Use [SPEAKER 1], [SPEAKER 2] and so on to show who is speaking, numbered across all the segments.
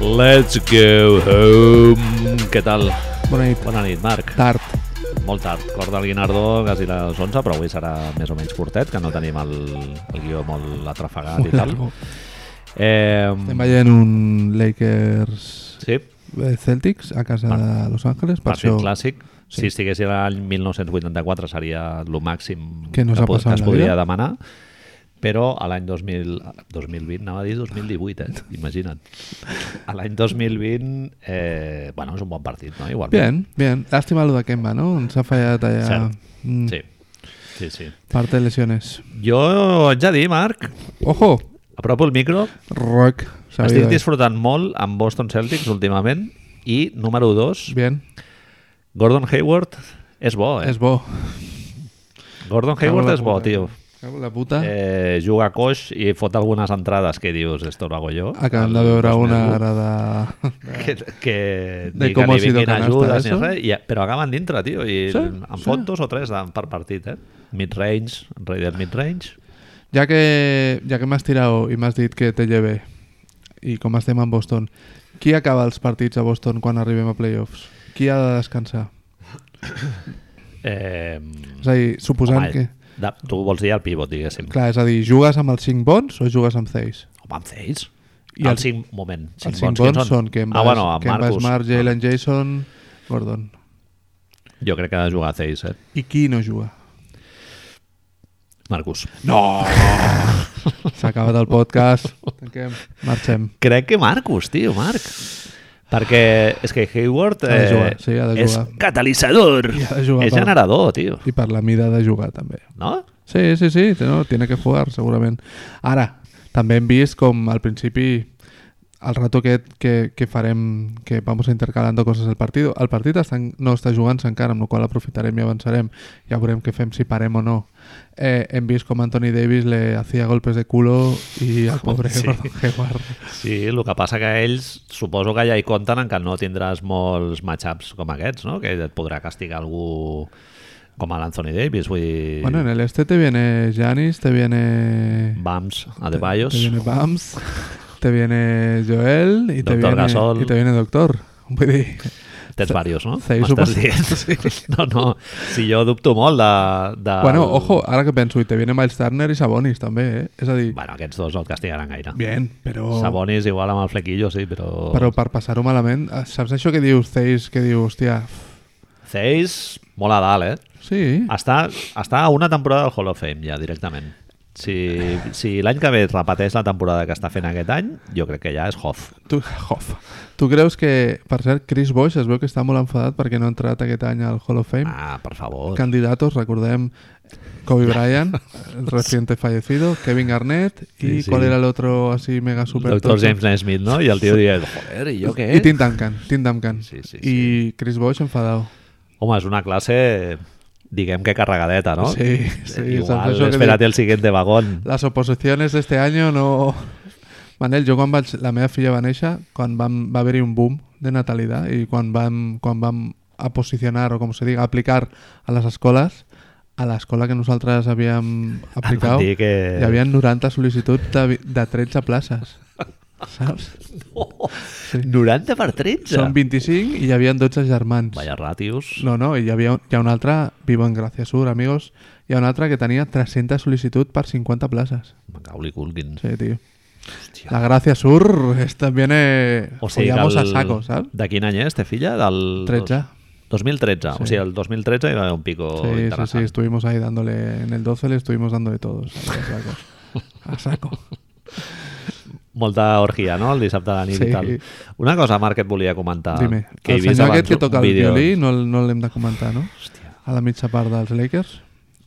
[SPEAKER 1] Let's go home. Què tal?
[SPEAKER 2] Bona nit.
[SPEAKER 1] Bona nit, Marc.
[SPEAKER 2] Tard.
[SPEAKER 1] Molt tard. Cor del Guinardó, quasi les 11, però avui serà més o menys curtet, que no tenim el, el guió molt atrafegat i tal.
[SPEAKER 2] Largo.
[SPEAKER 1] Eh,
[SPEAKER 2] Estem veient un Lakers
[SPEAKER 1] sí,
[SPEAKER 2] eh, Celtics a casa
[SPEAKER 1] Part-
[SPEAKER 2] de Los Ángeles, per
[SPEAKER 1] partit
[SPEAKER 2] això
[SPEAKER 1] clàssic.
[SPEAKER 2] Sí.
[SPEAKER 1] Si estiguessin a l'any 1984 seria el màxim
[SPEAKER 2] Que no s'ha
[SPEAKER 1] po-
[SPEAKER 2] passat
[SPEAKER 1] que es
[SPEAKER 2] en la
[SPEAKER 1] podria
[SPEAKER 2] vida.
[SPEAKER 1] demanar, però a l'any 2000, 2020, anava a dir 2018, eh? imagina't. A l'any 2020, eh, bueno, és un bon partit, no? Igualment.
[SPEAKER 2] Bien, bien. Lástima lo de Kemba, ¿no? Ens ha fallat allà...
[SPEAKER 1] Cert.
[SPEAKER 2] Mm,
[SPEAKER 1] Sí, sí, sí.
[SPEAKER 2] Parte de lesiones.
[SPEAKER 1] Jo haig de dir, Marc,
[SPEAKER 2] Ojo!
[SPEAKER 1] apropo el micro,
[SPEAKER 2] Rock.
[SPEAKER 1] estic
[SPEAKER 2] sabido. ¿eh?
[SPEAKER 1] disfrutant molt amb Boston Celtics últimament i, número 2,
[SPEAKER 2] Bien.
[SPEAKER 1] Gordon Hayward és bo, eh?
[SPEAKER 2] És bo.
[SPEAKER 1] Gordon
[SPEAKER 2] Cago en
[SPEAKER 1] Hayward
[SPEAKER 2] la Ah.
[SPEAKER 1] és bo,
[SPEAKER 2] puta.
[SPEAKER 1] tio.
[SPEAKER 2] Cago en la puta.
[SPEAKER 1] Eh, juga a coix i fot algunes entrades que dius, esto lo hago yo.
[SPEAKER 2] Acabem de
[SPEAKER 1] El
[SPEAKER 2] veure una
[SPEAKER 1] 2001,
[SPEAKER 2] ara de...
[SPEAKER 1] que, que,
[SPEAKER 2] De
[SPEAKER 1] ni que
[SPEAKER 2] com
[SPEAKER 1] li
[SPEAKER 2] ha sido
[SPEAKER 1] vinguin
[SPEAKER 2] canasta,
[SPEAKER 1] ajudes ni
[SPEAKER 2] eso.
[SPEAKER 1] res, i, però acaben dintre, tio, i
[SPEAKER 2] Sí,
[SPEAKER 1] en
[SPEAKER 2] sí.
[SPEAKER 1] fot dos o tres de- per partit, eh? Mid-range, rei del mid-range.
[SPEAKER 2] Ya que, ya que m'has tirado i m'has dit que te lleve i com estem en Boston, qui acaba els partits a Boston quan arribem a playoffs? Qui ha de descansar?
[SPEAKER 1] Eh,
[SPEAKER 2] És a dir, suposant
[SPEAKER 1] home,
[SPEAKER 2] que...
[SPEAKER 1] de, tu vols dir el pivot, diguéssim.
[SPEAKER 2] Clar, és a dir, jugues amb els 5 bons o jugues amb 6?
[SPEAKER 1] Home, amb ells? I
[SPEAKER 2] I
[SPEAKER 1] el
[SPEAKER 2] els-
[SPEAKER 1] 5, moment.
[SPEAKER 2] Els
[SPEAKER 1] Cinc
[SPEAKER 2] 5
[SPEAKER 1] quins
[SPEAKER 2] bons són Kemba,
[SPEAKER 1] ah, bueno, amb
[SPEAKER 2] Kemba
[SPEAKER 1] Marcus. Ah,
[SPEAKER 2] Smart, Jalen Jason, Gordon.
[SPEAKER 1] Jo crec que ha de jugar a Zeiss, eh?
[SPEAKER 2] I qui no juga?
[SPEAKER 1] Marcus. No!
[SPEAKER 2] S'ha acabat el podcast. Tanquem. Marxem.
[SPEAKER 1] crec que Marcus, tio, Marc. Perquè és que Hayward eh,
[SPEAKER 2] Ha de jugar, sí, ha de
[SPEAKER 1] és
[SPEAKER 2] jugar.
[SPEAKER 1] catalitzador,
[SPEAKER 2] I ha de jugar
[SPEAKER 1] és
[SPEAKER 2] per-
[SPEAKER 1] generador, tio.
[SPEAKER 2] I per la mida de jugar, també.
[SPEAKER 1] No?
[SPEAKER 2] Sí, sí, sí, té- no, tiene que jugar, segurament. Ara, també hem vist com al principi el rato aquest que, que farem que vamos intercalando coses al partit el partit està, en- no està jugant-se encara amb la qual cosa aprofitarem i avançarem ja veurem què fem, si parem o no eh, hem vist com Anthony Davis le hacía golpes de culo i el pobre
[SPEAKER 1] Sí.
[SPEAKER 2] sí. Gordon Hayward
[SPEAKER 1] Sí, el que passa que ells suposo que ja hi compten en que no tindràs molts matchups com aquests, no? Que et podrà castigar algú com a l'Anthony Davis, vull dir...
[SPEAKER 2] bueno, en el este te viene Janis te viene
[SPEAKER 1] Bams,
[SPEAKER 2] Te
[SPEAKER 1] Adebayos...
[SPEAKER 2] viene Bams, te viene Joel y te
[SPEAKER 1] Doctor
[SPEAKER 2] viene,
[SPEAKER 1] Gasol.
[SPEAKER 2] y te viene Doctor. Vull dir,
[SPEAKER 1] Tens varios, no?
[SPEAKER 2] Seis,
[SPEAKER 1] M'estàs
[SPEAKER 2] suposo.
[SPEAKER 1] dient? No, no, si jo dubto molt de... de
[SPEAKER 2] Bueno, ojo, ara que penso, i te viene Miles Turner i Sabonis també, eh? És a dir,
[SPEAKER 1] Bueno, aquests dos no et castigaran gaire.
[SPEAKER 2] bien, però,
[SPEAKER 1] Sabonis igual amb el flequillo, sí, però...
[SPEAKER 2] però per passar-ho malament, eh, saps això que dius, Theis, que diu, hòstia,
[SPEAKER 1] Seis, molt a dalt, eh?
[SPEAKER 2] sí,
[SPEAKER 1] Està, està a una temporada del Hall of Fame, ja, directament. Si, si l'any que ve es repeteix la temporada que està fent aquest any, jo crec que ja és Hoff.
[SPEAKER 2] tu, hof. Tu creus que, per cert, Chris Bosh es veu que està molt enfadat perquè no ha entrat aquest any al Hall of Fame?
[SPEAKER 1] Ah, per favor.
[SPEAKER 2] Candidatos, recordem, Kobe Bryant, el reciente fallecido, Kevin Garnett,
[SPEAKER 1] Sí,
[SPEAKER 2] i
[SPEAKER 1] sí.
[SPEAKER 2] cuál era el otro así mega super
[SPEAKER 1] Doctor
[SPEAKER 2] tocho?
[SPEAKER 1] James Naismith, no? I el tio dient, joder, i jo què?
[SPEAKER 2] I Tim Duncan, Tim Duncan.
[SPEAKER 1] Sí, sí, sí.
[SPEAKER 2] I Chris Bosh enfadado.
[SPEAKER 1] Home, és una classe, diguem que carregadeta, no?
[SPEAKER 2] Sí, sí, saps
[SPEAKER 1] Oh, eh, Igual,
[SPEAKER 2] això que
[SPEAKER 1] espérate el siguiente vagón.
[SPEAKER 2] Les oposicions d'este any este no... Manel, jo quan vaig, la meva filla va néixer, quan vam, va haver-hi un boom de natalitat i quan vam, quan vam a posicionar, o com se diga, aplicar a les escoles, a l'escola que nosaltres
[SPEAKER 1] Ah,
[SPEAKER 2] havíem aplicat,
[SPEAKER 1] dir em que-
[SPEAKER 2] hi havia 90 sol·licituds de, vi- de 13 places. Saps?
[SPEAKER 1] Oh, 90 per 13?
[SPEAKER 2] Són 25 i hi havia 12 germans.
[SPEAKER 1] Vaya ràtios.
[SPEAKER 2] No, no, i hi, havia, hi ha un altre, vivo en Gràcia Sur, amigos, hi ha un altre que tenia 300 sol·licitud per 50 places.
[SPEAKER 1] Macaulay Culkin.
[SPEAKER 2] Sí, tio.
[SPEAKER 1] Hòstia.
[SPEAKER 2] La Gracia Sur es también eh,
[SPEAKER 1] O sigui que
[SPEAKER 2] follamos
[SPEAKER 1] el...
[SPEAKER 2] a saco, ¿sabes?
[SPEAKER 1] De quin any és, te filla? Del...
[SPEAKER 2] 13.
[SPEAKER 1] 2013. Sí. O
[SPEAKER 2] Sí.
[SPEAKER 1] sigui, el 2013 hi va haver un pico
[SPEAKER 2] Sí, sí, sí,
[SPEAKER 1] interessant.
[SPEAKER 2] estuvimos ahí dándole, en el 12 le estuvimos dándole todos a saco. A saco.
[SPEAKER 1] Molta orgia, no?, el dissabte a la nit
[SPEAKER 2] Sí.
[SPEAKER 1] i tal. Una cosa, Marc, que et volia comentar.
[SPEAKER 2] Dime,
[SPEAKER 1] Ah, Que he
[SPEAKER 2] el
[SPEAKER 1] vist
[SPEAKER 2] senyor
[SPEAKER 1] abans
[SPEAKER 2] aquest que toca
[SPEAKER 1] un
[SPEAKER 2] el
[SPEAKER 1] vídeo.
[SPEAKER 2] violí no, l- no l'hem de comentar, no?
[SPEAKER 1] Hòstia.
[SPEAKER 2] A la mitja part dels Lakers?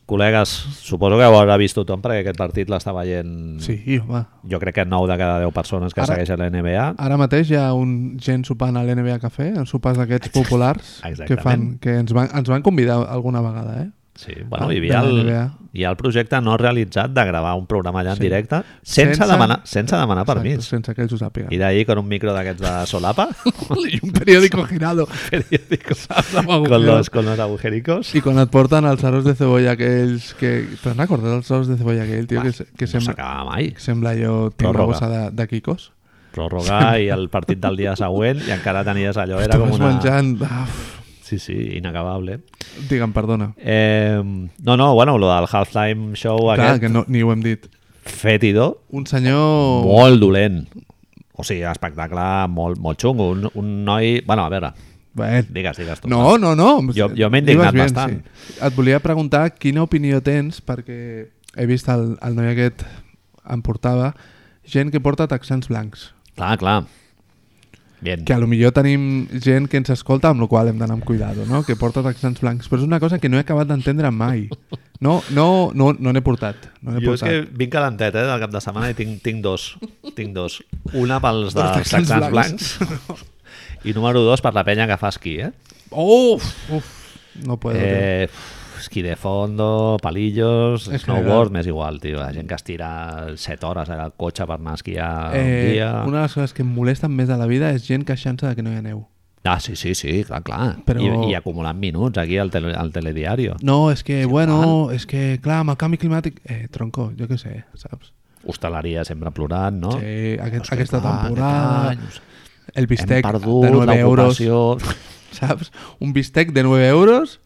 [SPEAKER 1] Col·legues, suposo que ho haurà vist tothom perquè aquest partit l'està veient...
[SPEAKER 2] Sí, home.
[SPEAKER 1] Jo crec que 9 de cada 10 persones que
[SPEAKER 2] Ara-
[SPEAKER 1] segueixen la NBA
[SPEAKER 2] Ara mateix hi ha un gent sopant a l'NBA Café, els sopars d'aquests populars que, fan,
[SPEAKER 1] Exactament.
[SPEAKER 2] que ens, van, ens van convidar alguna vegada, eh?
[SPEAKER 1] Sí, bueno,
[SPEAKER 2] Ah,
[SPEAKER 1] hi havia,
[SPEAKER 2] de la
[SPEAKER 1] el,
[SPEAKER 2] NBA.
[SPEAKER 1] hi ha el projecte no realitzat de gravar un programa allà en
[SPEAKER 2] Sí.
[SPEAKER 1] directe sense,
[SPEAKER 2] Sense-
[SPEAKER 1] demanar, sense demanar permís.
[SPEAKER 2] Sense que ells ho sàpiguen.
[SPEAKER 1] Ir ahí con un micro d'aquests de solapa,
[SPEAKER 2] I un periòdico girado.
[SPEAKER 1] periódicos, con,
[SPEAKER 2] agujero.
[SPEAKER 1] los, con los agujericos.
[SPEAKER 2] Y cuando aportan al aros de cebolla aquells que... ¿Te acordado del aros de cebolla aquel, tío?
[SPEAKER 1] Va,
[SPEAKER 2] que se- que
[SPEAKER 1] no
[SPEAKER 2] sembla,
[SPEAKER 1] s'acaba mai.
[SPEAKER 2] que sembla yo
[SPEAKER 1] Pròrroga.
[SPEAKER 2] una cosa de, de Kikos.
[SPEAKER 1] pròrroga i el partit del dia següent i encara tenies allò, era com
[SPEAKER 2] Estaves
[SPEAKER 1] una...
[SPEAKER 2] menjant... Uf,
[SPEAKER 1] Sí, sí, inacabable.
[SPEAKER 2] digue'm, perdona.
[SPEAKER 1] Eh, no, no, bueno, lo del halftime show
[SPEAKER 2] Clar,
[SPEAKER 1] aquest,
[SPEAKER 2] que no, Oh. ni ho hem dit.
[SPEAKER 1] fétido,
[SPEAKER 2] Un senyor...
[SPEAKER 1] molt dolent. O sigui, espectacle molt, molt xungo. Un, un noi... Bueno, a veure,
[SPEAKER 2] Bueno,
[SPEAKER 1] digues, digues tu.
[SPEAKER 2] No, no, no.
[SPEAKER 1] Jo- jo m'he
[SPEAKER 2] Anives
[SPEAKER 1] indignat
[SPEAKER 2] bien,
[SPEAKER 1] bastant.
[SPEAKER 2] Sí. Et volia preguntar quina opinió tens, perquè he vist el, el noi aquest em portava, gent que porta texans blancs.
[SPEAKER 1] Clar, clar. Bien.
[SPEAKER 2] Que a lo millor tenim gent que ens escolta, amb la qual hem d'anar amb cuidado, no? que porta texans blancs. Però és una cosa que no he acabat d'entendre mai. No, no, no, no n'he portat. No n'he
[SPEAKER 1] Jo és
[SPEAKER 2] portat.
[SPEAKER 1] que vinc calentet, eh, del cap de setmana i tinc, tinc dos. Tinc dos. Una pels de
[SPEAKER 2] Dels texans
[SPEAKER 1] texans blancs. I número dos per la penya que fa esquí, eh?
[SPEAKER 2] Uf, uf, no puedo. Eh...
[SPEAKER 1] eh esquí de fondo, palillos,
[SPEAKER 2] En
[SPEAKER 1] snowboard, m'és igual, tio. La gent que es tira 7 hores al cotxe per anar a esquiar un
[SPEAKER 2] Eh,
[SPEAKER 1] dia...
[SPEAKER 2] una de les coses que em molesten més de la vida és gent queixant-se de que no hi ha neu.
[SPEAKER 1] Ah, sí, sí, sí, clar, clar.
[SPEAKER 2] Però-
[SPEAKER 1] I, I acumulant minuts aquí al, tele, al telediario.
[SPEAKER 2] No, és que, bueno, és que, clar, amb el canvi climàtic... Eh, tronco, jo què sé, saps?
[SPEAKER 1] Hostaleria sempre plorant, no?
[SPEAKER 2] Sí, aquest,
[SPEAKER 1] Hòstia,
[SPEAKER 2] aquesta
[SPEAKER 1] clar, aquest
[SPEAKER 2] temporada...
[SPEAKER 1] any, us-
[SPEAKER 2] El
[SPEAKER 1] Hem
[SPEAKER 2] bistec de
[SPEAKER 1] perdut
[SPEAKER 2] 9 euros,
[SPEAKER 1] l'ocupació...
[SPEAKER 2] saps? Un bistec de 9 euros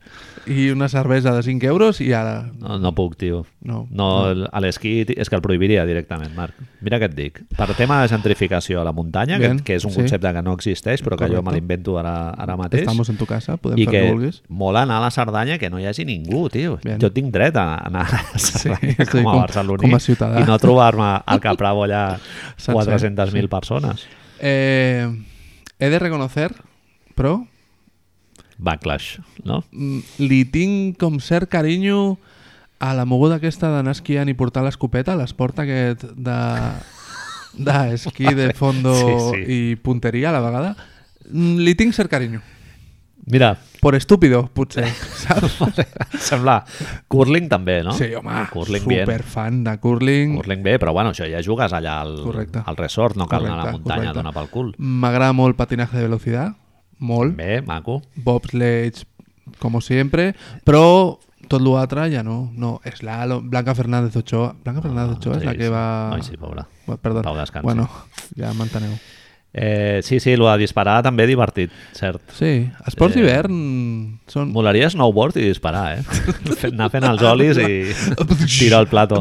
[SPEAKER 2] i una cervesa de 5 euros i ara...
[SPEAKER 1] No, no puc, tio.
[SPEAKER 2] No.
[SPEAKER 1] No, el- a l'esquí ti- és que el prohibiria directament, Marc. Mira què et dic. Per tema de gentrificació a la muntanya, que,
[SPEAKER 2] Bien,
[SPEAKER 1] que és un
[SPEAKER 2] sí.
[SPEAKER 1] concepte que no existeix, però que jo me
[SPEAKER 2] Correcte.
[SPEAKER 1] l'invento ara, ara mateix,
[SPEAKER 2] Estamos en tu casa, podem
[SPEAKER 1] i
[SPEAKER 2] fer
[SPEAKER 1] que
[SPEAKER 2] el que vulguis.
[SPEAKER 1] mola anar a la Cerdanya que no hi hagi ningú, tio.
[SPEAKER 2] Bien.
[SPEAKER 1] Jo tinc dret a anar a la Cerdanya
[SPEAKER 2] sí,
[SPEAKER 1] com a
[SPEAKER 2] com-
[SPEAKER 1] barceloní
[SPEAKER 2] com a ciutadà.
[SPEAKER 1] i no trobar-me al Caprabo allà
[SPEAKER 2] Sencer,
[SPEAKER 1] 400.000 persones.
[SPEAKER 2] Eh, he de reconocer, però,
[SPEAKER 1] Backlash, no?
[SPEAKER 2] mm, li tinc com cert carinyo a la moguda aquesta d'anar esquiant i portar l'escopeta, l'esport aquest de d'esquí de, fondo
[SPEAKER 1] Sí, sí.
[SPEAKER 2] i punteria a la vegada. Mm, Li tinc cert carinyo.
[SPEAKER 1] Mira,
[SPEAKER 2] Por estúpido, potser, saps?
[SPEAKER 1] em sembla... Curling també, no?
[SPEAKER 2] Sí, home,
[SPEAKER 1] Curling bien.
[SPEAKER 2] superfan de curling.
[SPEAKER 1] Curling bé, però bueno, això ja jugues allà al,
[SPEAKER 2] Mm. Correcte.
[SPEAKER 1] al resort, no cal anar a la
[SPEAKER 2] Correcte,
[SPEAKER 1] muntanya
[SPEAKER 2] correcte.
[SPEAKER 1] a donar pel cul.
[SPEAKER 2] M'agrada molt patinatge de velocitat, molt.
[SPEAKER 1] Bé, maco.
[SPEAKER 2] bobsleds, como siempre, però tot l'altre ja no. No, és la Lo- Blanca Fernández Ochoa. Blanca Fernández Ochoa és la
[SPEAKER 1] sí,
[SPEAKER 2] que
[SPEAKER 1] sí.
[SPEAKER 2] va...
[SPEAKER 1] Ai, sí, pobra.
[SPEAKER 2] Bueno, Perdó.
[SPEAKER 1] Pau, descansi.
[SPEAKER 2] Bueno, ja m'enteneu.
[SPEAKER 1] Eh, sí, sí, lo de disparar també divertit, cert.
[SPEAKER 2] Sí,
[SPEAKER 1] Eh,
[SPEAKER 2] esports d'hivern són...
[SPEAKER 1] Molaria snowboard i disparar, eh? Fer- Anar fent els olis i tirar el plato.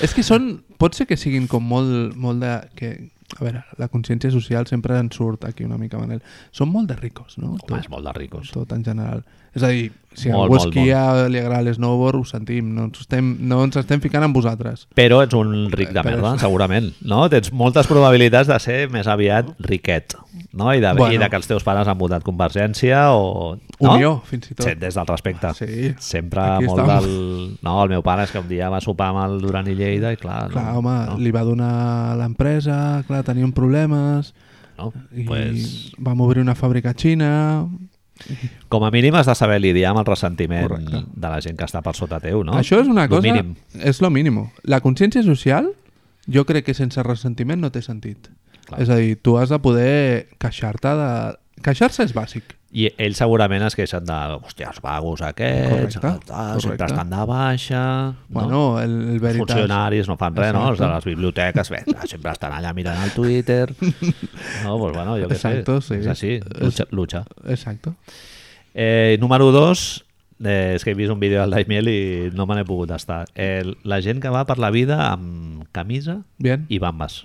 [SPEAKER 2] És que són... Pot ser que siguin com molt, molt de... Que, a veure, la consciència social sempre en surt aquí una mica, Manel. Són molt de ricos, no?
[SPEAKER 1] Home, és molt de ricos.
[SPEAKER 2] tot en general. És a dir, si
[SPEAKER 1] Molt,
[SPEAKER 2] algú
[SPEAKER 1] molt,
[SPEAKER 2] esquia, li agrada l'esnowboard, ho sentim. No ens, estem, no ens estem ficant amb vosaltres.
[SPEAKER 1] Però ets un ric de
[SPEAKER 2] Però
[SPEAKER 1] merda,
[SPEAKER 2] és-
[SPEAKER 1] segurament, no? Tens moltes probabilitats de ser més aviat riquet, no? I de, i
[SPEAKER 2] Bueno.
[SPEAKER 1] de que els teus pares han votat Convergència o... No?
[SPEAKER 2] Unió, fins i tot.
[SPEAKER 1] Sí, des del respecte.
[SPEAKER 2] Sí.
[SPEAKER 1] Sempre
[SPEAKER 2] Aquí
[SPEAKER 1] molt
[SPEAKER 2] estem.
[SPEAKER 1] del... No, el meu pare és que un dia va sopar amb el Duran i Lleida i clar...
[SPEAKER 2] Clar,
[SPEAKER 1] no,
[SPEAKER 2] home,
[SPEAKER 1] no,
[SPEAKER 2] li va donar l'empresa, clar, tenien problemes,
[SPEAKER 1] no.
[SPEAKER 2] i
[SPEAKER 1] Pues,
[SPEAKER 2] vam obrir una fàbrica a Xina...
[SPEAKER 1] com a mínim has de saber lidiar amb el ressentiment
[SPEAKER 2] Correcte.
[SPEAKER 1] de la gent que està per sota teu, no?
[SPEAKER 2] Això és una
[SPEAKER 1] Lo
[SPEAKER 2] cosa...
[SPEAKER 1] Mínim.
[SPEAKER 2] És lo mínimo. La consciència social, jo crec que sense ressentiment no té sentit.
[SPEAKER 1] Clar.
[SPEAKER 2] És a dir, tu has de poder queixar-te de... Queixar-se és bàsic.
[SPEAKER 1] I ells segurament es queixen de, hòstia, els vagos aquests,
[SPEAKER 2] Correcte,
[SPEAKER 1] correcte, tal, sempre
[SPEAKER 2] correcte.
[SPEAKER 1] estan de baixa... no?
[SPEAKER 2] Bueno, el, el veritat...
[SPEAKER 1] funcionaris no fan res, no? Els de
[SPEAKER 2] Exacte.
[SPEAKER 1] les biblioteques, bé, sempre estan allà mirant el Twitter. No, pues bueno, jo què sé.
[SPEAKER 2] Exacto, sí.
[SPEAKER 1] És així, lucha. lucha.
[SPEAKER 2] Exacte.
[SPEAKER 1] Eh, número 2, eh, és que he vist un vídeo del Daimiel i no me n'he pogut estar. Eh, la gent que va per la vida amb camisa
[SPEAKER 2] Bien.
[SPEAKER 1] i bambes.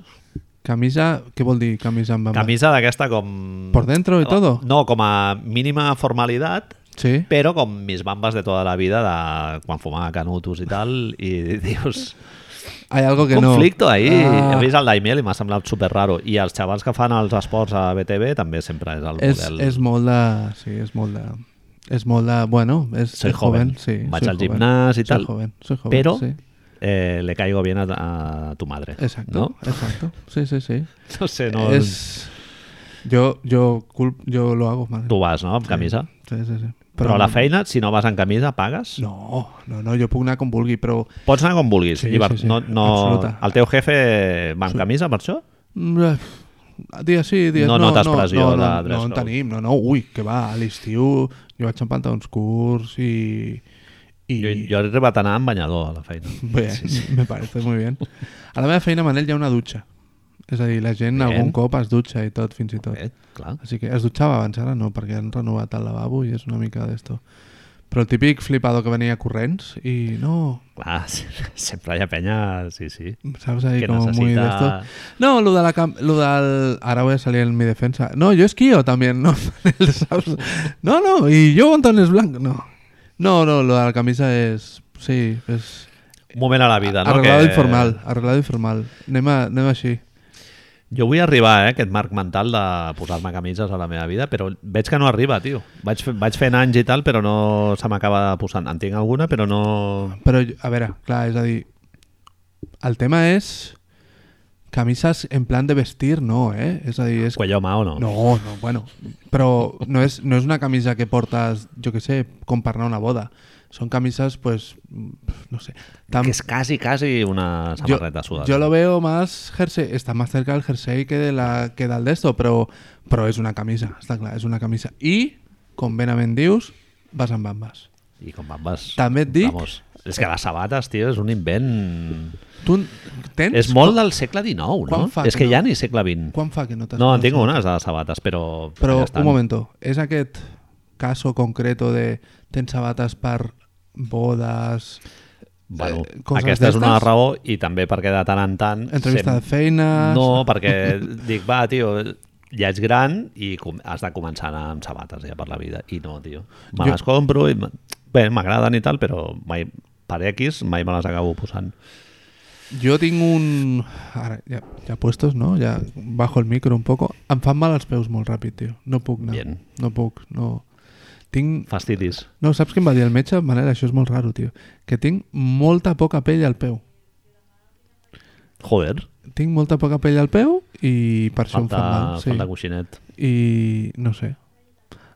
[SPEAKER 2] Camisa, què vol dir camisa amb bamba?
[SPEAKER 1] Camisa d'aquesta com...
[SPEAKER 2] Por dentro y todo?
[SPEAKER 1] No, com a mínima formalitat,
[SPEAKER 2] Sí.
[SPEAKER 1] però com mis bambes de tota la vida, de quan fumava canutos i tal, i dius...
[SPEAKER 2] Hay algo que no...
[SPEAKER 1] conflicte ahí.
[SPEAKER 2] Ah,
[SPEAKER 1] He vist el Daimiel i m'ha semblat super raro. I els xavals que fan els esports a BTV també sempre és el
[SPEAKER 2] és,
[SPEAKER 1] model.
[SPEAKER 2] és molt de... Sí, és molt de... És molt de... Bueno, és
[SPEAKER 1] Soy
[SPEAKER 2] soy joven.
[SPEAKER 1] joven.
[SPEAKER 2] sí.
[SPEAKER 1] Vaig
[SPEAKER 2] soy
[SPEAKER 1] al
[SPEAKER 2] joven.
[SPEAKER 1] gimnàs i
[SPEAKER 2] Soy
[SPEAKER 1] tal.
[SPEAKER 2] joven, soy joven,
[SPEAKER 1] Pero-
[SPEAKER 2] sí.
[SPEAKER 1] Eh, le caigo bien a, a tu madre.
[SPEAKER 2] Exacto,
[SPEAKER 1] No?
[SPEAKER 2] exacto. Sí, sí, sí.
[SPEAKER 1] No sé, no...
[SPEAKER 2] Es... Yo, yo, culp- yo lo hago mal.
[SPEAKER 1] Tu vas, no?, amb camisa.
[SPEAKER 2] Sí, sí, sí.
[SPEAKER 1] Però, a la feina, si no vas en camisa, pagues?
[SPEAKER 2] No, no, no, jo puc anar com vulgui, però
[SPEAKER 1] Pots anar com vulguis.
[SPEAKER 2] Sí,
[SPEAKER 1] llibert.
[SPEAKER 2] sí, sí.
[SPEAKER 1] No, no...
[SPEAKER 2] Absoluta.
[SPEAKER 1] El teu jefe va amb camisa, per això?
[SPEAKER 2] Mm, Dia sí, dia
[SPEAKER 1] No
[SPEAKER 2] no,
[SPEAKER 1] notes
[SPEAKER 2] no,
[SPEAKER 1] pressió
[SPEAKER 2] no, no,
[SPEAKER 1] de dress
[SPEAKER 2] no, en
[SPEAKER 1] code.
[SPEAKER 2] tenim, no, no, ui, que va, a l'estiu jo vaig amb pantalons curts i... i...
[SPEAKER 1] Jo, jo he arribat a anar amb banyador a la feina.
[SPEAKER 2] Bé, me parece muy bien. A la meva feina, Manel, hi ha una dutxa. És a dir, la gent
[SPEAKER 1] Bien.
[SPEAKER 2] algun cop es dutxa i tot, fins i tot.
[SPEAKER 1] Eh, clar.
[SPEAKER 2] Així que es dutxava abans, ara no, perquè han renovat el lavabo i és una mica d'esto. Però el típic flipador que venia corrents i no,
[SPEAKER 1] Clar, sempre hi ha penya, sí, sí.
[SPEAKER 2] saps ahí
[SPEAKER 1] que
[SPEAKER 2] com
[SPEAKER 1] necessita...
[SPEAKER 2] muy de esto. No, lo de la cam- lo del ahora voy a salir en mi defensa. No, yo esquío también, no, ¿Sabes? No, no, y yo botones blancos, no. No, no, lo de la camisa es sí, es
[SPEAKER 1] Un moment a la vida, no?
[SPEAKER 2] arreglado informal, arreglado informal. Anem, a, anem així.
[SPEAKER 1] Jo vull arribar, eh, a aquest marc mental de posar-me camises a la meva vida, però veig que no arriba, tio. Vaig, fe- vaig fent anys i tal, però no se m'acaba posant. En tinc alguna, però no...
[SPEAKER 2] Però, jo- a veure, clar, és a dir, el tema és camises en plan de vestir, no, eh? És a dir, és...
[SPEAKER 1] Cuello mà o no?
[SPEAKER 2] No, no, bueno. Però no és, no és una camisa que portes, jo que sé, com per anar a una boda. Són camises, pues, no sé. Tam-
[SPEAKER 1] Que és quasi, quasi una
[SPEAKER 2] Yo,
[SPEAKER 1] samarreta sudada.
[SPEAKER 2] yo lo veo más jersey, está más cerca del jersey que, de la, que del de esto, pero, pero es una camisa, está claro, es una camisa. Y con Benamendius vas en bambas.
[SPEAKER 1] I com bambes...
[SPEAKER 2] També et dic-
[SPEAKER 1] Vamos, és que les sabates, tio, és un invent...
[SPEAKER 2] Tu tens...
[SPEAKER 1] És molt del segle XIX, no?
[SPEAKER 2] quan fa
[SPEAKER 1] és
[SPEAKER 2] que
[SPEAKER 1] que
[SPEAKER 2] no?
[SPEAKER 1] ja ni segle XX.
[SPEAKER 2] Quan fa que no t'has...
[SPEAKER 1] No, en tinc unes de sabates, però...
[SPEAKER 2] Però
[SPEAKER 1] ja
[SPEAKER 2] un
[SPEAKER 1] estan.
[SPEAKER 2] momento, és aquest caso concreto de tens sabates per bodes...
[SPEAKER 1] Bueno,
[SPEAKER 2] eh, coses
[SPEAKER 1] aquesta és una
[SPEAKER 2] d'estes?
[SPEAKER 1] raó i també perquè de tant en tant...
[SPEAKER 2] Entrevista de feines.
[SPEAKER 1] No, perquè dic, va, tio, ja ets gran i com... has de començar a anar amb sabates ja per la vida. I no, tio. Me
[SPEAKER 2] Jo-
[SPEAKER 1] les compro i... m- Bé, m'agraden i tal, però mai per X mai me les acabo posant.
[SPEAKER 2] Jo tinc un... Ara, ja, ja puestos, no? Ja bajo el micro un poco. Em fan mal els peus molt ràpid, tio. No puc anar.
[SPEAKER 1] Bien.
[SPEAKER 2] No puc, no... Tinc...
[SPEAKER 1] Fastidis.
[SPEAKER 2] No, saps què em va dir el metge? Manel, això és molt raro, tio. Que tinc molta poca pell al peu.
[SPEAKER 1] Joder,
[SPEAKER 2] Tinc molta poca pell al peu i per això
[SPEAKER 1] falta,
[SPEAKER 2] em fan
[SPEAKER 1] falta
[SPEAKER 2] mal.
[SPEAKER 1] coixinet.
[SPEAKER 2] Sí. I no sé.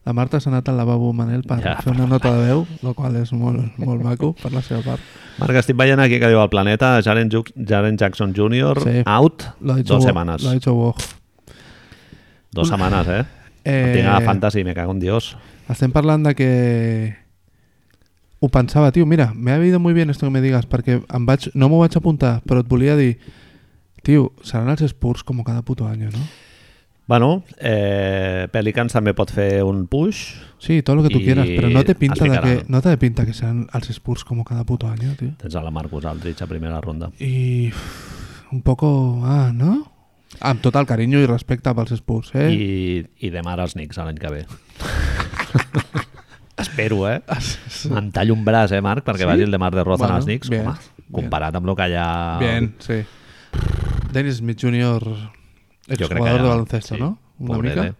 [SPEAKER 2] La Marta s'ha anat al lavabo, Manel, per
[SPEAKER 1] Ja,
[SPEAKER 2] ja, fer una nota de veu, el qual és molt, molt maco per la seva part.
[SPEAKER 1] Marc, estic veient aquí que diu el planeta Jaren, Ju- Jaren Jackson Jr.
[SPEAKER 2] Sí.
[SPEAKER 1] out
[SPEAKER 2] Lo ha hecho
[SPEAKER 1] dos
[SPEAKER 2] bo-
[SPEAKER 1] setmanes.
[SPEAKER 2] Lo ha hecho bo.
[SPEAKER 1] Dos setmanes, eh? eh...
[SPEAKER 2] Eh,
[SPEAKER 1] No tinc a Fantasy, me cago en Dios.
[SPEAKER 2] Estem parlant de que... Ho pensava, tio, mira, me ha ido muy bien esto que me digas, perquè em vaig, no m'ho vaig apuntar, però et volia dir, tio, seran els Spurs com cada puto any, no?
[SPEAKER 1] Bueno, eh, Pelicans també pot fer un push.
[SPEAKER 2] Sí, todo lo que tú
[SPEAKER 1] I
[SPEAKER 2] quieras, pero no te pinta
[SPEAKER 1] els
[SPEAKER 2] de
[SPEAKER 1] ficaran.
[SPEAKER 2] que, no te de pinta que sean els Spurs como cada puto año, tío.
[SPEAKER 1] Tens a la Marcus Aldridge a primera ronda.
[SPEAKER 2] Y uf, un poco, ah, no? Amb tot el carinyo i respecte pels Spurs, eh? I...
[SPEAKER 1] I, I demà ara els Knicks a l'any que ve. Espero, eh? Em tallo un braç, eh, Marc, perquè
[SPEAKER 2] Ah, Sí?
[SPEAKER 1] vagi el demà de Roza
[SPEAKER 2] Bueno,
[SPEAKER 1] bueno, als Knicks.
[SPEAKER 2] bien,
[SPEAKER 1] Home,
[SPEAKER 2] bien.
[SPEAKER 1] comparat amb el que hi ha...
[SPEAKER 2] Bien, sí. Dennis Smith Jr.,
[SPEAKER 1] Jo crec que
[SPEAKER 2] exjugador
[SPEAKER 1] ja-
[SPEAKER 2] de baloncesto,
[SPEAKER 1] sí,
[SPEAKER 2] no? Una
[SPEAKER 1] pobret,
[SPEAKER 2] mica.
[SPEAKER 1] eh?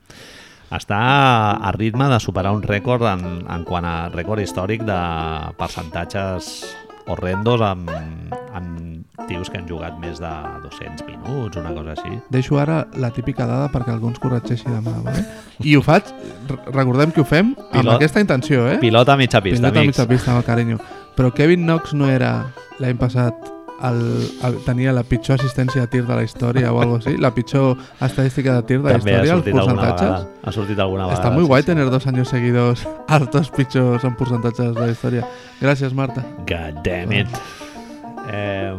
[SPEAKER 1] Està a ritme de superar un rècord en, en quant a rècord històric de percentatges horrendos amb, amb tios que han jugat més de 200 minuts, una cosa així.
[SPEAKER 2] Deixo ara la típica dada perquè algú ens corregeixi demà, vale? I ho faig, re- recordem que ho fem amb
[SPEAKER 1] Pilot-
[SPEAKER 2] aquesta intenció, eh?
[SPEAKER 1] Pilota a mitja pista,
[SPEAKER 2] Pilota a
[SPEAKER 1] amics.
[SPEAKER 2] mitja pista, amb el carinyo. Però Kevin Knox no era l'any passat el, el, tenia la pitjor assistència de tir de la història o algo així, la pitjor estadística de tir de la
[SPEAKER 1] També ha
[SPEAKER 2] història,
[SPEAKER 1] sortit
[SPEAKER 2] els
[SPEAKER 1] alguna vegada.
[SPEAKER 2] percentatges.
[SPEAKER 1] Ha sortit alguna vegada.
[SPEAKER 2] Està molt guai
[SPEAKER 1] Ah, sí, sí.
[SPEAKER 2] tenir dos anys seguidos els dos pitjors en percentatges de la història. Gràcies, Marta.
[SPEAKER 1] God damn it. Eh,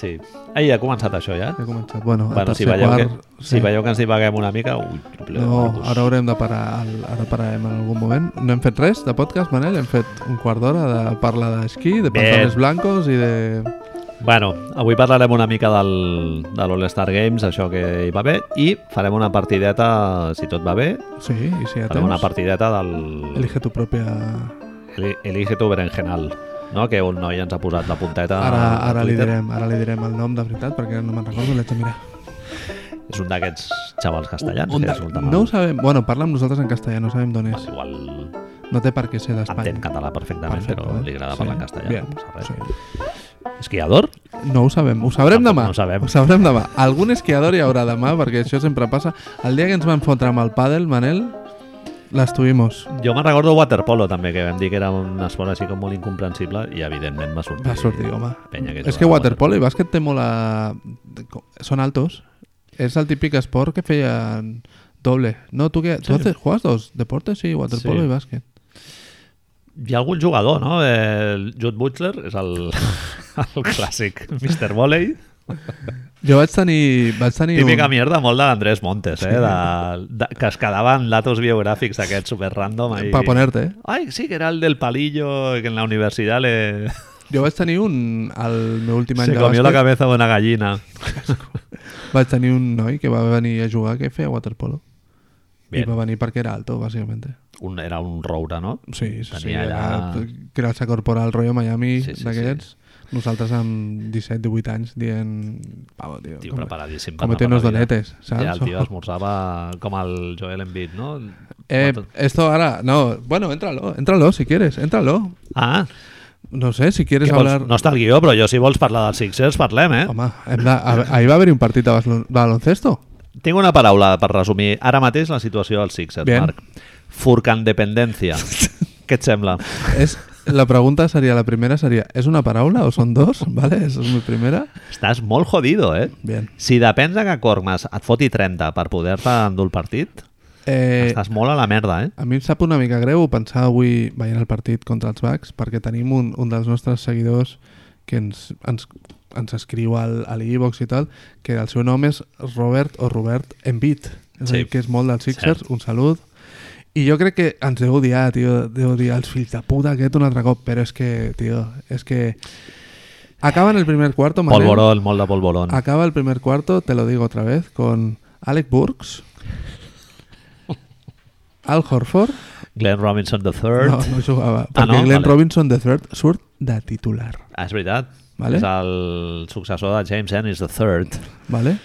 [SPEAKER 1] sí. Ai, ha començat això ja?
[SPEAKER 2] He començat. Bueno, Doncs. el
[SPEAKER 1] Bueno, si
[SPEAKER 2] tercer
[SPEAKER 1] veieu,
[SPEAKER 2] quart...
[SPEAKER 1] que, si veieu que ens divaguem una mica... Ui, triple de
[SPEAKER 2] No,
[SPEAKER 1] Marcus.
[SPEAKER 2] ara haurem de parar, el- ara pararem en algun moment. No hem fet res de podcast, Manel, hem fet un quart d'hora de parlar d'esquí, de
[SPEAKER 1] Bé.
[SPEAKER 2] pantalones blancos i de...
[SPEAKER 1] Bueno, avui parlarem una mica del, de l'All-Star Games, això que hi va bé, i farem una partideta, si tot va bé,
[SPEAKER 2] Sí, i si ja
[SPEAKER 1] farem una
[SPEAKER 2] tens...
[SPEAKER 1] partideta del...
[SPEAKER 2] Elige tu pròpia...
[SPEAKER 1] Eli- Elige tu berenjenal, no? que un noi ens ha posat la punteta
[SPEAKER 2] Ara,
[SPEAKER 1] a
[SPEAKER 2] ara, li
[SPEAKER 1] Ah, Twitter.
[SPEAKER 2] direm, ara li direm el nom de veritat, perquè no me'n recordo, l'haig de mirar.
[SPEAKER 1] És un d'aquests xavals castellans.
[SPEAKER 2] On
[SPEAKER 1] que
[SPEAKER 2] de-
[SPEAKER 1] resulta
[SPEAKER 2] No ho
[SPEAKER 1] mal.
[SPEAKER 2] sabem... Bueno, parla amb nosaltres en castellà, no sabem d'on és.
[SPEAKER 1] Igual
[SPEAKER 2] No té per què ser
[SPEAKER 1] entén
[SPEAKER 2] d'Espanya.
[SPEAKER 1] català perfectament,
[SPEAKER 2] Perfecte,
[SPEAKER 1] però
[SPEAKER 2] eh?
[SPEAKER 1] li agrada
[SPEAKER 2] Sí,
[SPEAKER 1] parlar en castellà.
[SPEAKER 2] bien,
[SPEAKER 1] no passa res.
[SPEAKER 2] sí.
[SPEAKER 1] Esquiador?
[SPEAKER 2] No ho sabem, ho sabrem
[SPEAKER 1] Tampoc
[SPEAKER 2] demà.
[SPEAKER 1] no ho sabem.
[SPEAKER 2] Ho sabrem demà. Algun esquiador hi haurà demà, perquè això sempre passa. El dia que ens vam fotre amb el pàdel, Manel, les tuvimos.
[SPEAKER 1] Jo me'n recordo waterpolo també, que vam dir que era un esport així com molt incomprensible i evidentment va sortir.
[SPEAKER 2] Va sortir, home.
[SPEAKER 1] Penya que
[SPEAKER 2] És
[SPEAKER 1] jugava
[SPEAKER 2] que
[SPEAKER 1] a
[SPEAKER 2] waterpolo i bàsquet té molt a... Són altos. És el típic esport que feien doble. No, tu que...
[SPEAKER 1] Sí.
[SPEAKER 2] Sí. Tu haces, juegas dos deportes? Sí, waterpolo
[SPEAKER 1] Sí.
[SPEAKER 2] i bàsquet.
[SPEAKER 1] Hi ha algun jugador, no? Eh, el Jude Butler és el, el clàssic Mr. Volley.
[SPEAKER 2] Jo vaig tenir... Vaig tenir
[SPEAKER 1] Típica mierda molt de l'Andrés Montes, eh? De, de, que es quedaven datos biogràfics aquests super random.
[SPEAKER 2] Pa ponerte, eh?
[SPEAKER 1] Ay, sí, que era el del palillo que en la universidad le...
[SPEAKER 2] Jo vaig tenir un... El meu últim any
[SPEAKER 1] se
[SPEAKER 2] de
[SPEAKER 1] comió la
[SPEAKER 2] bàsquet
[SPEAKER 1] cabeza de una gallina.
[SPEAKER 2] vaig tenir un noi que va venir a jugar que feia waterpolo.
[SPEAKER 1] Bien.
[SPEAKER 2] I va venir perquè era alto, bàsicament.
[SPEAKER 1] Un, era un roure, no?
[SPEAKER 2] Sí, sí, sí.
[SPEAKER 1] Tenia
[SPEAKER 2] Era pues,
[SPEAKER 1] allà-
[SPEAKER 2] grasa corporal, rotllo Miami,
[SPEAKER 1] Sí, sí,
[SPEAKER 2] d'aquests. Nosaltres amb 17-18 anys dient... Pavo, tio,
[SPEAKER 1] Tio,
[SPEAKER 2] com-
[SPEAKER 1] preparadíssim. per
[SPEAKER 2] com
[SPEAKER 1] anar
[SPEAKER 2] té
[SPEAKER 1] per
[SPEAKER 2] unos
[SPEAKER 1] la vida.
[SPEAKER 2] donetes, saps?
[SPEAKER 1] Ja, el tio esmorzava com el Joel Embiid, no?
[SPEAKER 2] Eh, esto ahora, no, bueno, éntralo, éntralo si quieres, éntralo.
[SPEAKER 1] Ah,
[SPEAKER 2] No sé, si quieres
[SPEAKER 1] què vols?
[SPEAKER 2] hablar...
[SPEAKER 1] no està el guió, però jo si vols parlar dels Sixers, parlem, eh?
[SPEAKER 2] Home, hem de- a- ahir va haver-hi un partit de baslo- baloncesto.
[SPEAKER 1] Tinc una paraula per resumir ara mateix la situació dels Sixers,
[SPEAKER 2] Bien.
[SPEAKER 1] Marc. Furcandependència. Què et sembla?
[SPEAKER 2] Es, la pregunta sería, la primera sería, ¿es una paraula o son dos? ¿Vale? Esa es mi primera.
[SPEAKER 1] Estàs molt jodido, eh?
[SPEAKER 2] Bien.
[SPEAKER 1] Si depens de que Cormas et foti 30 per poder-te endur el partit,
[SPEAKER 2] Eh,
[SPEAKER 1] estàs molt a la merda, eh?
[SPEAKER 2] a mi em sap una mica greu pensar avui veient el partit contra els Bucks perquè tenim un, un dels nostres seguidors que ens, ens, ens escriu al, a l'e-box i tal, que el seu nom és Robert o Robert Embiid.
[SPEAKER 1] Sí.
[SPEAKER 2] És sí. dir, que és molt dels Sixers, un salut. I jo crec que ens deu odiar, tio, deu odiar els fills de puta aquest un altre cop, però és que, tio, és que... Acaben el primer quarto, Manel.
[SPEAKER 1] Polvorón, molt de polvorón.
[SPEAKER 2] Acaba el primer cuarto, te lo digo otra vez, con Alec Burks, Al Horford.
[SPEAKER 1] Glenn Robinson III.
[SPEAKER 2] No, no jugava.
[SPEAKER 1] Ah,
[SPEAKER 2] Perquè
[SPEAKER 1] no?
[SPEAKER 2] Glenn
[SPEAKER 1] Vale.
[SPEAKER 2] Robinson de third surt de titular.
[SPEAKER 1] Ah, és veritat.
[SPEAKER 2] Vale.
[SPEAKER 1] És el successor de James Ennis III.
[SPEAKER 2] ¿Vale?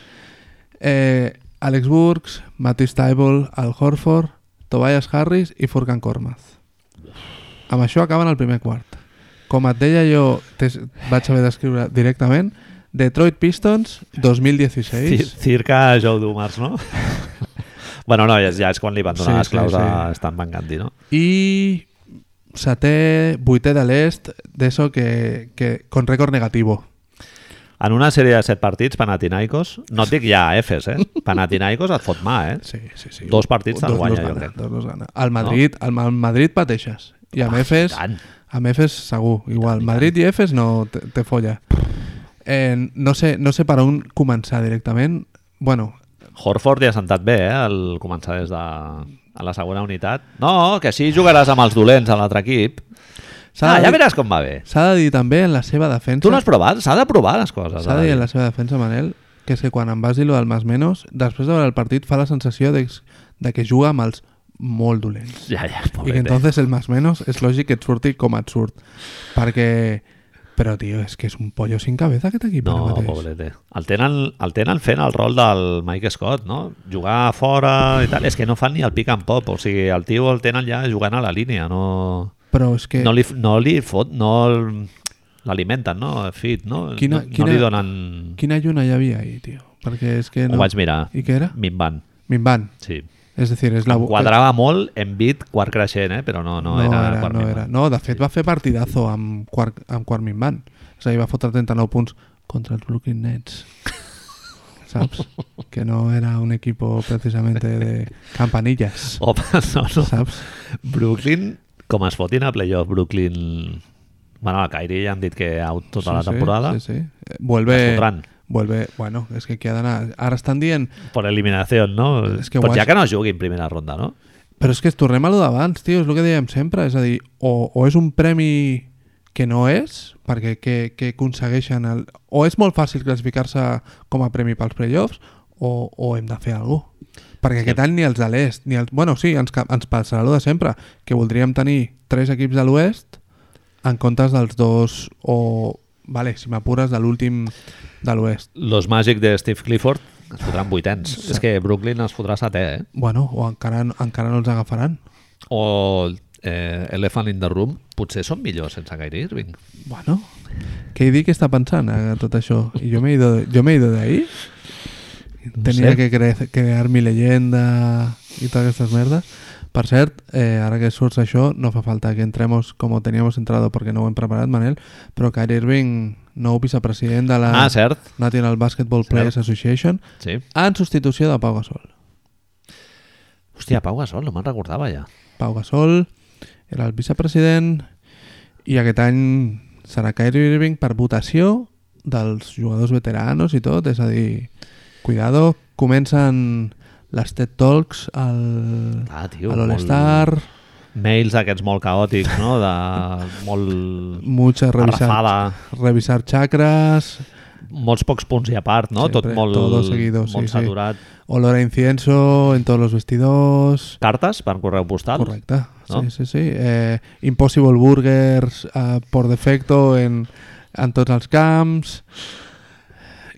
[SPEAKER 2] Eh, Alex Burks, Matisse Taibol, Al Horford, Tobias Harris i Furkan Kormaz. Amb això acaben el primer quart. Com et deia jo, t'es- vaig haver d'escriure directament, Detroit Pistons 2016.
[SPEAKER 1] Cir- Circa Joe Dumars, no? bueno, no, ja, és- ja és quan li van donar
[SPEAKER 2] Sí,
[SPEAKER 1] les claus
[SPEAKER 2] sí,
[SPEAKER 1] a
[SPEAKER 2] sí.
[SPEAKER 1] Stan Van Gundy, no?
[SPEAKER 2] Y Saté, vuité del Est, de eso que, que con récord negativo.
[SPEAKER 1] En una sèrie de set partits, Panathinaikos, no et dic ja Efes, eh? Panathinaikos et fot mà, eh?
[SPEAKER 2] Sí, sí, sí.
[SPEAKER 1] Dos partits te'l
[SPEAKER 2] Dos
[SPEAKER 1] guanya,
[SPEAKER 2] nos
[SPEAKER 1] jo
[SPEAKER 2] gana,
[SPEAKER 1] crec. Ah,
[SPEAKER 2] Dos nos gana. Al Madrid, al, al Madrid pateixes. I amb Efes,
[SPEAKER 1] tant.
[SPEAKER 2] amb Efes segur, igual. Madrid i Efes no te, te folla. Eh, no, sé, no sé per on començar directament. Bueno,
[SPEAKER 1] Horford ja ha sentat bé, eh? Al començar des de a la segona unitat. No, que així jugaràs amb els dolents a l'altre equip.
[SPEAKER 2] s'ha
[SPEAKER 1] Ah,
[SPEAKER 2] de,
[SPEAKER 1] ja
[SPEAKER 2] dir-
[SPEAKER 1] veràs com va bé.
[SPEAKER 2] s'ha de dir també en la seva defensa...
[SPEAKER 1] Tu no has provat? S'ha de provar les coses.
[SPEAKER 2] S'ha
[SPEAKER 1] ha
[SPEAKER 2] de
[SPEAKER 1] de
[SPEAKER 2] dir
[SPEAKER 1] dir.
[SPEAKER 2] en la seva defensa, Manel, que és que quan em vas dir lo del més menys, després de veure el partit fa la sensació de, de que juga amb els molt dolents.
[SPEAKER 1] Ja, ja,
[SPEAKER 2] I que
[SPEAKER 1] pobrete.
[SPEAKER 2] entonces el más menos és lògic que et surti com et surt. Perquè... Però, tio, és que és un pollo sin cabeza aquest equip. ara
[SPEAKER 1] No,
[SPEAKER 2] mateix.
[SPEAKER 1] pobrete. El tenen, el tenen fent el rol del Mike Scott, no? Jugar fora i tal. És que no fan ni el pick and pop. O sigui, el tio el tenen ja jugant a la línia. No,
[SPEAKER 2] Però és que...
[SPEAKER 1] no, li, no li fot... No el- l'alimenten, no? Fit, no?
[SPEAKER 2] Quina-
[SPEAKER 1] no,
[SPEAKER 2] quina-
[SPEAKER 1] no li donen...
[SPEAKER 2] Quina lluna hi havia ahir, tio? Perquè és que
[SPEAKER 1] No.
[SPEAKER 2] no...
[SPEAKER 1] Ho vaig mirar.
[SPEAKER 2] I què era?
[SPEAKER 1] Minvant,
[SPEAKER 2] Minvan.
[SPEAKER 1] sí.
[SPEAKER 2] És a dir, és
[SPEAKER 1] Em
[SPEAKER 2] la...
[SPEAKER 1] Quadrava molt en bit quart creixent, eh? Però no, no, era, quart
[SPEAKER 2] no,
[SPEAKER 1] minvant.
[SPEAKER 2] era. no, de fet va fer partidazo amb quart, amb quart minvant. És a dir, va fotre 39 punts contra els Brooklyn Nets. Saps? Que no era un equipo precisamente de campanillas.
[SPEAKER 1] Home, no, no.
[SPEAKER 2] Saps?
[SPEAKER 1] Brooklyn, com es fotin a playoff, Brooklyn... Bueno, a Kyrie ja han dit que out tota la temporada.
[SPEAKER 2] Sí, sí. Eh,
[SPEAKER 1] Es
[SPEAKER 2] Vuelve,
[SPEAKER 1] fotran.
[SPEAKER 2] vuelve... Bueno, és que aquí ha d'anar... Ara estan dient...
[SPEAKER 1] Por eliminación, ¿no?
[SPEAKER 2] Es que
[SPEAKER 1] pues
[SPEAKER 2] guai.
[SPEAKER 1] ya que no jugui en primera ronda, ¿no?
[SPEAKER 2] Però és que tornem a lo d'abans, tio, és el que dèiem sempre, és a dir, o, o és un premi que no és, perquè que, que aconsegueixen el... o és molt fàcil classificar-se com a premi pels playoffs, o, o hem de fer alguna cosa. Perquè aquest any ni els de l'est, ni els... Bueno, sí, ens, ca- ens passarà el de sempre, que voldríem tenir tres equips de l'oest en comptes dels dos o... Vale, si m'apures de l'últim de l'oest.
[SPEAKER 1] Los Magic de Steve Clifford es fotran vuitens. És que Brooklyn es fotrà setè, eh?
[SPEAKER 2] Bueno, o encara, encara no els agafaran.
[SPEAKER 1] O eh, Elephant in the Room potser són millors sense Kyrie Irving.
[SPEAKER 2] Bueno, KD què està pensant a tot això? I jo m'he ido, jo m'he ido d'ahí. Tenia
[SPEAKER 1] sé.
[SPEAKER 2] que cre crear mi leyenda i totes aquestes merdes. Per cert, eh, ara que surts això, no fa falta que entremos com teníamos entrado porque no ho hem preparat, Manel, però Kyrie Irving, nou vicepresident de la
[SPEAKER 1] Ah, cert.
[SPEAKER 2] National Basketball Players Association,
[SPEAKER 1] Sí.
[SPEAKER 2] en substitució de Pau Gasol.
[SPEAKER 1] Hòstia, Pau Gasol, no me'n recordava ja.
[SPEAKER 2] Pau Gasol era el vicepresident i aquest any serà Kyrie Irving per votació dels jugadors veteranos i tot, és a dir, cuidado, comencen les TED Talks al,
[SPEAKER 1] Ah, tio,
[SPEAKER 2] a l'All-Star,
[SPEAKER 1] Mails aquests molt caòtics, no? De, molt...
[SPEAKER 2] mucha revisar,
[SPEAKER 1] Arrafada,
[SPEAKER 2] revisar chakras,
[SPEAKER 1] molts pocs punts i a part, no?
[SPEAKER 2] Sempre,
[SPEAKER 1] tot molt,
[SPEAKER 2] todo seguido, sí,
[SPEAKER 1] molt
[SPEAKER 2] sí.
[SPEAKER 1] saturat.
[SPEAKER 2] olor a incienso en todos los vestidors,
[SPEAKER 1] Cartes per correu postal?
[SPEAKER 2] Correcta,
[SPEAKER 1] ¿no?
[SPEAKER 2] sí, sí, sí. Eh, Impossible Burgers eh, por defecto en, en tots els camps,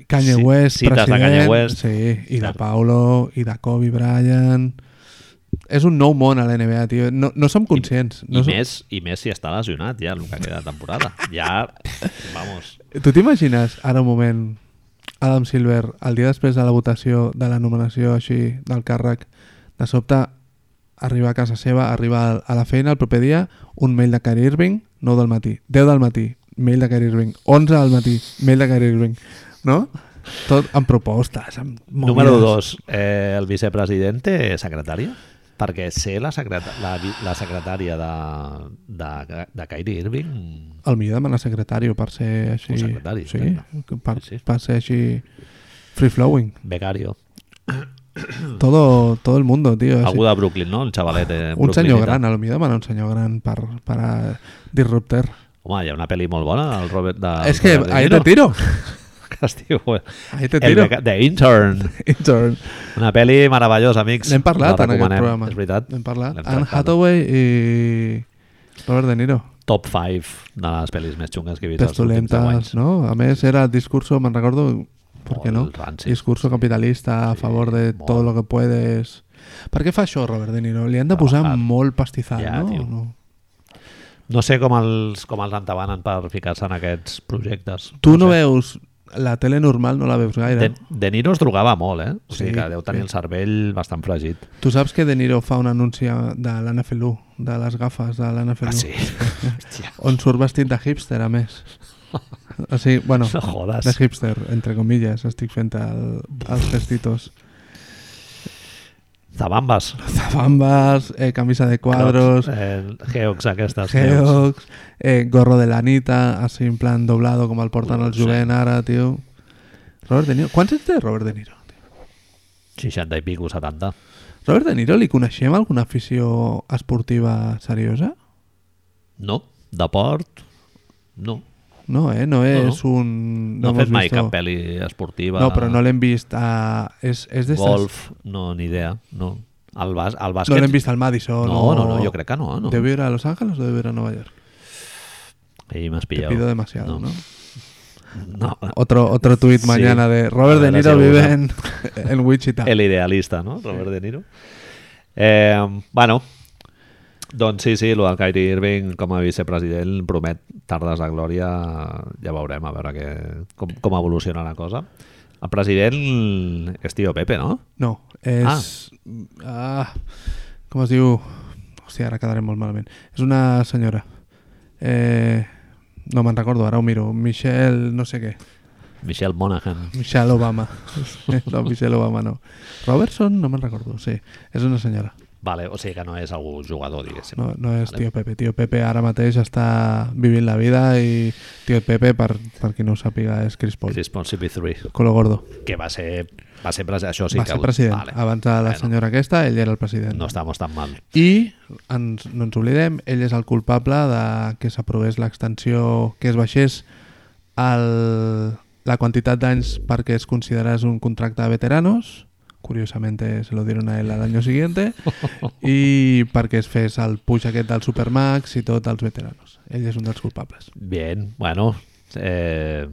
[SPEAKER 2] Kanye
[SPEAKER 1] Sí,
[SPEAKER 2] West,
[SPEAKER 1] cites de
[SPEAKER 2] president,
[SPEAKER 1] Kanye West.
[SPEAKER 2] sí, i de
[SPEAKER 1] Cert.
[SPEAKER 2] Paulo, i de Kobe Bryant... És un nou món a la NBA, tio. No, no som conscients.
[SPEAKER 1] I,
[SPEAKER 2] no som-
[SPEAKER 1] més, I més si està lesionat ja el que queda de temporada. Ja, vamos,
[SPEAKER 2] Tu t'imagines, ara un moment, Adam Silver, el dia després de la votació, de la nominació així del càrrec, de sobte arriba a casa seva, arriba a la feina el proper dia, un mail de Kyrie Irving, 9 del matí, 10 del matí, mail de Kyrie Irving, 11 del matí, mail de Kyrie Irving, no? Tot amb propostes, amb movides.
[SPEAKER 1] Número 2, eh, el vicepresident té secretària? Perquè ser la, secreta la, vi- la secretària de, de, de Kyrie Irving...
[SPEAKER 2] El millor demanar secretari per ser així...
[SPEAKER 1] Un secretari,
[SPEAKER 2] sí, per,
[SPEAKER 1] Sí, sí.
[SPEAKER 2] per ser així free-flowing.
[SPEAKER 1] Becario.
[SPEAKER 2] Todo, todo el mundo, tío. Así-
[SPEAKER 1] Algú de Brooklyn, no? El xavalet eh,
[SPEAKER 2] Ah, Un senyor
[SPEAKER 1] brooklynita.
[SPEAKER 2] gran, a lo millor demana un senyor gran per, per a Disrupter.
[SPEAKER 1] Home, hi ha una pel·li molt bona del Robert... De,
[SPEAKER 2] és que
[SPEAKER 1] Robert De
[SPEAKER 2] ahí te
[SPEAKER 1] Niro,
[SPEAKER 2] tiro.
[SPEAKER 1] Que es diu...
[SPEAKER 2] Ahí te
[SPEAKER 1] El
[SPEAKER 2] tiro.
[SPEAKER 1] beca- The Intern.
[SPEAKER 2] Intern.
[SPEAKER 1] Una pel·li meravellosa, amics.
[SPEAKER 2] N'hem parlat
[SPEAKER 1] La
[SPEAKER 2] en aquest
[SPEAKER 1] recomanem,
[SPEAKER 2] programa.
[SPEAKER 1] És veritat.
[SPEAKER 2] N'hem parlat.
[SPEAKER 1] L'hem
[SPEAKER 2] Anne
[SPEAKER 1] tractat.
[SPEAKER 2] Hathaway i Robert De Niro.
[SPEAKER 1] Top 5 de les pel·lis més xungues que he vist els últims 10
[SPEAKER 2] Testolentes,
[SPEAKER 1] anys.
[SPEAKER 2] no? A més, era el discurso, me'n recordo, per què no?
[SPEAKER 1] Molt ranci.
[SPEAKER 2] Discurso capitalista a favor de
[SPEAKER 1] molt.
[SPEAKER 2] todo lo que puedes... Per què fa això, Robert De Niro? Li han de posar
[SPEAKER 1] Trabajar.
[SPEAKER 2] molt pastizal,
[SPEAKER 1] Ja,
[SPEAKER 2] no?
[SPEAKER 1] tio.
[SPEAKER 2] no?
[SPEAKER 1] No sé com els, com els entabanen per ficar-se en aquests projectes.
[SPEAKER 2] Tu no
[SPEAKER 1] sé.
[SPEAKER 2] veus... La tele normal no la veus gaire.
[SPEAKER 1] De, de Niro es drogava molt, eh? O sigui sí,
[SPEAKER 2] Sí,
[SPEAKER 1] que deu tenir
[SPEAKER 2] sí.
[SPEAKER 1] el cervell bastant fregit.
[SPEAKER 2] Tu saps que De Niro fa un anunci de l'NFL1, de les gafes de
[SPEAKER 1] Ah,
[SPEAKER 2] l'NFL1,
[SPEAKER 1] Hòstia,
[SPEAKER 2] on surt vestit de hipster, a més. O sigui, bueno,
[SPEAKER 1] no jodes.
[SPEAKER 2] de hipster, entre comillas, estic fent el, els testitos.
[SPEAKER 1] Zabambes.
[SPEAKER 2] Zabambas, eh, camisa de
[SPEAKER 1] Crocs,
[SPEAKER 2] quadros,
[SPEAKER 1] Eh, geox aquestes. Geox.
[SPEAKER 2] geox, eh, gorro de l'Anita, així en plan doblado com el porten
[SPEAKER 1] Ui,
[SPEAKER 2] el
[SPEAKER 1] no sé.
[SPEAKER 2] jovent ara, tio. Robert De Niro. Quants anys té Robert De Niro?
[SPEAKER 1] 60 i pico, 70.
[SPEAKER 2] Robert De Niro, li coneixem alguna afició esportiva seriosa?
[SPEAKER 1] No, de port, no.
[SPEAKER 2] No, eh? No és
[SPEAKER 1] no.
[SPEAKER 2] un...
[SPEAKER 1] No, no ha
[SPEAKER 2] hemos
[SPEAKER 1] fet mai
[SPEAKER 2] visto-
[SPEAKER 1] cap pel·li esportiva.
[SPEAKER 2] No, però no l'hem vist a... És, és de
[SPEAKER 1] Golf, no, ni idea. No. El, bas, el
[SPEAKER 2] No
[SPEAKER 1] bàsquet...
[SPEAKER 2] l'hem vist al Madison.
[SPEAKER 1] No, no, no, jo crec que no. no.
[SPEAKER 2] ¿Debe ir a Los Ángeles o debe ir a Nueva York?
[SPEAKER 1] Ahí m'has
[SPEAKER 2] Te
[SPEAKER 1] pillat.
[SPEAKER 2] pido demasiado, ¿no?
[SPEAKER 1] No. No,
[SPEAKER 2] Otro, otro tuit
[SPEAKER 1] Sí.
[SPEAKER 2] mañana de Robert De
[SPEAKER 1] Ahora
[SPEAKER 2] Niro
[SPEAKER 1] sí,
[SPEAKER 2] vive en,
[SPEAKER 1] alguna.
[SPEAKER 2] en Wichita.
[SPEAKER 1] El idealista, no? Robert De Niro. Eh, bueno, doncs sí, sí, el del Kyrie Irving com a vicepresident promet tardes de glòria, ja veurem a veure que, com, com evoluciona la cosa. El president és tio Pepe, no?
[SPEAKER 2] No, és... Ah. com es diu? Hòstia, ara quedarem molt malament. És una senyora. Eh, no me'n recordo, ara ho miro. Michelle no sé què.
[SPEAKER 1] Michelle Monaghan.
[SPEAKER 2] Michelle Obama. no, Michelle Obama no. Robertson, no me'n recordo, sí. És una senyora.
[SPEAKER 1] Vale, o sigui que no és algú jugador, diguéssim.
[SPEAKER 2] No, no és Tio Pepe. Tio Pepe ara mateix està vivint la vida i Tio Pepe, per, per qui no ho sàpiga, és Chris Paul.
[SPEAKER 1] Chris Paul CP3,
[SPEAKER 2] Colo gordo.
[SPEAKER 1] que va ser, va ser, pres- això sí
[SPEAKER 2] Va
[SPEAKER 1] que...
[SPEAKER 2] ser president. Ah,
[SPEAKER 1] Vale.
[SPEAKER 2] Abans de la
[SPEAKER 1] Bueno.
[SPEAKER 2] senyora aquesta, ell era el president.
[SPEAKER 1] No estàvem tan mal.
[SPEAKER 2] I, ens, no ens oblidem, ell és el culpable de que s'aprovés l'extensió, que es baixés el, la quantitat d'anys perquè es considerés un contracte de veteranos, curiosamente se lo dieron a él al año siguiente, i perquè es fes el puig aquest del Supermax i tot als veteranos. Ell és un dels culpables.
[SPEAKER 1] Bien, bueno, eh,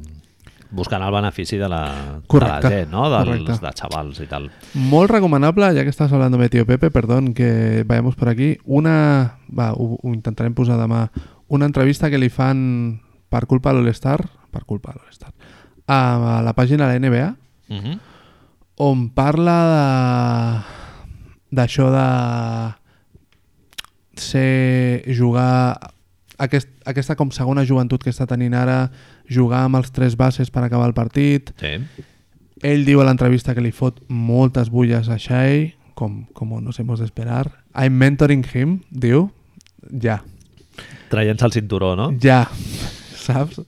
[SPEAKER 1] buscant el benefici de la,
[SPEAKER 2] Correcte,
[SPEAKER 1] de la gent, no? Dels,
[SPEAKER 2] correcte.
[SPEAKER 1] de xavals i tal.
[SPEAKER 2] Molt recomanable, ja que estàs hablando de Tío Pepe, perdón que vayamos por aquí, una... Va, ho, ho intentarem posar demà. Una entrevista que li fan per culpa de l'All-Star, per culpa de l'All-Star, a, la pàgina de la NBA,
[SPEAKER 1] Uh -huh.
[SPEAKER 2] on parla de d'això de ser jugar aquest, aquesta com segona joventut que està tenint ara jugar amb els tres bases per acabar el partit
[SPEAKER 1] Sí.
[SPEAKER 2] Ell diu a l'entrevista que li fot moltes bulles a Shai, com, com nos hemos de esperar. I'm mentoring him, diu. Ja,
[SPEAKER 1] Traient-se el cinturó, no?
[SPEAKER 2] ja, saps?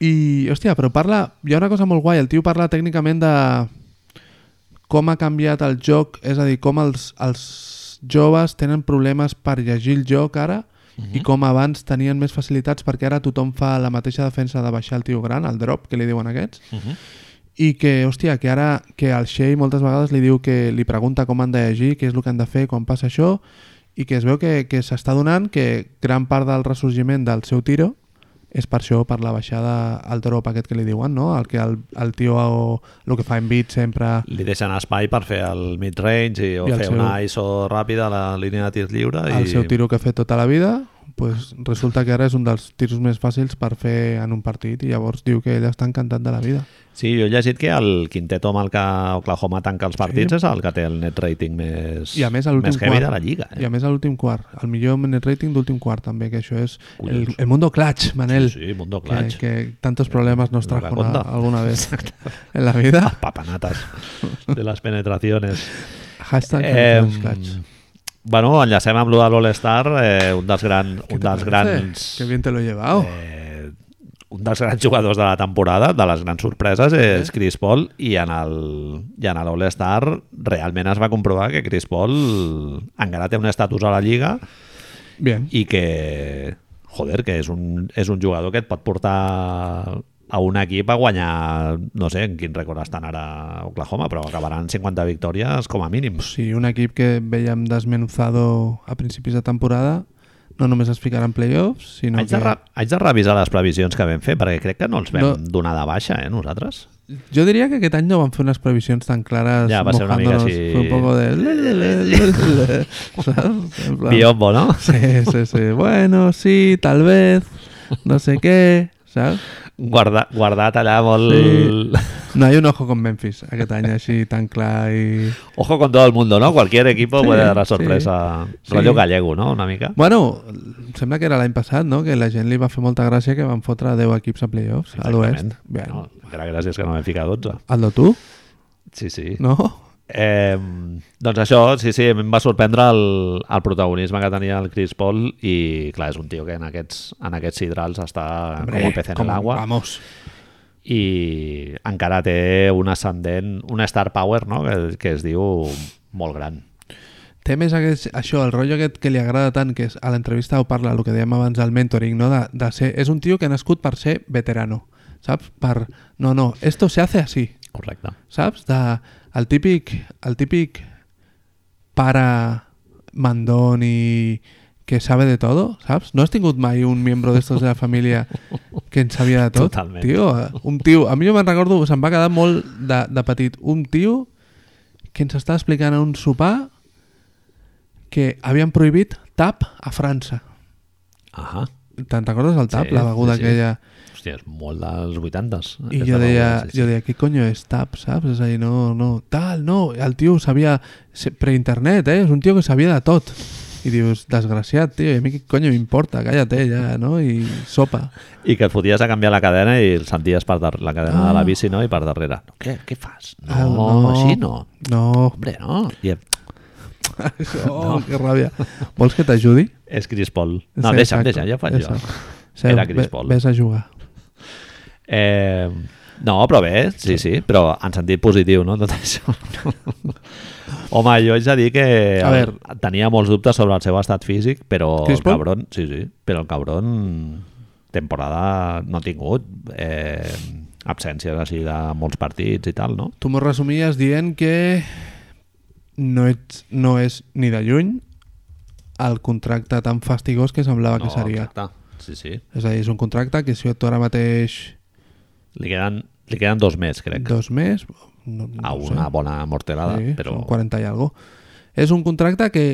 [SPEAKER 2] I, hòstia, però parla... Hi ha una cosa molt guai. El tio parla tècnicament de com ha canviat el joc, és a dir, com els, els joves tenen problemes per llegir el joc ara i com abans tenien més facilitats perquè ara tothom fa la mateixa defensa de baixar el tio gran, el drop, que li diuen aquests, i que, hòstia, que ara que el Shea moltes vegades li diu que li pregunta com han de llegir, què és el que han de fer quan passa això, i que es veu que, que s'està donant que gran part del ressorgiment del seu tiro és per això, per la baixada al drop aquest que li diuen, no? El que el, el tio, o, el que fa en beat sempre...
[SPEAKER 1] Li deixen espai per fer el mid-range i, o
[SPEAKER 2] I el
[SPEAKER 1] fer
[SPEAKER 2] seu-
[SPEAKER 1] una ISO ràpida a la línia de tir lliure.
[SPEAKER 2] el
[SPEAKER 1] i...
[SPEAKER 2] seu tiro que ha fet tota la vida pues, resulta que ara és un dels tiros més fàcils per fer en un partit i llavors diu que ell està encantat de la vida
[SPEAKER 1] Sí, jo he llegit que el quinteto amb el que Oklahoma tanca els partits és el que té el net rating més,
[SPEAKER 2] i a més a l'últim
[SPEAKER 1] més heavy
[SPEAKER 2] quart
[SPEAKER 1] de la lliga.
[SPEAKER 2] i
[SPEAKER 1] Eh?
[SPEAKER 2] a més a l'últim quart el millor net rating d'últim quart també que això és el,
[SPEAKER 1] Collons.
[SPEAKER 2] el mundo clutch Manel
[SPEAKER 1] sí, sí, Mundo
[SPEAKER 2] que,
[SPEAKER 1] Clutch.
[SPEAKER 2] que tantos problemes nos
[SPEAKER 1] No
[SPEAKER 2] trajo una,
[SPEAKER 1] raconta.
[SPEAKER 2] alguna vez en la vida
[SPEAKER 1] Papanatas de les penetraciones.
[SPEAKER 2] hashtag
[SPEAKER 1] Eh,
[SPEAKER 2] mundo clutch
[SPEAKER 1] bueno, enllacem amb lo de l'All-Star, eh, un dels, gran,
[SPEAKER 2] ¿Qué
[SPEAKER 1] un
[SPEAKER 2] te
[SPEAKER 1] dels
[SPEAKER 2] parece?
[SPEAKER 1] grans...
[SPEAKER 2] que bien te lo he llevado
[SPEAKER 1] Eh, un dels grans jugadors de la temporada, de les grans sorpreses, és Chris Paul i en el- i en l'All-Star realment es va comprovar que Chris Paul encara té un estatus a la Lliga
[SPEAKER 2] bien
[SPEAKER 1] i que, joder, que és un, és un jugador que et pot portar a un equip a guanyar, no sé en quin rècord estan ara a Oklahoma, però acabaran 50 victòries com a mínim.
[SPEAKER 2] Sí, un equip que veiem desmenuzado a principis de temporada no només es ficarà en playoffs, sinó
[SPEAKER 1] Haig
[SPEAKER 2] que...
[SPEAKER 1] de, re- haig de revisar les previsions que vam fer, perquè crec que no els vam
[SPEAKER 2] No.
[SPEAKER 1] donar de baixa, eh, nosaltres.
[SPEAKER 2] Jo diria que aquest any no van fer unes previsions tan clares
[SPEAKER 1] Ja, va ser una mica
[SPEAKER 2] mojándonos.
[SPEAKER 1] així.
[SPEAKER 2] Fue un poco de... le, le, le, le, le, saps? En plan-
[SPEAKER 1] Biombo, no?
[SPEAKER 2] Sí, sí, sí. Bueno, sí, tal vez, no sé qué, saps?
[SPEAKER 1] Guarda, guardat allà molt...
[SPEAKER 2] Sí. No hay un ojo con Memphis aquest any així tan clar i...
[SPEAKER 1] Ojo con todo el mundo, ¿no? Cualquier equipo
[SPEAKER 2] Sí,
[SPEAKER 1] puede dar la
[SPEAKER 2] sí.
[SPEAKER 1] sorpresa.
[SPEAKER 2] Sí.
[SPEAKER 1] Rollo gallego, ¿no? Una mica.
[SPEAKER 2] Bueno, em sembla que era l'any passat, no? Que la gent li va fer molta gràcia que van fotre 10 equips a playoffs a l'oest.
[SPEAKER 1] Exactament.
[SPEAKER 2] Bé,
[SPEAKER 1] No, encara gràcies que no vam ficar 12.
[SPEAKER 2] Hazlo tu,
[SPEAKER 1] Sí, sí.
[SPEAKER 2] no?
[SPEAKER 1] Eh, doncs això, sí, sí, em va sorprendre el, el protagonisme que tenia el Chris Paul i, clar, és un tio que en aquests, en aquests hidrals està Ah, com un pez en
[SPEAKER 2] com-
[SPEAKER 1] l'aigua
[SPEAKER 2] Vamos.
[SPEAKER 1] i encara té un ascendent, un star power, no?, que, que es diu molt gran.
[SPEAKER 2] Té més aquest, això, el rotllo aquest que li agrada tant, que és a l'entrevista ho parla, el que dèiem abans del mentoring, no? de, de ser, és un tio que ha nascut per ser veterano, saps? Per, no, no, esto se hace así,
[SPEAKER 1] Correcte.
[SPEAKER 2] saps? De, el típic, el típic para mandón i que sabe de todo, saps? No has tingut mai un miembro d'estos de la família que en sabia de tot?
[SPEAKER 1] Totalment.
[SPEAKER 2] Tio, un tio, a mi jo me'n recordo, se'm va quedar molt de, de petit, un tio que ens està explicant a un sopar que havien prohibit tap a França.
[SPEAKER 1] Ahà.
[SPEAKER 2] Te'n recordes el tap?
[SPEAKER 1] Sí,
[SPEAKER 2] la beguda
[SPEAKER 1] sí, sí.
[SPEAKER 2] aquella...
[SPEAKER 1] Hòstia, és molt dels 80s.
[SPEAKER 2] I
[SPEAKER 1] aquesta
[SPEAKER 2] jo deia,
[SPEAKER 1] beguda, sí, sí.
[SPEAKER 2] jo deia, què coño és TAP, saps? És a dir, no, no, tal, no. El tio sabia se- preinternet, eh? És un tio que sabia de tot. I dius, desgraciat, tio, i a mi què coño m'importa? Cállate ja, no? I sopa.
[SPEAKER 1] I que et foties a canviar la cadena i el senties per dar- la cadena ah. de la bici no? i per darrere. No, què, què fas? No,
[SPEAKER 2] Ah,
[SPEAKER 1] no, així no.
[SPEAKER 2] No,
[SPEAKER 1] Hombre, no. I
[SPEAKER 2] oh, que ràbia. Vols que t'ajudi?
[SPEAKER 1] és Chris Paul. No, deixa'm,
[SPEAKER 2] exacte,
[SPEAKER 1] deixa'm, ja ho faig jo.
[SPEAKER 2] exacte. Seu,
[SPEAKER 1] Era Chris
[SPEAKER 2] ve-
[SPEAKER 1] Paul.
[SPEAKER 2] Ves a jugar.
[SPEAKER 1] Eh, no, però bé, sí, sí, però en sentit positiu, no, tot això. Home, jo haig de dir que
[SPEAKER 2] A
[SPEAKER 1] el-
[SPEAKER 2] veure.
[SPEAKER 1] tenia molts dubtes sobre el seu estat físic, però
[SPEAKER 2] Chris
[SPEAKER 1] el
[SPEAKER 2] Paul?
[SPEAKER 1] cabron, sí, sí, però el cabron temporada no ha tingut eh, absències així de molts partits i tal, no?
[SPEAKER 2] Tu m'ho resumies dient que no, ets, no és ni de lluny el contracte tan fastigós que semblava Ah, que seria.
[SPEAKER 1] Exacte. Sí, sí.
[SPEAKER 2] És a dir, és un contracte que si tu ara mateix
[SPEAKER 1] Li queden, li queden dos més, crec,
[SPEAKER 2] dos més... No, no
[SPEAKER 1] a
[SPEAKER 2] ho sé.
[SPEAKER 1] una bona morterada,
[SPEAKER 2] sí,
[SPEAKER 1] però...
[SPEAKER 2] Són 40 i algo. És un contracte que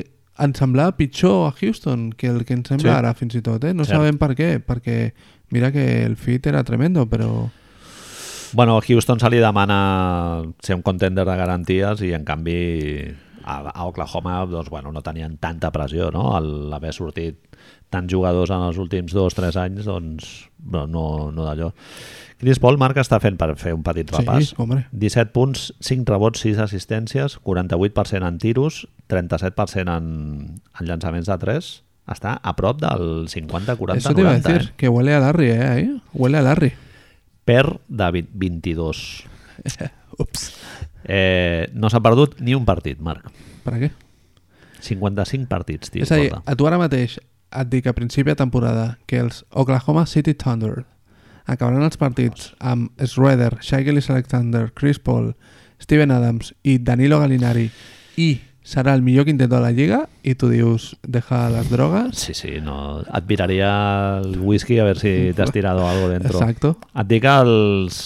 [SPEAKER 2] ens semblava pitjor a Houston que el que ens sembla
[SPEAKER 1] Sí.
[SPEAKER 2] ara, fins i tot. Eh? No
[SPEAKER 1] Cert.
[SPEAKER 2] sabem per què, perquè mira que el fit era tremendo, però...
[SPEAKER 1] Bueno, a Houston se li demana ser un contender de garanties i en canvi a, a Oklahoma doncs, bueno, no tenien tanta pressió, no? El- L'haver sortit tants jugadors en els últims dos o tres anys, doncs no, no, no d'allò. Chris Paul, Marc, està fent per fer un petit repàs.
[SPEAKER 2] Sí, home.
[SPEAKER 1] 17 punts, 5 rebots, 6 assistències, 48% en tiros, 37% en, en llançaments de 3. Està a prop del 50, 40,
[SPEAKER 2] Eso te iba a
[SPEAKER 1] 90.
[SPEAKER 2] decir, que huele a Larry, eh? ahí. Huele a Larry.
[SPEAKER 1] Eh? per David 22.
[SPEAKER 2] Ups.
[SPEAKER 1] Eh, no s'ha perdut ni un partit, Marc.
[SPEAKER 2] Per a què?
[SPEAKER 1] 55 partits, tio.
[SPEAKER 2] És a dir,
[SPEAKER 1] porta.
[SPEAKER 2] a tu ara mateix et dic a principi de temporada que els Oklahoma City Thunder acabaran els partits amb Schroeder, Shai Gillis Alexander, Chris Paul, Steven Adams i Danilo Gallinari i serà el millor quintet de la Lliga i tu dius, deja les drogues
[SPEAKER 1] Sí, sí, no. Et viraria el whisky a veure si t'has tirat algo dentro.
[SPEAKER 2] Exacto.
[SPEAKER 1] Et dic els...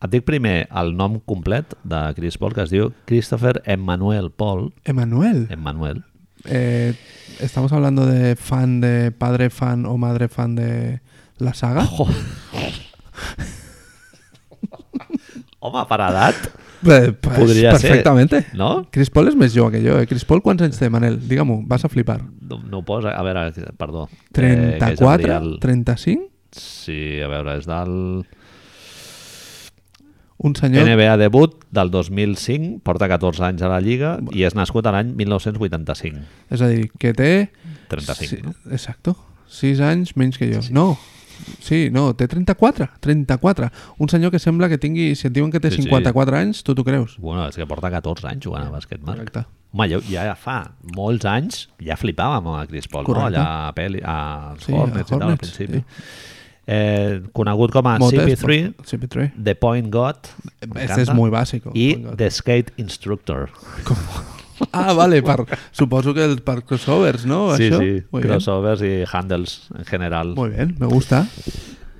[SPEAKER 1] Et dic primer el nom complet de Chris Paul, que es diu Christopher Emmanuel Paul.
[SPEAKER 2] Emanuel,
[SPEAKER 1] Em- Emmanuel.
[SPEAKER 2] eh, ¿estamos hablando de fan de padre fan o madre fan de la saga?
[SPEAKER 1] Home, per edat,
[SPEAKER 2] Eh, pues,
[SPEAKER 1] Podria ser.
[SPEAKER 2] perfectamente.
[SPEAKER 1] no?
[SPEAKER 2] Chris Paul és més jove que jo, eh? Chris Paul quants anys té, Manel? Digue-m'ho, vas a flipar.
[SPEAKER 1] No, no ho posa... A veure, perdó. Eh, que és
[SPEAKER 2] 34?
[SPEAKER 1] Adrià el-
[SPEAKER 2] 35?
[SPEAKER 1] Sí, a veure, és del...
[SPEAKER 2] Un senyor...
[SPEAKER 1] NBA debut del 2005, porta 14 anys a la Lliga i és nascut a l'any 1985.
[SPEAKER 2] És a dir, que té...
[SPEAKER 1] 35,
[SPEAKER 2] Sí,
[SPEAKER 1] no?
[SPEAKER 2] Exacto. 6 anys menys que jo. No, sí, no, té 34, 34. Un senyor que sembla que tingui... Si et diuen que té
[SPEAKER 1] Sí, sí.
[SPEAKER 2] 54 anys, tu t'ho creus.
[SPEAKER 1] Bueno, és que porta 14 anys jugant a bàsquet, Marc.
[SPEAKER 2] Correcte.
[SPEAKER 1] Home, ja, ja fa molts anys ja flipàvem amb el Chris Paul,
[SPEAKER 2] Correcte.
[SPEAKER 1] no? Allà a Peli, als sí,
[SPEAKER 2] Sí, a
[SPEAKER 1] Hornets, i tal, al
[SPEAKER 2] Hornets,
[SPEAKER 1] principi. Eh, conegut com a CP3,
[SPEAKER 2] Motes, CP3.
[SPEAKER 1] The Point God,
[SPEAKER 2] Este és
[SPEAKER 1] m'encanta,
[SPEAKER 2] molt bàsic.
[SPEAKER 1] i The Skate Instructor.
[SPEAKER 2] Ah, vale, per, suposo que el, per crossovers, no?
[SPEAKER 1] sí,
[SPEAKER 2] Oh, Això?
[SPEAKER 1] sí,
[SPEAKER 2] Muy bien.
[SPEAKER 1] crossovers i handles en general.
[SPEAKER 2] Muy bien, me gusta.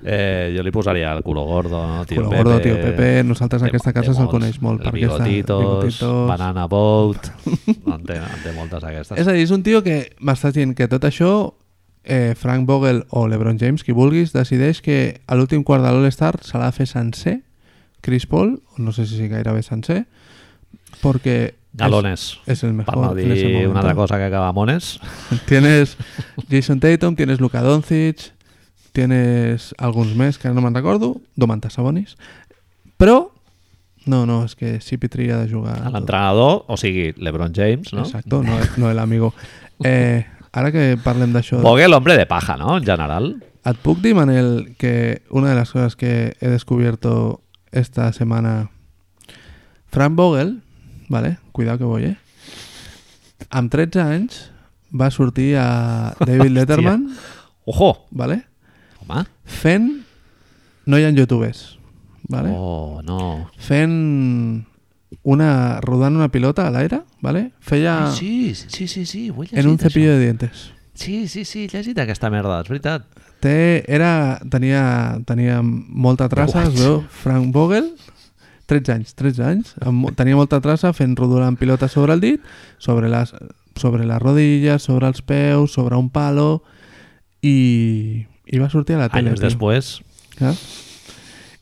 [SPEAKER 1] Eh, jo li posaria el culo gordo, no? Tío
[SPEAKER 2] Tío Gordo,
[SPEAKER 1] Pepe,
[SPEAKER 2] Tio Pepe, nosaltres
[SPEAKER 1] té-
[SPEAKER 2] aquesta casa
[SPEAKER 1] té
[SPEAKER 2] se'l
[SPEAKER 1] molts.
[SPEAKER 2] coneix molt.
[SPEAKER 1] El
[SPEAKER 2] perquè està-
[SPEAKER 1] bigotitos,
[SPEAKER 2] Bigotitos.
[SPEAKER 1] Banana Boat, en té, en té moltes aquestes.
[SPEAKER 2] És a dir, és un tio que m'estàs dient que tot això eh, Frank Vogel o LeBron James, qui vulguis, decideix que a l'últim quart de l'All-Star se l'ha de fer sencer Chris Paul, o no sé si gairebé sencer, perquè és,
[SPEAKER 1] Galones.
[SPEAKER 2] és el
[SPEAKER 1] Per no
[SPEAKER 2] mejor en ese
[SPEAKER 1] dir
[SPEAKER 2] momento.
[SPEAKER 1] una altra cosa que acaba mones.
[SPEAKER 2] Tienes Jason Tatum, tienes Luka Doncic, tienes alguns més que ara no me'n recordo, Domantas Sabonis, però no, no, és que CP3 ha de jugar...
[SPEAKER 1] A
[SPEAKER 2] tot.
[SPEAKER 1] L'entrenador, o sigui, LeBron James, no?
[SPEAKER 2] Exacto, no, no el amigo. Eh, ara que parlem d'això...
[SPEAKER 1] Vogel, hombre de paja, no? En general.
[SPEAKER 2] Et puc dir, Manel, que una de las cosas que he descubierto esta semana... Frank Vogel, vale, cuidado que voy, eh? Amb 13 anys va sortir a David Letterman,
[SPEAKER 1] Ojo!
[SPEAKER 2] vale?
[SPEAKER 1] Home.
[SPEAKER 2] fent... No hi ha youtubers, vale?
[SPEAKER 1] Oh, no.
[SPEAKER 2] Fent una... rodant una pilota a l'aire, vale? Feia
[SPEAKER 1] Ai, Ah, sí, sí, sí, sí, ho he llegit,
[SPEAKER 2] Ah. en un cepillo
[SPEAKER 1] això.
[SPEAKER 2] de dientes.
[SPEAKER 1] Sí, sí, sí, he llegit aquesta merda, és veritat.
[SPEAKER 2] Té, era, tenia, tenia molta traça, es veu, Frank Vogel, 13 anys, 13 anys, amb, mo- tenia molta traça fent rodolant pilota sobre el dit, sobre les, sobre les rodilles, sobre els peus, sobre un palo, i, i va sortir a la tele.
[SPEAKER 1] Anys
[SPEAKER 2] tio.
[SPEAKER 1] després,
[SPEAKER 2] Clar.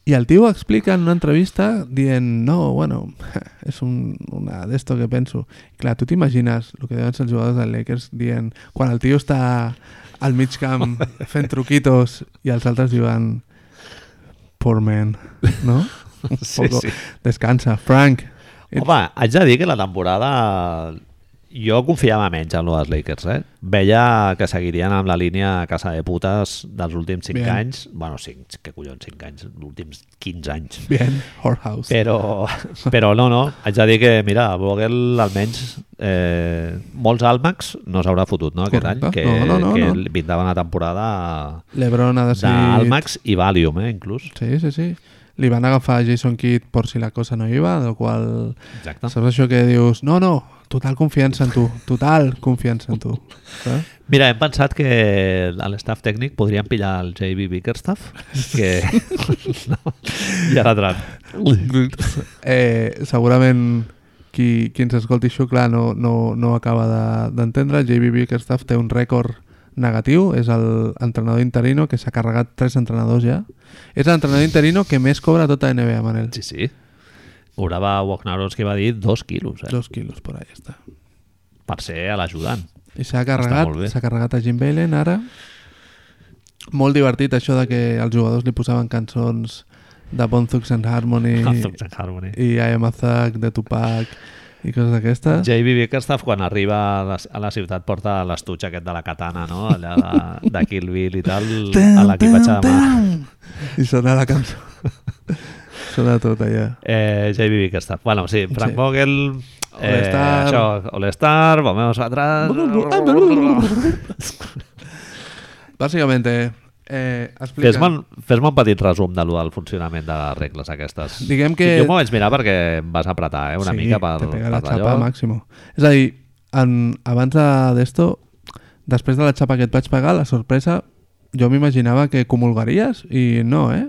[SPEAKER 2] Y al tío explica en una entrevista, dient, no, bueno, es un, una de esto que pienso. Claro, tú te imaginas lo que deben ser los jugadores de Lakers dient, quan el tío está al mig camp fent truquitos i els altres diuen poor man, no? Un
[SPEAKER 1] Sí,
[SPEAKER 2] poco,
[SPEAKER 1] sí.
[SPEAKER 2] Descansa, Frank.
[SPEAKER 1] Home, haig de dir que la temporada jo confiava menys en lo dels Lakers, eh? Veia que seguirien amb la línia casa de putes dels últims 5
[SPEAKER 2] Bien.
[SPEAKER 1] anys. Bueno, 5, que collons, 5 anys, els últims 15 anys.
[SPEAKER 2] Bien, Horhouse.
[SPEAKER 1] Però, però no, no, haig de dir que, mira, Vogel almenys eh, molts àlmacs no s'haurà fotut, no, aquest
[SPEAKER 2] Correcte.
[SPEAKER 1] any, que,
[SPEAKER 2] No, no, no,
[SPEAKER 1] que
[SPEAKER 2] no. Ah,
[SPEAKER 1] li pintava una temporada
[SPEAKER 2] Lebron ha
[SPEAKER 1] sí.
[SPEAKER 2] decidit...
[SPEAKER 1] d'àlmacs i Valium, eh, inclús.
[SPEAKER 2] Sí, sí, sí. Li van agafar a Jason Kidd por si la cosa no iba, del qual
[SPEAKER 1] Exacte.
[SPEAKER 2] Saps això que dius, no, no, total confiança en tu, total confiança en tu. Saps?
[SPEAKER 1] Mira, hem pensat que a l'estaf tècnic podríem pillar el JB Bickerstaff, que... no, ja l'ha entrat.
[SPEAKER 2] Eh, segurament qui, qui ens escolti això, clar, no, no, no acaba de- d'entendre. De, JB Bickerstaff té un rècord negatiu, és el entrenador interino que s'ha carregat tres entrenadors ja. És l'entrenador interino que més cobra a tota NBA, Manel.
[SPEAKER 1] Sí, sí. Cobrava Wojnarowski, va dir, dos quilos, eh?
[SPEAKER 2] Dos quilos, por ahí està.
[SPEAKER 1] Per ser a l'ajudant.
[SPEAKER 2] I s'ha
[SPEAKER 1] molt
[SPEAKER 2] carregat,
[SPEAKER 1] bé.
[SPEAKER 2] s'ha carregat a Jim Balen ara. Molt divertit això de que els jugadors li posaven cançons de Bon Thugs and Harmony
[SPEAKER 1] I... Harmony.
[SPEAKER 2] i I Am a Thug de Tupac i coses d'aquestes.
[SPEAKER 1] JB Bickerstaff quan arriba a la, a la ciutat porta l'estutx aquest de la katana, no? Allà de, de Kill Bill i tal, a l'equipatge de mà.
[SPEAKER 2] I sona la cançó. sona tot allà.
[SPEAKER 1] Eh, JB Bickerstaff. Bueno, sí, Frank
[SPEAKER 2] Sí.
[SPEAKER 1] Vogel... Eh,
[SPEAKER 2] All-Star.
[SPEAKER 1] això, All-Star, volvemos atrás...
[SPEAKER 2] Bàsicament, eh, explica...
[SPEAKER 1] Fes-me un, fes un petit resum de lo del funcionament de les regles aquestes.
[SPEAKER 2] Diguem que-
[SPEAKER 1] Jo m'ho vaig mirar perquè em vas apretar eh, una
[SPEAKER 2] sí,
[SPEAKER 1] mica per,
[SPEAKER 2] te pega la
[SPEAKER 1] per
[SPEAKER 2] xapa màximo. És a dir, en, abans de- d'esto, després de la xapa que et vaig pagar, la sorpresa, jo m'imaginava que comulgaries i no, eh?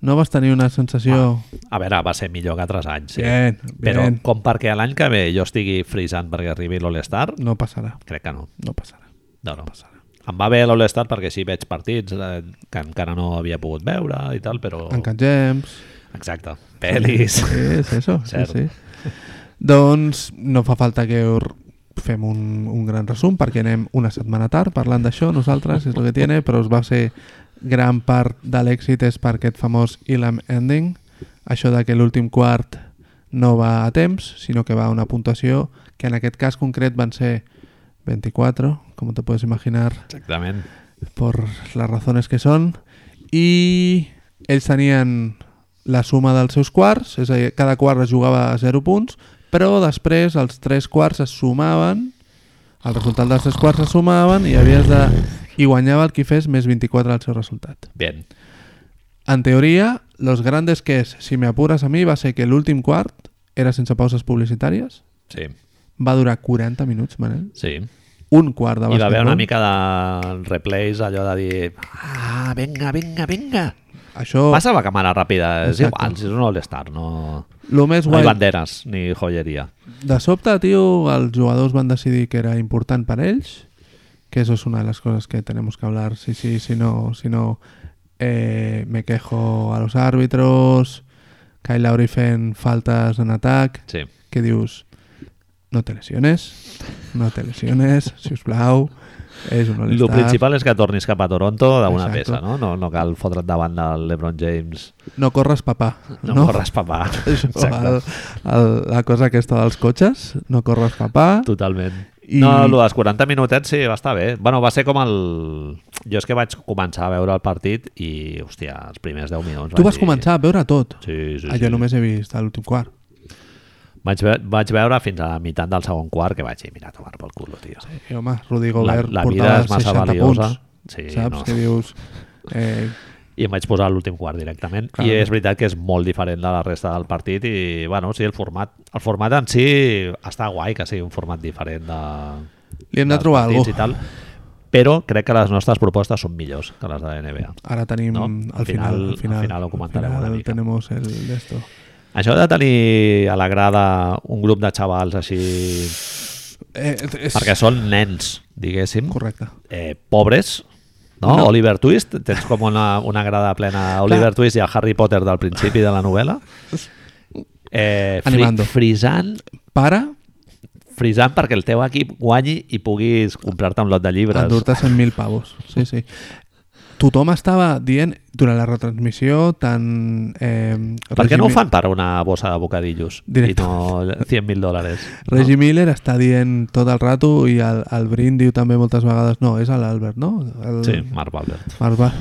[SPEAKER 2] No vas tenir una sensació... Ah,
[SPEAKER 1] A veure, va ser millor que 3 anys. Sí.
[SPEAKER 2] Bien,
[SPEAKER 1] Però
[SPEAKER 2] bien.
[SPEAKER 1] com perquè l'any que ve jo estigui frisant perquè arribi l'All-Star,
[SPEAKER 2] no passarà,
[SPEAKER 1] crec que no.
[SPEAKER 2] no passarà.
[SPEAKER 1] No, no. Em va bé l'All-Star perquè així veig partits eh, que encara no havia pogut veure i tal, però...
[SPEAKER 2] Oh. En Cat James...
[SPEAKER 1] Exacte. Pelis.
[SPEAKER 2] Sí, és això, sí,
[SPEAKER 1] Cert.
[SPEAKER 2] sí. Doncs no fa falta que us fem un, un gran resum perquè anem una setmana tard parlant d'això nosaltres, és el que tiene, però us va ser gran part de l'èxit és per aquest famós Elam Ending això de que l'últim quart no va a temps, sinó que va a una puntuació que en aquest cas concret van ser 24, com te puedes imaginar
[SPEAKER 1] Exactament.
[SPEAKER 2] por las razones que són i ells tenien la suma dels seus quarts, és a dir, cada quart es jugava a 0 punts, però després els tres quarts es sumaven, el resultat dels tres quarts es sumaven i havies de... i guanyava el qui fes més 24 al seu resultat.
[SPEAKER 1] Bien.
[SPEAKER 2] En teoria, los grandes que es, si me apuras a mi, va ser que l'últim quart era sense pauses publicitàries,
[SPEAKER 1] Sí.
[SPEAKER 2] va durar 40 minuts, Manel,
[SPEAKER 1] Sí.
[SPEAKER 2] un quart de
[SPEAKER 1] Hi va haver una
[SPEAKER 2] basquetbol.
[SPEAKER 1] mica de replays, allò de dir... Ah, vinga, vinga, vinga.
[SPEAKER 2] Això,
[SPEAKER 1] Passa la càmera ràpida, és
[SPEAKER 2] Oh. Exacte.
[SPEAKER 1] igual, si és un All-Star, no...
[SPEAKER 2] lo més
[SPEAKER 1] No hi
[SPEAKER 2] guai...
[SPEAKER 1] banderes ni joieria.
[SPEAKER 2] De sobte, tio, els jugadors van decidir que era important per ells, que eso es una de las cosas que tenemos que hablar, sí, sí, si no, si no eh, me quejo a los árbitros, Kyle Lowry fent faltes en atac,
[SPEAKER 1] Sí.
[SPEAKER 2] que dius, no te lesiones, no te lesiones, si us plau, és un
[SPEAKER 1] El
[SPEAKER 2] all-star.
[SPEAKER 1] principal és que tornis cap a Toronto d'una
[SPEAKER 2] Exacto.
[SPEAKER 1] peça, no? no? No cal fotre't davant del LeBron James.
[SPEAKER 2] No corres, papà.
[SPEAKER 1] No, no. corres, papà.
[SPEAKER 2] Això,
[SPEAKER 1] Exacte.
[SPEAKER 2] el, el, la cosa aquesta dels cotxes, no corres, papà.
[SPEAKER 1] Totalment.
[SPEAKER 2] I-
[SPEAKER 1] I... No, el dels 40 minutets sí, va estar bé. Bueno, va ser com el... Jo és que vaig començar a veure el partit i, hòstia, els primers 10 minuts...
[SPEAKER 2] Tu
[SPEAKER 1] vaig
[SPEAKER 2] vas
[SPEAKER 1] dir-
[SPEAKER 2] començar a veure tot.
[SPEAKER 1] Sí, sí,
[SPEAKER 2] Ah, jo
[SPEAKER 1] sí.
[SPEAKER 2] només he vist l'últim quart.
[SPEAKER 1] Vaig, ve vaig veure fins a la meitat del segon quart que vaig dir, mira, a tomar pel culo, tio. Sí.
[SPEAKER 2] I home, Rudy Gobert
[SPEAKER 1] la vida
[SPEAKER 2] portava
[SPEAKER 1] és massa
[SPEAKER 2] 60
[SPEAKER 1] valiosa.
[SPEAKER 2] punts.
[SPEAKER 1] Sí,
[SPEAKER 2] saps?
[SPEAKER 1] no.
[SPEAKER 2] Que dius... Eh,
[SPEAKER 1] I em vaig posar a l'últim quart directament. Clar.
[SPEAKER 2] Clar.
[SPEAKER 1] I és veritat que és molt diferent de la resta del partit i, bueno, sí, el format, el format en si està guai que sigui un format diferent de...
[SPEAKER 2] li hem de
[SPEAKER 1] dels
[SPEAKER 2] trobar
[SPEAKER 1] partits
[SPEAKER 2] algú.
[SPEAKER 1] I tal, però crec que les nostres propostes són millors que les de la NBA.
[SPEAKER 2] Ara tenim...
[SPEAKER 1] No,
[SPEAKER 2] No, al, final, al final,
[SPEAKER 1] ho comentarem
[SPEAKER 2] al
[SPEAKER 1] una
[SPEAKER 2] final
[SPEAKER 1] mica.
[SPEAKER 2] Tenemos el d'esto.
[SPEAKER 1] Això de tenir a la grada un grup de xavals així...
[SPEAKER 2] Eh, és...
[SPEAKER 1] Perquè són nens, diguéssim,
[SPEAKER 2] Correcte.
[SPEAKER 1] eh, pobres, no?
[SPEAKER 2] No.
[SPEAKER 1] no? Oliver Twist, tens com una, una grada plena d'Oliver Twist i el Harry Potter del principi de la novel·la. Eh, fri
[SPEAKER 2] Animando.
[SPEAKER 1] frisant,
[SPEAKER 2] Para
[SPEAKER 1] frisant perquè el teu equip guanyi i puguis comprar-te un lot de llibres.
[SPEAKER 2] endur-te 100.000 pavos. Sí, sí. Tothom estava dient, durant la retransmissió, tan... Eh,
[SPEAKER 1] Per què no ho
[SPEAKER 2] Reggie Mi-
[SPEAKER 1] fan per una bossa de bocadillos?
[SPEAKER 2] Directe.
[SPEAKER 1] I no 100.000 dòlars.
[SPEAKER 2] Reggie Miller està dient tot el rato i el, el Brin diu també moltes vegades no, és l'Albert, no? El...
[SPEAKER 1] Sí, Marc Valbert.
[SPEAKER 2] Marc Va-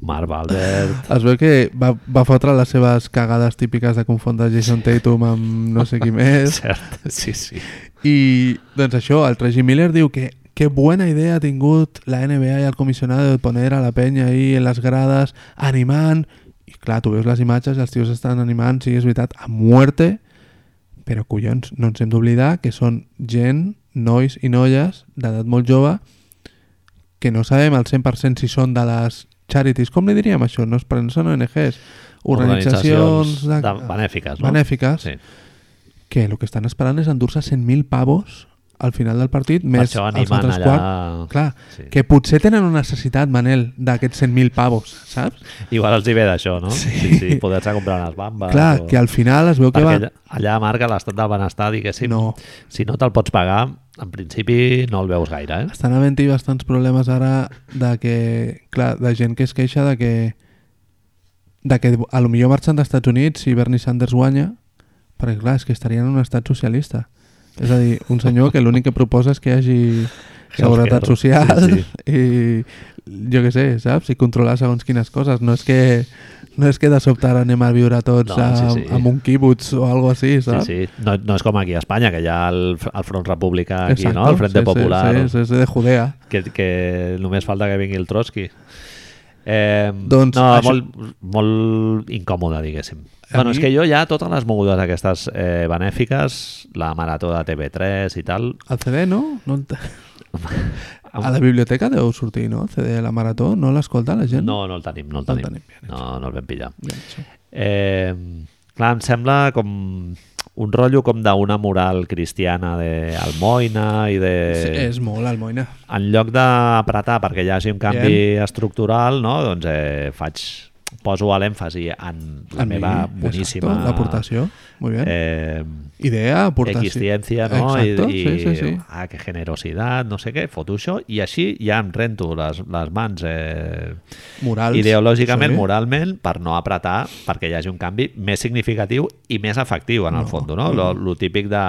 [SPEAKER 1] Marc Valbert.
[SPEAKER 2] Es veu que va, va fotre les seves cagades típiques de confondre Jason Tatum amb no sé qui més.
[SPEAKER 1] Cert, sí, sí.
[SPEAKER 2] I doncs això, el Reggie Miller diu que qué buena idea ha tingut la NBA i el comissionat de poner a la penya ahí en les grades animant. I clar, tu veus les imatges i els tios estan animant, sí, és veritat, a muerte. Però collons, no ens hem d'oblidar que són gent, nois i noies d'edat molt jove que no sabem al 100% si són de les charities, com li diríem això? No, es- però no són ONGs, organitzacions, de,
[SPEAKER 1] de- benèfiques, no?
[SPEAKER 2] benèfiques
[SPEAKER 1] Sí.
[SPEAKER 2] que el que estan esperant és endur-se 100.000 pavos al final del partit,
[SPEAKER 1] Per
[SPEAKER 2] més
[SPEAKER 1] això
[SPEAKER 2] els
[SPEAKER 1] animen
[SPEAKER 2] altres
[SPEAKER 1] allà...
[SPEAKER 2] quart. Clar,
[SPEAKER 1] Sí.
[SPEAKER 2] que potser tenen una necessitat, Manel, d'aquests 100.000 pavos, saps?
[SPEAKER 1] Igual els hi ve d'això, no? Sí. sí, sí Poder-se comprar unes bambes.
[SPEAKER 2] Clar, que al final es veu que
[SPEAKER 1] Perquè
[SPEAKER 2] va...
[SPEAKER 1] allà, allà marca l'estat del benestar, diguéssim.
[SPEAKER 2] No.
[SPEAKER 1] Si no te'l pots pagar, en principi no el veus gaire, eh?
[SPEAKER 2] Estan havent-hi bastants problemes ara de que... Clar, de gent que es queixa de que de que a lo millor marxen dels Estats Units si Bernie Sanders guanya Perquè clar, és que estaria en un estat socialista. És a dir, un senyor que l'únic que proposa és que hi hagi seguretat
[SPEAKER 1] Healthcare,
[SPEAKER 2] social
[SPEAKER 1] sí,
[SPEAKER 2] i jo què sé, saps? I controlar segons quines coses. No és que, no és que de sobte ara anem a viure tots
[SPEAKER 1] No,
[SPEAKER 2] no, a,
[SPEAKER 1] sí, sí.
[SPEAKER 2] amb un kibutz o algo així,
[SPEAKER 1] Sí,
[SPEAKER 2] saps?
[SPEAKER 1] sí. No, no és com aquí a Espanya, que hi ha el, el Front Republicà aquí,
[SPEAKER 2] Exacto,
[SPEAKER 1] no? El Frente
[SPEAKER 2] sí, sí,
[SPEAKER 1] Popular.
[SPEAKER 2] Sí, sí, és de Judea.
[SPEAKER 1] que, que només falta que vingui el Trotsky. Eh,
[SPEAKER 2] Doncs
[SPEAKER 1] no,
[SPEAKER 2] això-
[SPEAKER 1] això... molt, molt incòmode, diguéssim.
[SPEAKER 2] A
[SPEAKER 1] bueno, és
[SPEAKER 2] mi-
[SPEAKER 1] que jo ja totes les mogudes aquestes eh, benèfiques, la marató de TV3 i tal...
[SPEAKER 2] El CD, no? no ent- A la biblioteca deu sortir, no? El CD de la Marató, no l'escolta la gent?
[SPEAKER 1] No, no el tenim, no el
[SPEAKER 2] No el
[SPEAKER 1] tenim.
[SPEAKER 2] tenim,
[SPEAKER 1] No, no el vam pillar.
[SPEAKER 2] Ja, sí.
[SPEAKER 1] Eh, clar, em sembla com un rotllo com d'una moral cristiana d'almoina i de...
[SPEAKER 2] Sí, és molt almoina.
[SPEAKER 1] en lloc d'apretar perquè hi hagi un canvi estructural, no? doncs eh, faig, poso l'èmfasi en la
[SPEAKER 2] En mi,
[SPEAKER 1] meva
[SPEAKER 2] exacto,
[SPEAKER 1] boníssima
[SPEAKER 2] L'aportació, molt bé. Eh,
[SPEAKER 1] eh,
[SPEAKER 2] Idea, aportació.
[SPEAKER 1] existència, no?
[SPEAKER 2] Exacto,
[SPEAKER 1] I, i
[SPEAKER 2] sí, sí, sí.
[SPEAKER 1] ah, que generositat, no sé què, foto això i així ja em rento les, les mans eh,
[SPEAKER 2] Morals.
[SPEAKER 1] ideològicament,
[SPEAKER 2] sí.
[SPEAKER 1] moralment, per no apretar perquè hi hagi un canvi més significatiu i més efectiu en el
[SPEAKER 2] No. Mm.
[SPEAKER 1] fons, no? Lo, lo típic de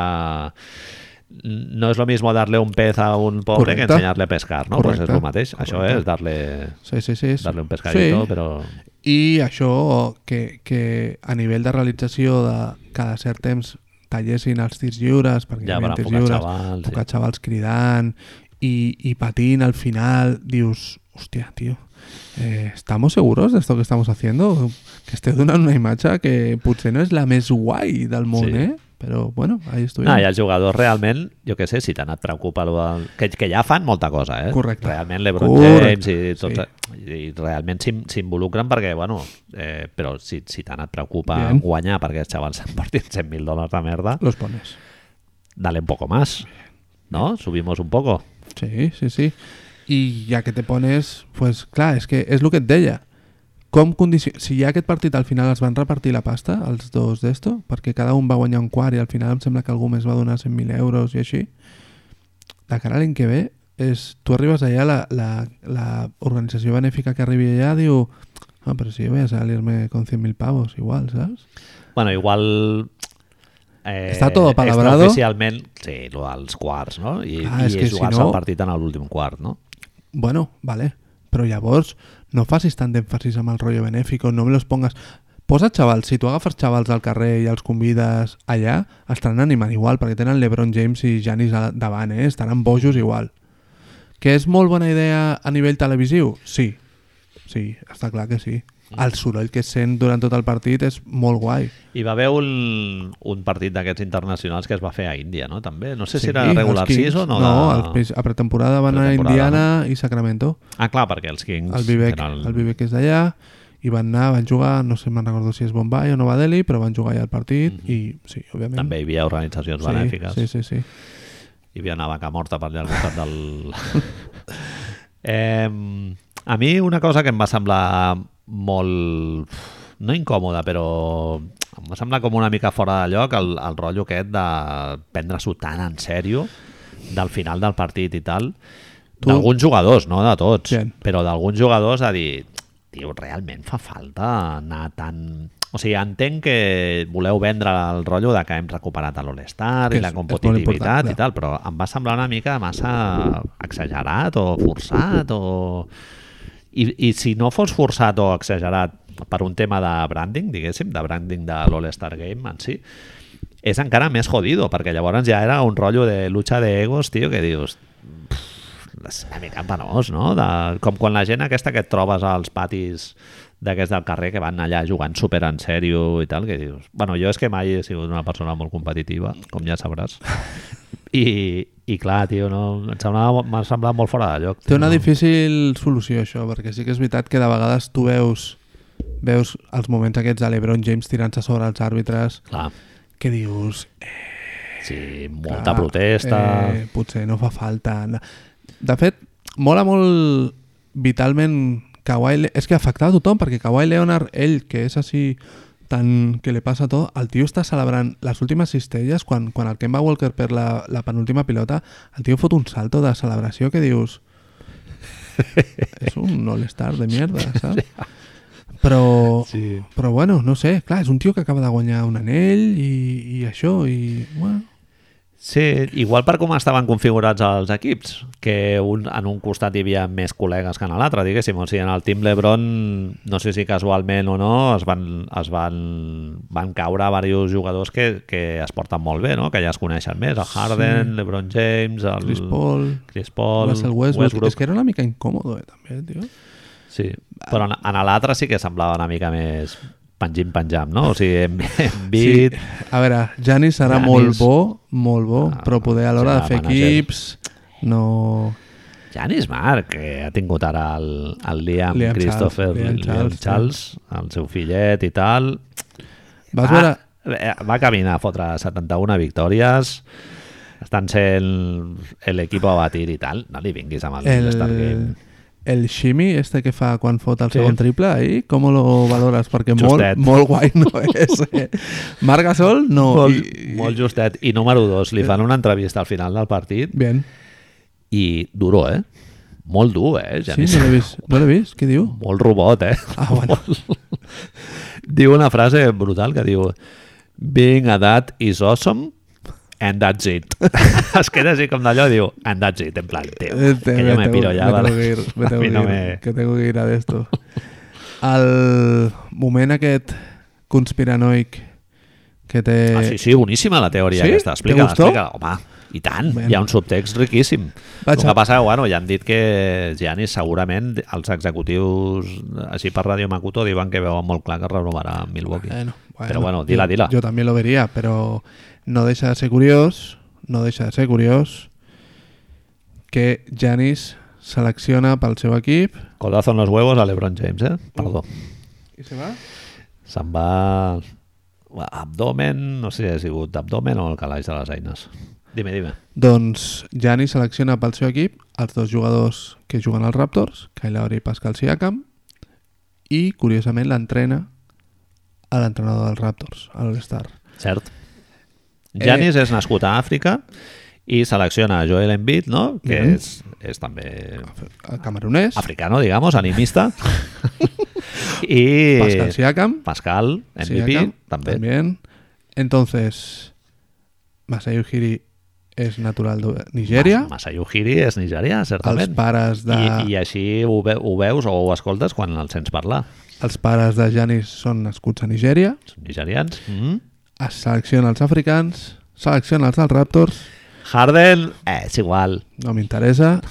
[SPEAKER 1] no es lo mismo darle un pez a un pobre
[SPEAKER 2] Correcte.
[SPEAKER 1] que enseñarle a pescar, no? Pues
[SPEAKER 2] Correcte.
[SPEAKER 1] és el mateix. Això
[SPEAKER 2] Correcte.
[SPEAKER 1] és darle,
[SPEAKER 2] Sí, sí, sí. és-
[SPEAKER 1] darle un pescadito,
[SPEAKER 2] sí.
[SPEAKER 1] però...
[SPEAKER 2] I això que, que a nivell de realització de cada cert temps tallessin els tirs lliures, perquè
[SPEAKER 1] Ja
[SPEAKER 2] hi havia
[SPEAKER 1] van
[SPEAKER 2] tirs
[SPEAKER 1] enfocar
[SPEAKER 2] lliures,
[SPEAKER 1] xavals, sí.
[SPEAKER 2] enfocar xavals cridant i, i patint al final, dius, hòstia, tio, eh, ¿estamos seguros de esto que estamos haciendo? Que esteu donant una imatge que potser no és la més guai del món,
[SPEAKER 1] Sí.
[SPEAKER 2] eh? Però, bueno, ahí estuvimos.
[SPEAKER 1] Ah, i els jugadors realment, jo què sé, si tant et preocupa lo del... que, que ja fan molta cosa, eh?
[SPEAKER 2] Correcte.
[SPEAKER 1] Realment l'Ebron James
[SPEAKER 2] Correcte,
[SPEAKER 1] i tot... I realment s'im- s'involucren perquè, bueno, eh, però si, si tant et preocupa
[SPEAKER 2] Bien.
[SPEAKER 1] guanyar perquè els xavals s'han partit 100.000 dòlars de merda,
[SPEAKER 2] Los pones.
[SPEAKER 1] dale un poco más, ¿no? Subimos un poco.
[SPEAKER 2] Sí, sí, sí. I ja que te pones, pues clar, és que és el que et deia. Com condici... Si ja aquest partit al final es van repartir la pasta, els dos d'esto, perquè cada un va guanyar un quart i al final em sembla que algú més va donar 100.000 euros i així, de cara a l'any que ve, és, tu arribes allà, la, la, la organització benèfica que arribi allà diu ah, però si jo voy a salirme con 100.000 pavos, igual, saps?
[SPEAKER 1] Bueno, igual... Eh,
[SPEAKER 2] Está todo palabrado.
[SPEAKER 1] Oficialment, sí, lo dels quarts, no? I,
[SPEAKER 2] Ah,
[SPEAKER 1] i
[SPEAKER 2] és que si
[SPEAKER 1] jugar-se
[SPEAKER 2] no-
[SPEAKER 1] el partit en l'últim quart, no?
[SPEAKER 2] Bueno, vale, però llavors no facis tant d'èmfasis amb el rotllo benéfico, no me los pongas... Posa xavals, si tu agafes xavals al carrer i els convides allà, estaran animant igual, perquè tenen LeBron James i Janis a- davant, eh? estaran bojos igual. Que és molt bona idea a nivell televisiu? Sí, sí, està clar que sí.
[SPEAKER 1] Mm.
[SPEAKER 2] El soroll que sent durant tot el partit és molt guai.
[SPEAKER 1] Hi va haver un, un partit d'aquests internacionals que es va fer a Índia, no? També. No sé si
[SPEAKER 2] Sí,
[SPEAKER 1] era regular
[SPEAKER 2] els Kings.
[SPEAKER 1] 6 o no.
[SPEAKER 2] No,
[SPEAKER 1] de-
[SPEAKER 2] els Kings a pretemporada van anar a
[SPEAKER 1] Pretemporada,
[SPEAKER 2] Indiana i Sacramento.
[SPEAKER 1] Ah, clar, perquè els Kings...
[SPEAKER 2] El Vivek,
[SPEAKER 1] tenen-
[SPEAKER 2] el Vivek és d'allà i van anar, van jugar, no sé, me'n recordo si és Bombay o Nova Delhi, però van jugar allà al partit i sí, òbviament.
[SPEAKER 1] Mhm. També hi havia organitzacions
[SPEAKER 2] sí,
[SPEAKER 1] benèfiques.
[SPEAKER 2] Sí, sí, sí.
[SPEAKER 1] Hi havia una vaca morta per allà al costat del... eh, a mi una cosa que em va semblar molt... No incòmoda, però em va semblar com una mica fora de lloc el, el rotllo aquest de prendre-s'ho tan en sèrio del final del partit i tal.
[SPEAKER 2] Tu-
[SPEAKER 1] D'alguns jugadors, no de tots,
[SPEAKER 2] Gent.
[SPEAKER 1] però d'alguns jugadors a dir, tio, realment fa falta anar tan... O sigui, entenc que voleu vendre el rotllo de que hem recuperat l'All-Star
[SPEAKER 2] Que
[SPEAKER 1] i la
[SPEAKER 2] és- és molt important,
[SPEAKER 1] competitivitat i
[SPEAKER 2] clar.
[SPEAKER 1] tal, tal, però em va semblar una mica massa exagerat o forçat o... I, I si no fos forçat o exagerat per un tema de branding, diguéssim, de branding de l'All-Star Game en si, és encara més jodido, perquè llavors ja era un rotllo de lucha de egos, tio, que dius pff, és una mica penós, no? De, com quan la gent aquesta que et trobes als patis d'aquests del carrer que van allà jugant super en sèrio i tal, que dius... Bueno, jo és que mai he sigut una persona molt competitiva, com ja sabràs. I, i clar, tio, no, em semblava, m'ha semblat molt fora de lloc.
[SPEAKER 2] Té
[SPEAKER 1] tio,
[SPEAKER 2] una
[SPEAKER 1] no?
[SPEAKER 2] difícil solució, això, perquè sí que és veritat que de vegades tu veus veus els moments aquests de l'Ebron James tirant-se sobre els àrbitres
[SPEAKER 1] Clar,
[SPEAKER 2] que dius...
[SPEAKER 1] sí,
[SPEAKER 2] clar,
[SPEAKER 1] molta protesta...
[SPEAKER 2] Ah, Eh, potser no fa falta... De fet, mola molt vitalment Kawhi... Le- És que afectava a tothom, perquè Kawhi Leonard, ell, que és així tan que li passa tot, el tio està celebrant les últimes cistelles, quan, quan el Kemba Walker perd la, la penúltima pilota, el tio fot un salto de celebració que dius... És un all-star de mierda, saps? Però,
[SPEAKER 1] Sí.
[SPEAKER 2] però bueno, no sé, clar, és un tio que acaba de guanyar un anell i, i això, i... Bueno,
[SPEAKER 1] Sí, igual per com estaven configurats els equips, que un, en un costat hi havia més col·legues que en l'altre, diguéssim. O sigui, en el Team LeBron, no sé si casualment o no, es van, es van, van caure diversos jugadors que, que es porten molt bé, no? que ja es coneixen més. El Harden, sí. LeBron James, el
[SPEAKER 2] Chris Paul,
[SPEAKER 1] Chris Mm. Paul
[SPEAKER 2] Russell Westbrook. És
[SPEAKER 1] Westbrook.
[SPEAKER 2] que era una mica incòmodo, eh, també, tio.
[SPEAKER 1] Sí, però en, en l'altre sí que semblava una mica més penjim-penjam, no? O sigui, Embiid... Sí.
[SPEAKER 2] A veure, Janis serà
[SPEAKER 1] Giannis.
[SPEAKER 2] molt bo, molt bo,
[SPEAKER 1] Ah,
[SPEAKER 2] però poder a l'hora
[SPEAKER 1] serà
[SPEAKER 2] de fer
[SPEAKER 1] manager.
[SPEAKER 2] equips no...
[SPEAKER 1] Janis Marc, que ha tingut ara el, el Liam,
[SPEAKER 2] Liam
[SPEAKER 1] Liam Christopher,
[SPEAKER 2] Charles, Liam
[SPEAKER 1] Charles, Liam,
[SPEAKER 2] Charles,
[SPEAKER 1] Charles,
[SPEAKER 2] sí.
[SPEAKER 1] el seu fillet i tal.
[SPEAKER 2] Vas
[SPEAKER 1] va,
[SPEAKER 2] veure...
[SPEAKER 1] eh, va caminar a fotre 71 victòries, estan sent l'equip a batir i tal. No li vinguis amb el, el...
[SPEAKER 2] el, el Shimi, este que fa quan fot el
[SPEAKER 1] Sí.
[SPEAKER 2] segon triple ahí, com lo valores? Perquè molt,
[SPEAKER 1] Justet.
[SPEAKER 2] molt guai no és. Eh? Marc Gasol no.
[SPEAKER 1] Molt,
[SPEAKER 2] i- Eh. i-
[SPEAKER 1] molt justet. I número dos, li fan una entrevista al final del partit
[SPEAKER 2] Bien.
[SPEAKER 1] i duro, eh? Molt dur, eh?
[SPEAKER 2] Sí,
[SPEAKER 1] Janis?
[SPEAKER 2] no l'he vist. No l'he vist? Què diu?
[SPEAKER 1] Molt robot, eh?
[SPEAKER 2] Ah, bueno.
[SPEAKER 1] diu una frase brutal que diu Being a dad is awesome and that's it. es queda així com d'allò, diu and that's it, en plan, teu,
[SPEAKER 2] Eh, te-
[SPEAKER 1] que jo me
[SPEAKER 2] tengo-
[SPEAKER 1] piro ja.
[SPEAKER 2] me
[SPEAKER 1] vale.
[SPEAKER 2] tengo que ir, me
[SPEAKER 1] A
[SPEAKER 2] tengo
[SPEAKER 1] mi
[SPEAKER 2] que
[SPEAKER 1] no
[SPEAKER 2] ir,
[SPEAKER 1] me-
[SPEAKER 2] que tengo que ir a d'esto. El moment aquest conspiranoic que té...
[SPEAKER 1] Ah, sí, sí, boníssima la teoria
[SPEAKER 2] Sí?
[SPEAKER 1] aquesta.
[SPEAKER 2] Te
[SPEAKER 1] Explica,
[SPEAKER 2] gustó?
[SPEAKER 1] explica. Home, i tant,
[SPEAKER 2] Bueno.
[SPEAKER 1] hi ha un subtext riquíssim.
[SPEAKER 2] Vaig
[SPEAKER 1] el
[SPEAKER 2] a-
[SPEAKER 1] que passa, bueno, ja han dit que Giannis segurament els executius així per Radio Makuto diuen que veuen molt clar que renovarà amb Milwaukee.
[SPEAKER 2] Bueno, bueno,
[SPEAKER 1] Pero bueno, dila,
[SPEAKER 2] yo-
[SPEAKER 1] dila.
[SPEAKER 2] Yo también lo vería, pero no deja de ser curioso, no deja de ser curioso que Janis selecciona pel seu equip
[SPEAKER 1] Codazo en los huevos a LeBron James, eh? Perdó.
[SPEAKER 2] i se va?
[SPEAKER 1] Se'n va a abdomen, no sé si ha sigut abdomen o el calaix de les eines. Dime, dime.
[SPEAKER 2] Doncs Janis selecciona pel seu equip els dos jugadors que juguen als Raptors, Kyle Lowry i Pascal Siakam, i curiosament l'entrena a l'entrenador dels Raptors, a l'All-Star.
[SPEAKER 1] Cert.
[SPEAKER 2] Eh.
[SPEAKER 1] Janis és nascut a Àfrica i selecciona a Joel Embiid, no? que
[SPEAKER 2] Mhm.
[SPEAKER 1] és, és també
[SPEAKER 2] El camerunès,
[SPEAKER 1] africano, digamos, animista. I
[SPEAKER 2] Pascal Siakam,
[SPEAKER 1] Pascal, MVP,
[SPEAKER 2] Siakam,
[SPEAKER 1] també.
[SPEAKER 2] También. Entonces, Masai Ujiri es natural de Nigeria.
[SPEAKER 1] Mas- Masai Ujiri és nigerià,
[SPEAKER 2] Els
[SPEAKER 1] certament.
[SPEAKER 2] pares de,
[SPEAKER 1] I, I així ho, ve, ho veus o ho escoltes quan el sents parlar.
[SPEAKER 2] els pares de Janis són nascuts a Nigèria.
[SPEAKER 1] Són nigerians. Mm -hmm.
[SPEAKER 2] Es selecciona els africans, selecciona els dels Raptors,
[SPEAKER 1] Harden, eh, és igual.
[SPEAKER 2] no m'interessa.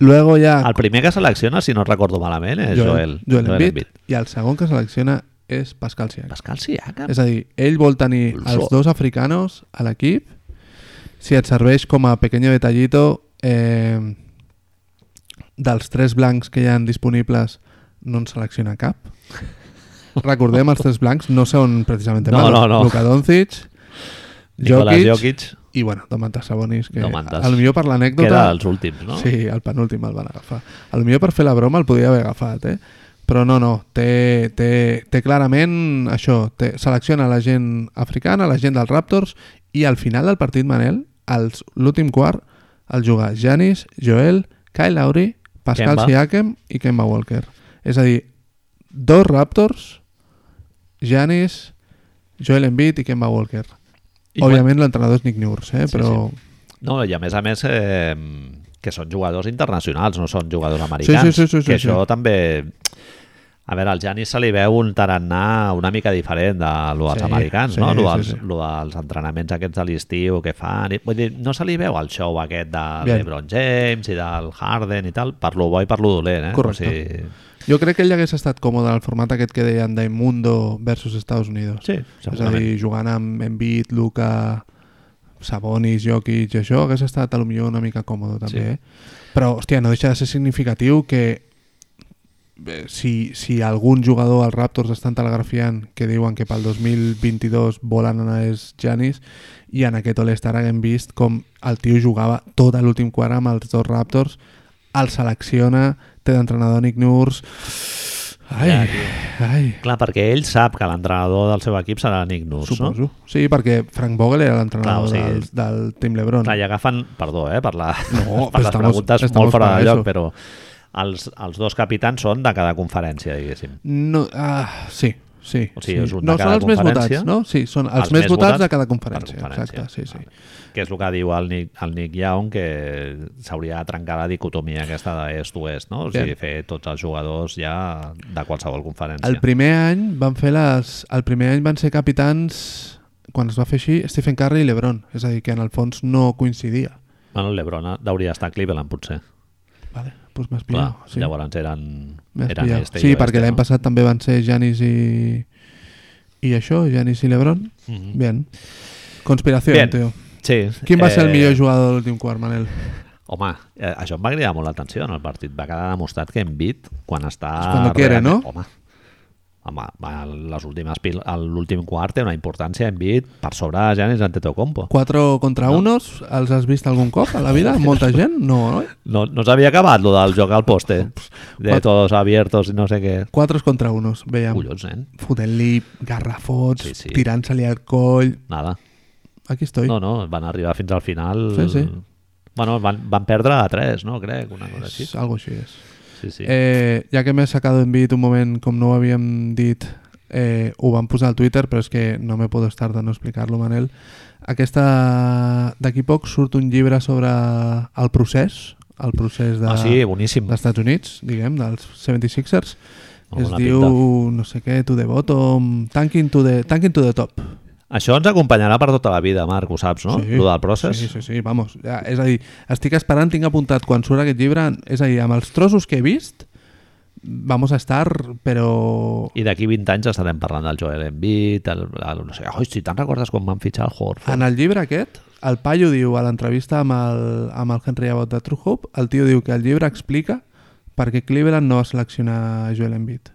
[SPEAKER 2] Luego ja
[SPEAKER 1] El primer que selecciona, si no recordo malament, és Joel.
[SPEAKER 2] Joel Embiid. I el segon que selecciona és Pascal Siakam.
[SPEAKER 1] Pascal Siakam.
[SPEAKER 2] És a dir, ell vol tenir
[SPEAKER 1] Pulsó.
[SPEAKER 2] els dos africanos a l'equip. Si et serveix com a pequeño detallito, eh, dels tres blancs que hi han disponibles no en selecciona cap. Recordem, els tres blancs no són precisament
[SPEAKER 1] No,
[SPEAKER 2] malos.
[SPEAKER 1] no, no.
[SPEAKER 2] Luka Doncic,
[SPEAKER 1] Nicolás
[SPEAKER 2] Jokic,
[SPEAKER 1] Jokic,
[SPEAKER 2] i bueno, Domantas Sabonis, que
[SPEAKER 1] Domantas.
[SPEAKER 2] el millor per
[SPEAKER 1] que era
[SPEAKER 2] l'anècdota...
[SPEAKER 1] dels últims, no?
[SPEAKER 2] Sí, el penúltim el van agafar. A lo millor per fer la broma el podia haver agafat, eh? Però no, no, té, té, té clarament això, té, selecciona la gent africana, la gent dels Raptors, i al final del partit, Manel, els- l'últim quart, el jugar Janis, Joel, Kyle Lowry, Pascal
[SPEAKER 1] Kemba.
[SPEAKER 2] Siakam i Kemba Walker. És a dir, dos Raptors, Janis, Joel Embiid i Kemba Walker.
[SPEAKER 1] I
[SPEAKER 2] Òbviament l'entrenador és Nick Nurse, eh?
[SPEAKER 1] Sí,
[SPEAKER 2] però...
[SPEAKER 1] No, i a més a més, eh, que són jugadors internacionals, no són jugadors americans.
[SPEAKER 2] sí, sí, sí,
[SPEAKER 1] que
[SPEAKER 2] sí.
[SPEAKER 1] això també... A veure, al Janis se li veu un tarannà una mica diferent de lo dels
[SPEAKER 2] Sí,
[SPEAKER 1] americans,
[SPEAKER 2] sí,
[SPEAKER 1] no? Lo
[SPEAKER 2] sí,
[SPEAKER 1] dels,
[SPEAKER 2] sí.
[SPEAKER 1] lo dels entrenaments aquests de l'estiu que fan... I, vull dir, no se li veu el show aquest de
[SPEAKER 2] Bien.
[SPEAKER 1] LeBron James i del Harden i tal, per lo bo i per lo dolent, eh?
[SPEAKER 2] Correcte. Jo crec que ell hagués estat còmode en el format aquest que deien d'Immundo versus Estados Unidos.
[SPEAKER 1] Sí,
[SPEAKER 2] és a dir,
[SPEAKER 1] segurament.
[SPEAKER 2] jugant amb Embiid, Luka, Sabonis, Jokic i això, hagués estat a lo millor una mica còmode també.
[SPEAKER 1] Sí.
[SPEAKER 2] Eh? Però, hòstia, no deixa de ser significatiu que eh, si, si algun jugador als Raptors estan telegrafiant que diuen que pel 2022 volen anar és Janis i en aquest All-Star haguem vist com el tio jugava tot a l'últim quart amb els dos Raptors el selecciona, té d'entrenador Nick Nurse ai,
[SPEAKER 1] Ja,
[SPEAKER 2] ai
[SPEAKER 1] Clar, perquè ell sap que l'entrenador del seu equip serà Nick Nurse, no?
[SPEAKER 2] Suposo. Sí, perquè Frank Vogel era
[SPEAKER 1] Clar,
[SPEAKER 2] l'entrenador
[SPEAKER 1] o sigui,
[SPEAKER 2] del, del Team Lebron.
[SPEAKER 1] Clar, i agafen, perdó, eh, per, la,
[SPEAKER 2] No,
[SPEAKER 1] per les
[SPEAKER 2] estamos-
[SPEAKER 1] preguntes
[SPEAKER 2] estamos
[SPEAKER 1] molt fora
[SPEAKER 2] para
[SPEAKER 1] de lloc,
[SPEAKER 2] eso.
[SPEAKER 1] però els, els dos capitans són de cada conferència, diguéssim.
[SPEAKER 2] No, ah, sí, sí.
[SPEAKER 1] O sigui,
[SPEAKER 2] sí.
[SPEAKER 1] és un de
[SPEAKER 2] no,
[SPEAKER 1] cada
[SPEAKER 2] són els més
[SPEAKER 1] conferència.
[SPEAKER 2] votats, no? Sí, són els, més, votats, de cada conferència.
[SPEAKER 1] per conferència.
[SPEAKER 2] Exacte, sí, sí.
[SPEAKER 1] Vale. Que és el que diu el Nick, el Nick Young, que s'hauria de trencar la dicotomia aquesta d'est-oest, no? O sigui,
[SPEAKER 2] Bien.
[SPEAKER 1] fer tots els jugadors ja de qualsevol conferència.
[SPEAKER 2] El primer any van fer les... El primer any van ser capitans, quan es va fer així, Stephen Curry i LeBron. És a dir, que en el fons no coincidia.
[SPEAKER 1] Bueno, el Lebron hauria d'estar a Cleveland, potser.
[SPEAKER 2] Vale, doncs m'has
[SPEAKER 1] Clar,
[SPEAKER 2] pillat. Sí,
[SPEAKER 1] llavors eren,
[SPEAKER 2] m'has
[SPEAKER 1] eren
[SPEAKER 2] pillat.
[SPEAKER 1] este i
[SPEAKER 2] sí
[SPEAKER 1] oeste,
[SPEAKER 2] perquè l'any
[SPEAKER 1] no?
[SPEAKER 2] passat també van ser Janis i... I això, Janis i LeBron. Mm -hmm. Bien. Conspiració,
[SPEAKER 1] Mhm. Bien.
[SPEAKER 2] tio.
[SPEAKER 1] Sí.
[SPEAKER 2] Quin va ser el
[SPEAKER 1] eh,
[SPEAKER 2] millor jugador de l'últim quart, Manel?
[SPEAKER 1] Home, eh, això em va cridar molt l'atenció en el partit. Va quedar demostrat que Embiid, quan està...
[SPEAKER 2] És cuando quiere,
[SPEAKER 1] realment-
[SPEAKER 2] no?
[SPEAKER 1] Home, home va, les últimes pil... l'últim quart té una importància Embiid per sobre de Giannis Antetokounmpo.
[SPEAKER 2] 4 contra 1, unos, els has vist algun cop a la vida? Molta gent? No, no?
[SPEAKER 1] No, no s'havia acabat lo del joc al poste, de
[SPEAKER 2] Quatre-
[SPEAKER 1] todos abiertos i no sé què.
[SPEAKER 2] 4 contra 1, veiem.
[SPEAKER 1] Collons, nen.
[SPEAKER 2] Fotent-li garrafots,
[SPEAKER 1] Sí, sí.
[SPEAKER 2] tirant-se-li al coll...
[SPEAKER 1] Nada.
[SPEAKER 2] Aquí estoy.
[SPEAKER 1] No, no, van arribar fins al final...
[SPEAKER 2] Sí, sí.
[SPEAKER 1] Bueno, van, van perdre a 3, no? Crec, una cosa així.
[SPEAKER 2] És algo així és.
[SPEAKER 1] Sí, sí.
[SPEAKER 2] Eh, ja que m'he sacat en bit un moment, com no ho havíem dit, eh, ho vam posar al Twitter, però és que no me puedo estar de no explicar-lo, Manel. Aquesta... D'aquí poc surt un llibre sobre el procés, el procés de...
[SPEAKER 1] Ah, sí, boníssim.
[SPEAKER 2] d'Estats Units, diguem, dels 76ers.
[SPEAKER 1] Molt
[SPEAKER 2] es
[SPEAKER 1] bona
[SPEAKER 2] diu, no sé què, to the bottom, tanking to the, tanking to the top.
[SPEAKER 1] Això ens acompanyarà per tota la vida, Marc, ho saps, no? Lo del procés.
[SPEAKER 2] Sí, sí, sí, vamos. Ja, és a dir, estic esperant, tinc apuntat quan surt aquest llibre, és a dir, amb els trossos que he vist, vamos a estar, però...
[SPEAKER 1] I d'aquí 20 anys estarem parlant del Joel Embiid, el, el, no sé, oi, si te'n recordes quan van fitxar el Horford?
[SPEAKER 2] En el llibre aquest, el paio diu a l'entrevista amb, el, amb el Henry Abbott de True Hope, el tio diu que el llibre explica per què Cleveland no va seleccionar Joel Embiid.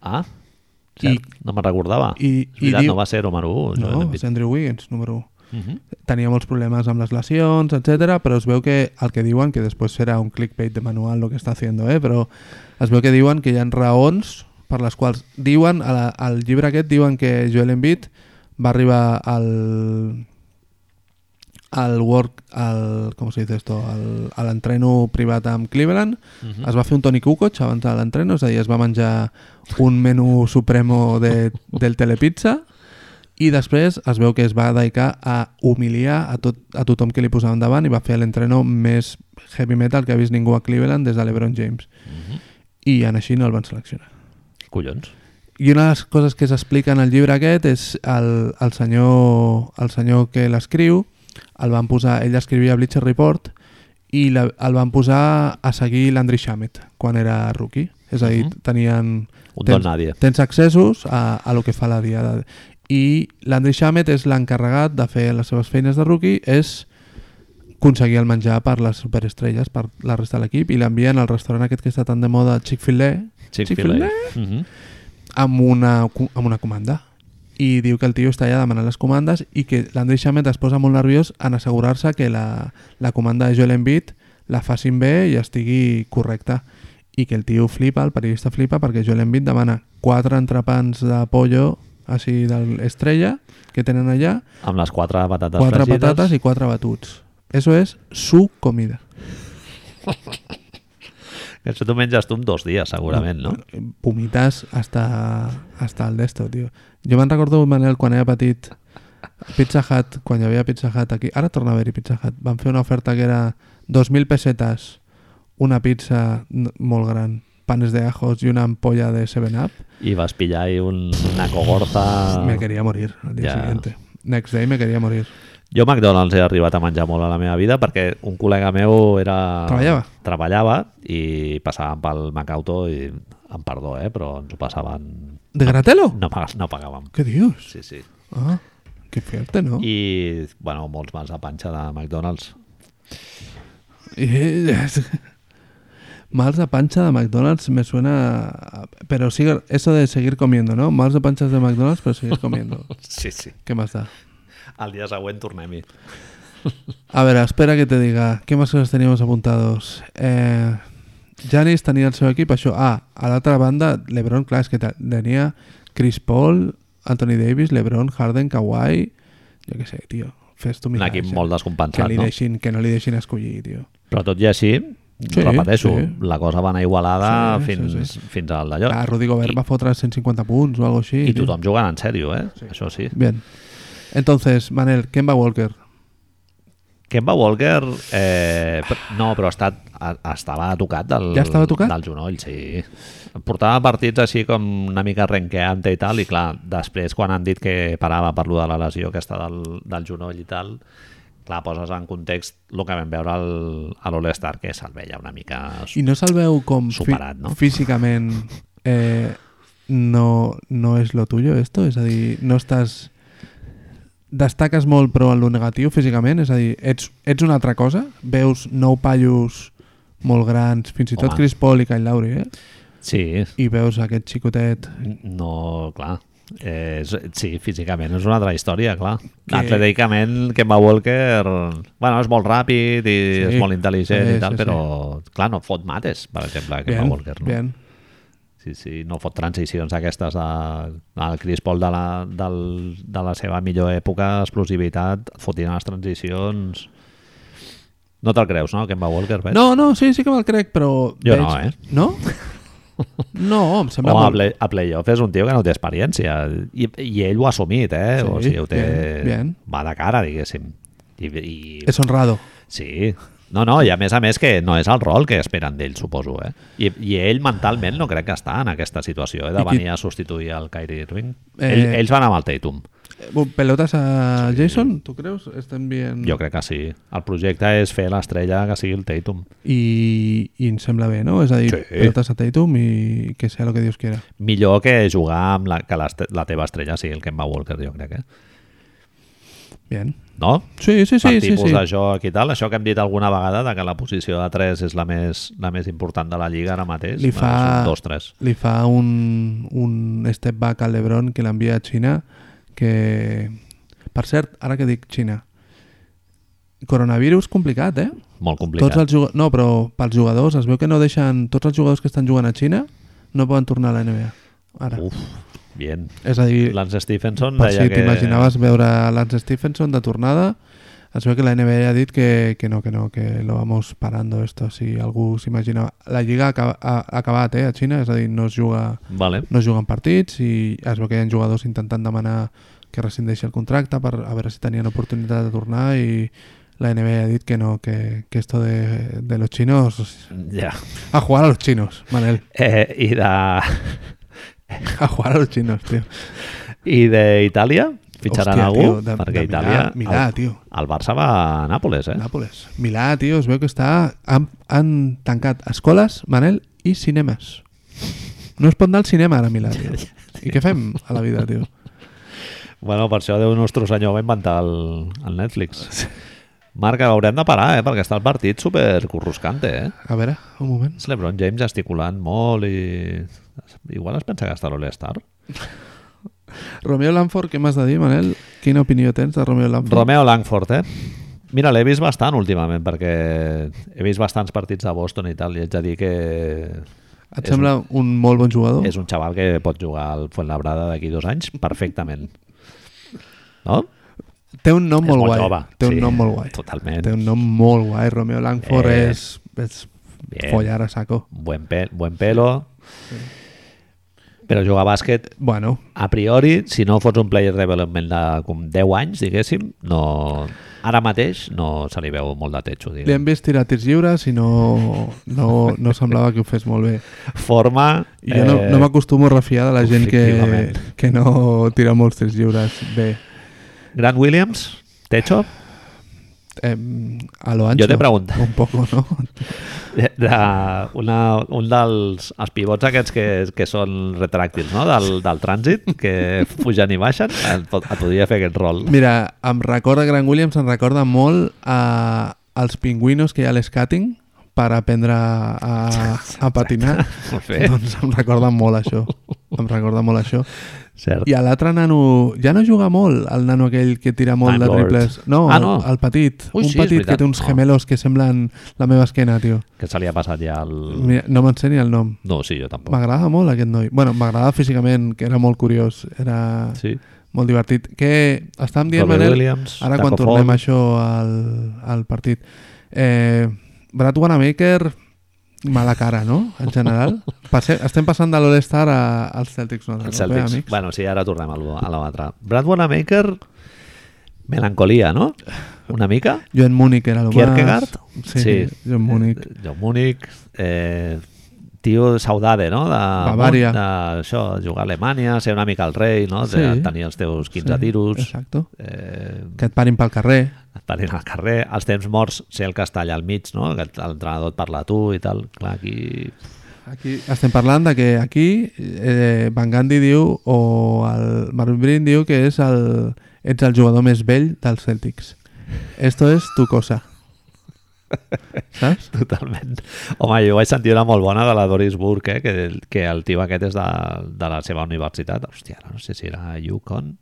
[SPEAKER 1] Ah, cert, I, no me'n recordava.
[SPEAKER 2] i-
[SPEAKER 1] Ah, És
[SPEAKER 2] i
[SPEAKER 1] veritat,
[SPEAKER 2] diu-
[SPEAKER 1] no va ser número 1, Joel
[SPEAKER 2] No, és
[SPEAKER 1] Embiid.
[SPEAKER 2] Andrew Wiggins, número 1.
[SPEAKER 1] Uh -huh.
[SPEAKER 2] tenia molts problemes amb les lesions, etc. però es veu que el que diuen, que després serà un clickbait de manual el que està fent, eh? però es veu que diuen que hi ha raons per les quals diuen, a la, al llibre aquest diuen que Joel Embiid va arribar al al work, al, com se dice esto, al, a l'entreno privat amb Cleveland, es va fer un Tony Kukoc abans de l'entreno, és a dir, es va menjar un menú supremo de, del Telepizza, i després es veu que es va dedicar a humiliar a, tot, a tothom que li posaven davant i va fer l'entreno més heavy metal que ha vist ningú a Cleveland des de l'Ebron James. I en així no el van seleccionar.
[SPEAKER 1] mhm. Collons.
[SPEAKER 2] I una de les coses que s'explica en el llibre aquest és el, el, senyor, el senyor que l'escriu, el van posar, ell escrivia Bleacher Report i la, el van posar a seguir l'Andri Shamet quan era rookie. És a dir,
[SPEAKER 1] Mhm.
[SPEAKER 2] tenien
[SPEAKER 1] Un don
[SPEAKER 2] Tens-
[SPEAKER 1] nadie.
[SPEAKER 2] tens accessos a, a lo que fa la diada i l'Andri Shamet és l'encarregat de fer les seves feines de rookie és aconseguir el menjar per les superestrelles, per la resta de l'equip i l'envien al restaurant aquest que està tan de moda Chick-fil-A
[SPEAKER 1] Chick-fil-A.
[SPEAKER 2] Chick-fil-A?
[SPEAKER 1] Uh -huh.
[SPEAKER 2] amb una, cu- amb una comanda i diu que el tio està allà demanant les comandes i que l'Andri Shamet es posa molt nerviós en assegurar-se que la, la comanda de Joel Embiid la facin bé i estigui correcta i que el tio flipa, el periodista flipa perquè Joel Embiid demana quatre entrepans de pollo així d'estrella que tenen allà
[SPEAKER 1] Amb les quatre patates
[SPEAKER 2] quatre
[SPEAKER 1] fregides.
[SPEAKER 2] patates i quatre batuts eso es su comida
[SPEAKER 1] Que Això t'ho menges tu en dos dies, segurament, no?
[SPEAKER 2] vomites hasta, hasta el d'esto, tio. Jo me'n recordo, Manel, quan era petit, Pizza Hut, quan hi havia Pizza Hut aquí, ara torna a haver-hi Pizza Hut, van fer una oferta que era 2.000 pessetes, una pizza n- molt gran, panes de ajos i una ampolla de 7-Up.
[SPEAKER 1] I vas pillar ahí un, una cogorza...
[SPEAKER 2] Me quería morir al dia
[SPEAKER 1] Ja.
[SPEAKER 2] siguiente. Next day me quería morir.
[SPEAKER 1] Jo McDonald's he arribat a menjar molt a la meva vida perquè un col·lega meu era...
[SPEAKER 2] Treballava?
[SPEAKER 1] Treballava i passàvem pel Macauto i, amb perdó, eh, però ens ho passaven...
[SPEAKER 2] ¿De gratelo?
[SPEAKER 1] No, pag- no pagàvem.
[SPEAKER 2] ¿Qué dios?
[SPEAKER 1] Sí, sí.
[SPEAKER 2] Ah, qué fuerte, ¿no?
[SPEAKER 1] I, bueno, molts mals de panxa de McDonald's.
[SPEAKER 2] Mals de pancha de McDonald's me suena... a- Pero sigue eso de seguir comiendo, ¿no? Mals de panchas de McDonald's, pero seguir comiendo.
[SPEAKER 1] Sí, sí.
[SPEAKER 2] ¿Qué más da?
[SPEAKER 1] Al dia següent tornem-hi.
[SPEAKER 2] A ver, espera que te diga. ¿Qué más cosas teníamos apuntados? Eh, Janis tenía el seu equip, això. Ah, a l'altra banda, LeBron, clar, és que te- tenia Chris Paul, Anthony Davis, LeBron, Harden, Kawhi... Jo què sé, tio. Fes tu
[SPEAKER 1] Un
[SPEAKER 2] mirar.
[SPEAKER 1] equip
[SPEAKER 2] això.
[SPEAKER 1] molt
[SPEAKER 2] que,
[SPEAKER 1] descompensat,
[SPEAKER 2] li
[SPEAKER 1] no?
[SPEAKER 2] deixin, que no li deixin escollir, tio.
[SPEAKER 1] Però tot i així,
[SPEAKER 2] Sí,
[SPEAKER 1] repeteixo,
[SPEAKER 2] sí.
[SPEAKER 1] la cosa va anar igualada
[SPEAKER 2] Sí, sí,
[SPEAKER 1] fins, fins al d'allò.
[SPEAKER 2] Ah, Rudy Gobert va fotre 150 punts o algo así.
[SPEAKER 1] I
[SPEAKER 2] tio.
[SPEAKER 1] tothom jugant en sèrio, eh? Sí. Això sí.
[SPEAKER 2] Bien. Entonces, Manel, Kemba Walker.
[SPEAKER 1] Kemba Walker, eh, pr- no, però ha estat, ha- estava tocat del,
[SPEAKER 2] Ja estava tocat?
[SPEAKER 1] del genoll, sí. Portava partits així com una mica renqueante i tal, i clar, després quan han dit que parava per lo de la lesió aquesta del, del genoll i tal, clar, poses en context el que vam veure al- a l'All-Star, que se'l veia una mica...
[SPEAKER 2] I no se'l veu com fi-
[SPEAKER 1] Superat, no?
[SPEAKER 2] físicament eh, no, no és lo tuyo esto? És a dir, no estàs... Destaques molt però en lo negatiu físicament? És a dir, ets, ets una altra cosa? Veus nou pallos molt grans, fins i tot
[SPEAKER 1] Home.
[SPEAKER 2] Chris Paul i Kyle Lowry, eh?
[SPEAKER 1] Sí,
[SPEAKER 2] I veus aquest xicotet...
[SPEAKER 1] no, clar, eh, és, sí, físicament és una altra història, clar.
[SPEAKER 2] Que-
[SPEAKER 1] Que... Atlèticament, Kemba Walker, bueno, és molt ràpid i sí. és molt intel·ligent sí, i tal, sí, però, sí. clar, no fot mates, per exemple, Kemba
[SPEAKER 2] Bien,
[SPEAKER 1] Walker. No?
[SPEAKER 2] bien.
[SPEAKER 1] Sí, sí, no fot transicions aquestes de, al Chris Paul de la, del, de la seva millor època, explosivitat, et fotien les transicions... No te'l creus, no, Kemba Walker? Veig?
[SPEAKER 2] No, no, sí, sí que me'l crec, però...
[SPEAKER 1] Jo no, eh?
[SPEAKER 2] No? No, em sembla
[SPEAKER 1] Home, a,
[SPEAKER 2] molt...
[SPEAKER 1] play, a playoff és un tio que no té experiència i, i ell ho ha assumit, eh? Sí, o
[SPEAKER 2] Sí,
[SPEAKER 1] sigui, ho té...
[SPEAKER 2] bien, bien.
[SPEAKER 1] Va de cara, diguéssim. I, i,
[SPEAKER 2] És honrado.
[SPEAKER 1] Sí. No, no, i a més a més que no és el rol que esperen d'ell, suposo, eh? I, I ell mentalment no crec que està en aquesta situació, eh? De
[SPEAKER 2] I qui-
[SPEAKER 1] venir a substituir el Kyrie Irving.
[SPEAKER 2] Eh,
[SPEAKER 1] Eh... Ell, ells van amb el Tatum.
[SPEAKER 2] Eh, bu- Pelotas a Jason, tu creus? Estan bien...
[SPEAKER 1] Jo crec que sí. El projecte és fer l'estrella que sigui el Tatum.
[SPEAKER 2] I, I em sembla bé, no? És a dir,
[SPEAKER 1] Sí.
[SPEAKER 2] pelotas a Tatum i que sea lo que Dios quiera.
[SPEAKER 1] Millor que jugar amb la, que l'est- la teva estrella sigui el Kemba Walker, jo crec, eh?
[SPEAKER 2] Bien.
[SPEAKER 1] No?
[SPEAKER 2] Sí, sí,
[SPEAKER 1] sí,
[SPEAKER 2] sí,
[SPEAKER 1] per
[SPEAKER 2] sí,
[SPEAKER 1] tipus
[SPEAKER 2] sí.
[SPEAKER 1] sí. de joc i tal. Això que hem dit alguna vegada, de que la posició de 3 és la més, la més important de la Lliga ara mateix.
[SPEAKER 2] Li fa-
[SPEAKER 1] eh, És un 2-3.
[SPEAKER 2] Li fa un, un step back al Lebron que l'envia a Xina que... Per cert, ara que dic Xina coronavirus complicat, eh?
[SPEAKER 1] Molt
[SPEAKER 2] Tots
[SPEAKER 1] complicat.
[SPEAKER 2] els jugadors, no, però pels jugadors es veu que no deixen, tots els jugadors que estan jugant a Xina no poden tornar a la NBA ara.
[SPEAKER 1] Uf, bien.
[SPEAKER 2] És a dir,
[SPEAKER 1] Lance Stephenson
[SPEAKER 2] Per
[SPEAKER 1] deia
[SPEAKER 2] si
[SPEAKER 1] que...
[SPEAKER 2] t'imaginaves veure Lance Stephenson de tornada, es veu que la NBA ha dit que, que no, que no, que lo vamos parando esto, si algú s'imagina... La Lliga ha, acaba- ha, ha acabat, eh, a Xina, és a dir, no es juga
[SPEAKER 1] Vale.
[SPEAKER 2] no es juguen partits i es veu que hi ha jugadors intentant demanar que rescindeixi el contracte per a veure si tenien oportunitat de tornar i la NBA ha dit que no, que, que esto de, de los chinos...
[SPEAKER 1] Ja.
[SPEAKER 2] A jugar a los chinos, Manel.
[SPEAKER 1] Eh, I de...
[SPEAKER 2] A jugar a los chinos, tio.
[SPEAKER 1] I d'Itàlia? Fitxaran
[SPEAKER 2] Hòstia,
[SPEAKER 1] algú?
[SPEAKER 2] tio, de-
[SPEAKER 1] Perquè
[SPEAKER 2] de
[SPEAKER 1] Itàlia...
[SPEAKER 2] mirar- mirar,
[SPEAKER 1] el,
[SPEAKER 2] tio.
[SPEAKER 1] El Barça va a Nàpoles, eh?
[SPEAKER 2] Nàpoles. Milà, tio, es veu que està... Han, han tancat escoles, Manel, i cinemes. No es pot anar al cinema ara a Milà, tio. I què fem a la vida, tio?
[SPEAKER 1] Bueno, per això Déu nostre senyor va inventar el, el Netflix. Marc, haurem de parar, eh? Perquè està el partit super corruscante, eh?
[SPEAKER 2] A veure, un moment.
[SPEAKER 1] És l'Ebron James gesticulant molt i... Igual es pensa que està a l'All-Star.
[SPEAKER 2] Romeo Lanford, què m'has de dir, Manel? Quina opinió tens de Romeo Lanford?
[SPEAKER 1] Romeo Langford, eh? Mira, l'he vist bastant últimament perquè he vist bastants partits de Boston i tal i haig de dir que
[SPEAKER 2] Et sembla un, molt bon jugador?
[SPEAKER 1] és un xaval que pot jugar al Fuentlabrada d'aquí dos anys perfectament. No?
[SPEAKER 2] Té un nom
[SPEAKER 1] és
[SPEAKER 2] molt,
[SPEAKER 1] molt
[SPEAKER 2] guai.
[SPEAKER 1] jove,
[SPEAKER 2] Té un
[SPEAKER 1] sí,
[SPEAKER 2] nom molt guai.
[SPEAKER 1] totalment. Eh.
[SPEAKER 2] Té un nom molt guai. Romeo Lanford
[SPEAKER 1] Bé.
[SPEAKER 2] és, és
[SPEAKER 1] Bien.
[SPEAKER 2] follar a saco.
[SPEAKER 1] Buen, pe buen pelo. Però jugar a bàsquet,
[SPEAKER 2] Bueno,
[SPEAKER 1] a priori, si no fots un player development de com 10 anys, diguéssim, no... ara mateix no se li veu molt de techo.
[SPEAKER 2] li
[SPEAKER 1] Diguem.
[SPEAKER 2] hem vist tirar tirs lliures i no, no, no semblava que ho fes molt bé.
[SPEAKER 1] Forma... eh,
[SPEAKER 2] I Jo no, no m'acostumo a refiar de la gent que,
[SPEAKER 1] Efectivament.
[SPEAKER 2] que no tira molts tirs lliures bé.
[SPEAKER 1] Grant Williams, techo,
[SPEAKER 2] Eh, a lo ancho.
[SPEAKER 1] Jo t'he preguntat.
[SPEAKER 2] Un poco, ¿no?
[SPEAKER 1] de, eh, de una, un dels els pivots aquests que, que són retràctils, no? Del, del trànsit, que pugen i baixen, et, pot- et podria fer aquest rol.
[SPEAKER 2] Mira, em recorda Grant Williams, em recorda molt a, als pingüinos que hi ha a l'escating per aprendre a, a patinar.
[SPEAKER 1] Molt bé.
[SPEAKER 2] Doncs em recorda molt això. Em recorda molt això.
[SPEAKER 1] Cert.
[SPEAKER 2] I a l'altre nano... Ja no juga molt, el nano aquell que tira molt
[SPEAKER 1] Time
[SPEAKER 2] de
[SPEAKER 1] Lord.
[SPEAKER 2] triples. No,
[SPEAKER 1] Ah, no.
[SPEAKER 2] el petit.
[SPEAKER 1] Ui, sí,
[SPEAKER 2] un
[SPEAKER 1] és
[SPEAKER 2] petit que
[SPEAKER 1] veritat.
[SPEAKER 2] té uns
[SPEAKER 1] Ah.
[SPEAKER 2] gemelos que semblen la meva esquena, tio.
[SPEAKER 1] Que se li ha passat ja el...
[SPEAKER 2] Mira, no me'n sé ni el nom.
[SPEAKER 1] No, sí, jo tampoc.
[SPEAKER 2] M'agradava molt aquest noi. Bueno, m'agradava físicament, que era molt curiós, era sí.
[SPEAKER 1] Sí.
[SPEAKER 2] molt divertit. Què estàvem dient,
[SPEAKER 1] Robert
[SPEAKER 2] Manel?
[SPEAKER 1] Williams,
[SPEAKER 2] ara
[SPEAKER 1] Taco
[SPEAKER 2] quan tornem
[SPEAKER 1] Fall.
[SPEAKER 2] això al, al partit. Eh, Brad Wanamaker mala cara, no? En general. Passe, estem passant de l'All-Star a- als Celtics. No,
[SPEAKER 1] Els
[SPEAKER 2] Bé,
[SPEAKER 1] Celtics.
[SPEAKER 2] amics.
[SPEAKER 1] Bueno, sí, ara tornem a l'u- a l'altre. Brad Wanamaker, melancolia, no? Una mica?
[SPEAKER 2] Joan Múnich era el más...
[SPEAKER 1] Kierkegaard?
[SPEAKER 2] Sí, Joan Múnich.
[SPEAKER 1] Eh, John Múnich. Eh, tio saudade, no? De,
[SPEAKER 2] Bavària.
[SPEAKER 1] De, això, jugar a Alemanya, ser una mica el rei, no? De,
[SPEAKER 2] Sí.
[SPEAKER 1] Tenir els teus 15
[SPEAKER 2] Sí,
[SPEAKER 1] tiros.
[SPEAKER 2] Exacto.
[SPEAKER 1] Eh,
[SPEAKER 2] Que et parin pel carrer.
[SPEAKER 1] parint al carrer, els temps morts, ser el que està allà al mig, no? Que l'entrenador et parla a tu i tal. Clar, aquí...
[SPEAKER 2] Aquí estem parlant de que aquí eh, Van Gandhi diu o el Marvin Brin diu que és el, ets el jugador més vell dels Celtics. Esto es tu cosa. Saps?
[SPEAKER 1] Totalment. Home, jo vaig sentir una molt bona de la Doris Burke, eh? que, que el tio aquest és de, de la seva universitat. Hòstia, ara no sé si era Yukon.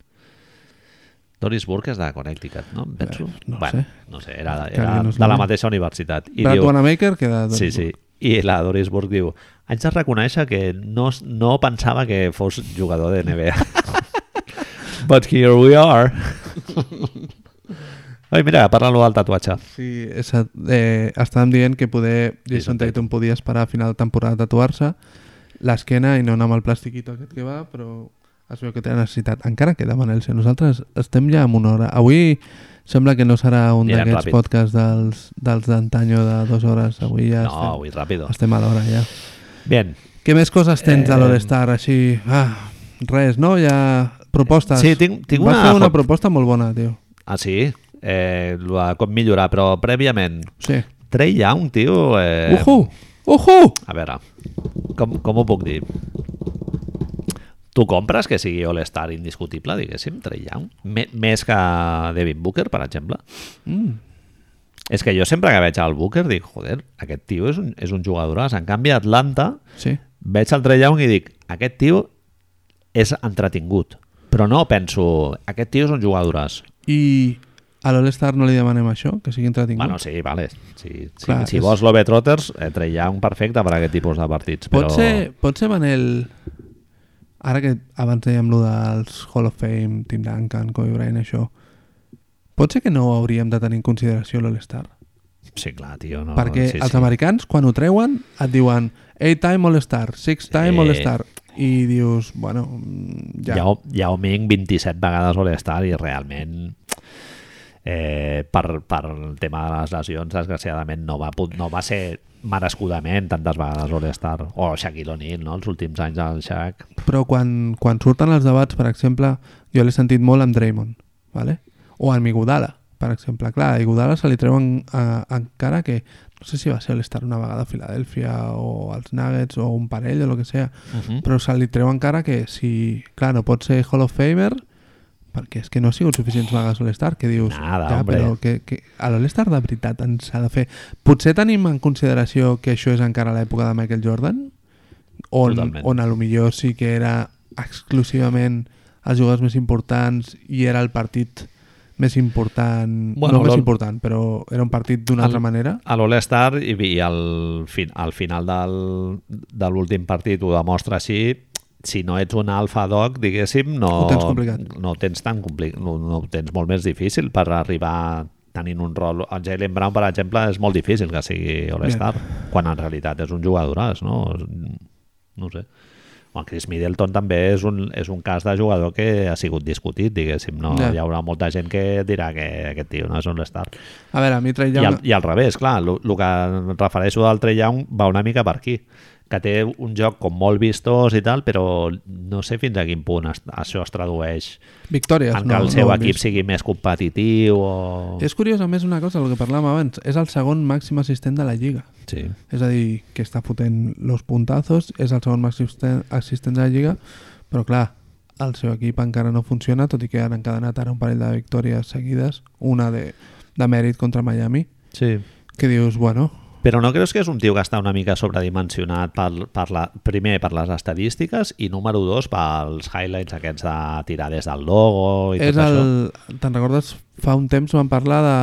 [SPEAKER 1] Doris Burke és de Connecticut, no? Em Penso.
[SPEAKER 2] Eh, no ho sé.
[SPEAKER 1] No sé, era,
[SPEAKER 2] Que
[SPEAKER 1] era
[SPEAKER 2] alguien nos
[SPEAKER 1] de la
[SPEAKER 2] lo-
[SPEAKER 1] mateixa universitat. I
[SPEAKER 2] Brad
[SPEAKER 1] diu,
[SPEAKER 2] Wanamaker queda...
[SPEAKER 1] sí, sí. I la Doris Burke diu, haig de reconèixer que no, no pensava que fos jugador de NBA. But here we are. Ai, mira, parla-lo del tatuatge.
[SPEAKER 2] Sí, és, a- eh, estàvem dient que poder
[SPEAKER 1] Jason
[SPEAKER 2] Jason
[SPEAKER 1] Tatum.
[SPEAKER 2] Tatum podia esperar a final de temporada a tatuar-se l'esquena i no anar amb el plastiquito aquest que va, però es veu que té necessitat. Encara queda, Manel, si nosaltres estem ja en una hora. Avui sembla que no serà un
[SPEAKER 1] Anirem
[SPEAKER 2] d'aquests
[SPEAKER 1] ràpid.
[SPEAKER 2] podcasts dels dels d'antanyo de dues hores. Avui ja
[SPEAKER 1] No,
[SPEAKER 2] estem,
[SPEAKER 1] avui ràpido.
[SPEAKER 2] estem a l'hora, ja.
[SPEAKER 1] Bien,
[SPEAKER 2] Què més coses tens de
[SPEAKER 1] Eh,
[SPEAKER 2] l'All-Star? Així, ah, res, no? Ja propostes.
[SPEAKER 1] Sí, tinc- tinc
[SPEAKER 2] Vas
[SPEAKER 1] una-
[SPEAKER 2] fer una proposta molt bona, tio.
[SPEAKER 1] Ah, sí? Eh, la- com millorar, però prèviament,
[SPEAKER 2] Sí.
[SPEAKER 1] Trey Young, tio... Eh,
[SPEAKER 2] Uhu! Uhu!
[SPEAKER 1] A veure, com, com ho puc dir? Tu compres que sigui All-Star indiscutible, diguéssim, Trey Young? Me, més que David Booker, per exemple?
[SPEAKER 2] Mm.
[SPEAKER 1] És que jo sempre que veig el Booker dic, joder, aquest tio és un, és un jugadoràs. En canvi, a Atlanta
[SPEAKER 2] Sí.
[SPEAKER 1] veig el Trey Young i dic, aquest tio és entretingut. Però no penso, aquest tio és un jugadoràs.
[SPEAKER 2] I a l'All-Star no li demanem això, que sigui entretingut.
[SPEAKER 1] Bueno, sí, vale. Sí, sí,
[SPEAKER 2] Clar,
[SPEAKER 1] si
[SPEAKER 2] és-
[SPEAKER 1] vols l'Obetrotters, eh, treia un perfecte per a aquest tipus de partits.
[SPEAKER 2] pot,
[SPEAKER 1] Però...
[SPEAKER 2] ser, pot ser, Manel... Ara que abans dèiem lo dels Hall of Fame, Tim Duncan, Kobe Bryant, això... Pot ser que no hauríem de tenir en consideració l'All-Star?
[SPEAKER 1] Sí, clar, tio. No,
[SPEAKER 2] Perquè
[SPEAKER 1] sí,
[SPEAKER 2] els
[SPEAKER 1] sí.
[SPEAKER 2] americans, quan ho treuen, et diuen 8-time All-Star, 6-time
[SPEAKER 1] Sí.
[SPEAKER 2] All-Star, i dius, bueno, mm, ja...
[SPEAKER 1] Yao, Yao Ming 27 vegades vol estar i realment eh, per, per el tema de les lesions desgraciadament no va, pu- no va ser merescudament tantes vegades all estar o Shaquille O'Neal, no? els últims anys del Shaq
[SPEAKER 2] Però quan, quan surten els debats, per exemple, jo l'he sentit molt amb Draymond, vale? o amb Iguodala, per exemple. Clar, a Iguodala se li treuen eh, encara que, no sé si va ser l'estar una vegada a Filadèlfia o als Nuggets o un parell o el que sea,
[SPEAKER 1] uh -huh.
[SPEAKER 2] però se li treu encara que si, clar, no pot ser Hall of Famer perquè és que no ha sigut suficients vegades l'All-Star, que dius,
[SPEAKER 1] Nada,
[SPEAKER 2] ja,
[SPEAKER 1] hombre."
[SPEAKER 2] però que, que a l'All-Star de veritat ens ha de fer... Potser tenim en consideració que això és encara l'època de Michael Jordan, on,
[SPEAKER 1] Totalment.
[SPEAKER 2] on a lo millor sí que era exclusivament els jugadors més importants i era el partit més important,
[SPEAKER 1] Bueno,
[SPEAKER 2] bueno, no més
[SPEAKER 1] l'All-
[SPEAKER 2] important, però era un partit d'una
[SPEAKER 1] El-
[SPEAKER 2] altra manera.
[SPEAKER 1] a l'All-Star i, i al, fin, al final del, de l'últim partit ho demostra així si no ets un alfa dog, diguéssim, no
[SPEAKER 2] Ho tens complicat.
[SPEAKER 1] no ho tens tan complicat, no, no ho tens molt més difícil per arribar tenint un rol. El Jalen Brown, per exemple, és molt difícil que sigui All-Star, quan en realitat és un jugadoràs, no? No ho sé. O en Chris Middleton també és un, és un cas de jugador que ha sigut discutit, diguéssim. No?
[SPEAKER 2] Ja.
[SPEAKER 1] Hi haurà molta gent que dirà que aquest tio no és un All-Star.
[SPEAKER 2] A veure, a mi Trey
[SPEAKER 1] I
[SPEAKER 2] Young...
[SPEAKER 1] al, I al revés, clar, el que em refereixo del Trey Young va una mica per aquí, que té un joc com molt vistós i tal, però no sé fins a quin punt es, això es tradueix
[SPEAKER 2] Victòries,
[SPEAKER 1] en
[SPEAKER 2] no,
[SPEAKER 1] que el
[SPEAKER 2] no
[SPEAKER 1] seu
[SPEAKER 2] ho hem
[SPEAKER 1] equip
[SPEAKER 2] vist.
[SPEAKER 1] sigui més competitiu o...
[SPEAKER 2] És curiós, a més, una cosa, el que parlàvem abans. És el segon màxim assistent de la Lliga.
[SPEAKER 1] Sí.
[SPEAKER 2] És a dir, que està fotent los puntazos, és el segon màxim assisten- assistent de la Lliga, però clar, el seu equip encara no funciona, tot i que han encadenat ara un parell de victòries seguides, una de, de mèrit contra Miami,
[SPEAKER 1] sí.
[SPEAKER 2] que dius, bueno,
[SPEAKER 1] Però no creus que és un tio que està una mica sobredimensionat per, per la, primer per les estadístiques i número dos pels highlights aquests de tirar des del logo i
[SPEAKER 2] és
[SPEAKER 1] tot això?
[SPEAKER 2] el... Te'n recordes? Fa un temps vam parlar de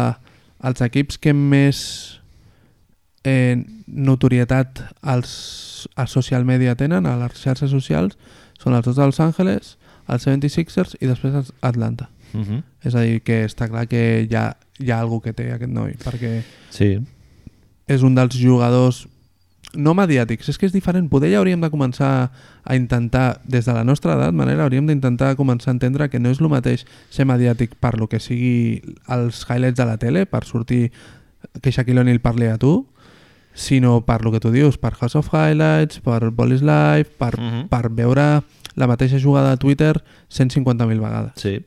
[SPEAKER 2] els equips que més eh, notorietat als, a social media tenen, a les xarxes socials, són els dos de Los Angeles, els 76ers i després els Atlanta.
[SPEAKER 1] Uh -huh.
[SPEAKER 2] És a dir, que està clar que hi ha, hi ha algú que té aquest noi, perquè
[SPEAKER 1] Sí.
[SPEAKER 2] és un dels jugadors no mediàtics, és que és diferent. Poder ja hauríem de començar a intentar, des de la nostra edat, manera, hauríem d'intentar començar a entendre que no és el mateix ser mediàtic per lo que sigui els highlights de la tele, per sortir que Shaquille O'Neal parli a tu, sinó per lo que tu dius, per House of Highlights, per Ball is Life, per,
[SPEAKER 1] Mhm.
[SPEAKER 2] per veure la mateixa jugada a Twitter 150.000 vegades.
[SPEAKER 1] Sí,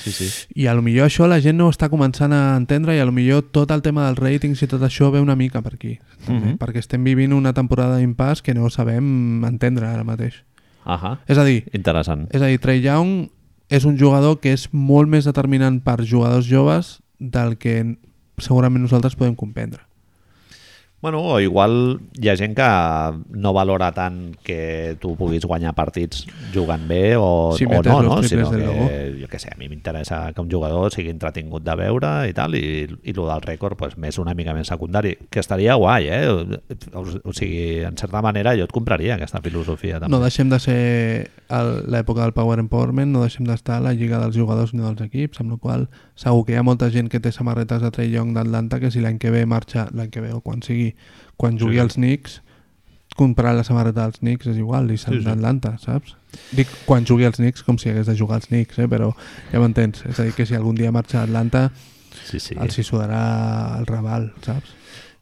[SPEAKER 1] sí, sí.
[SPEAKER 2] I a lo millor això la gent no ho està començant a entendre i a lo millor tot el tema dels ratings i tot això ve una mica per aquí. També,
[SPEAKER 1] Mhm.
[SPEAKER 2] Perquè estem vivint una temporada d'impàs que no sabem entendre ara mateix.
[SPEAKER 1] Ahà,
[SPEAKER 2] És a dir,
[SPEAKER 1] interessant.
[SPEAKER 2] és a dir, Trey Young és un jugador que és molt més determinant per jugadors joves del que segurament nosaltres podem comprendre.
[SPEAKER 1] Bueno, o igual hi ha gent que no valora tant que tu puguis guanyar partits jugant bé o,
[SPEAKER 2] Si
[SPEAKER 1] o
[SPEAKER 2] metes
[SPEAKER 1] no,
[SPEAKER 2] los
[SPEAKER 1] no?
[SPEAKER 2] triples
[SPEAKER 1] Sinó
[SPEAKER 2] del logo.
[SPEAKER 1] que, jo què sé, a mi m'interessa que un jugador sigui entretingut de veure i tal, i, i lo del rècord pues, més una mica més secundari, que estaria guai, eh? O, o sigui, en certa manera jo et compraria aquesta filosofia també.
[SPEAKER 2] No deixem de ser el- l'època del Power Empowerment, no deixem d'estar a la lliga dels jugadors ni dels equips, amb la qual cosa segur que hi ha molta gent que té samarretes de Trey Young d'Atlanta que si l'any que ve marxa, l'any que ve o quan sigui, quan jugui
[SPEAKER 1] Sí, sí.
[SPEAKER 2] als Knicks, comprar la samarreta dels Knicks és igual, i se'n
[SPEAKER 1] Sí, sí.
[SPEAKER 2] d'Atlanta, saps? Dic quan jugui als Knicks com si hagués de jugar als Knicks, eh? però ja m'entens. És a dir, que si algun dia marxa a Atlanta,
[SPEAKER 1] Sí, sí.
[SPEAKER 2] sí. els hi sudarà el Raval, saps?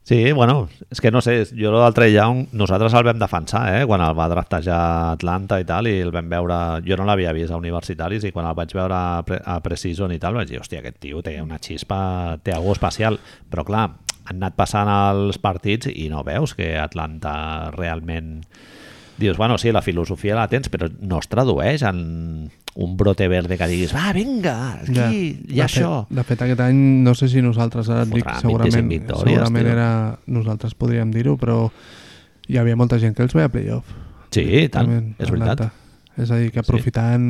[SPEAKER 1] Sí, bueno, és que no sé, jo el Trey Young, nosaltres el vam defensar, eh? Quan el va draftejar Atlanta i tal, i el vam veure... Jo no l'havia vist a universitaris i quan el vaig veure a pre- a Precision i tal, vaig dir, hòstia, aquest tio té una xispa, té algú especial. Però clar, han anat passant els partits i no veus que Atlanta realment... Dius, bueno, sí, la filosofia la tens, però no es tradueix en un brote verde que diguis, va, vinga, aquí, ja, i
[SPEAKER 2] de
[SPEAKER 1] això.
[SPEAKER 2] Fet, de fet, aquest any, no sé si nosaltres ara et dic,
[SPEAKER 1] Fotrà 25
[SPEAKER 2] segurament,
[SPEAKER 1] victòries,
[SPEAKER 2] segurament
[SPEAKER 1] tio.
[SPEAKER 2] era... Nosaltres podríem dir-ho, però hi havia molta gent que els veia a playoff.
[SPEAKER 1] Sí, i tant,
[SPEAKER 2] Realment,
[SPEAKER 1] és veritat.
[SPEAKER 2] Atlanta. És a dir, que aprofitant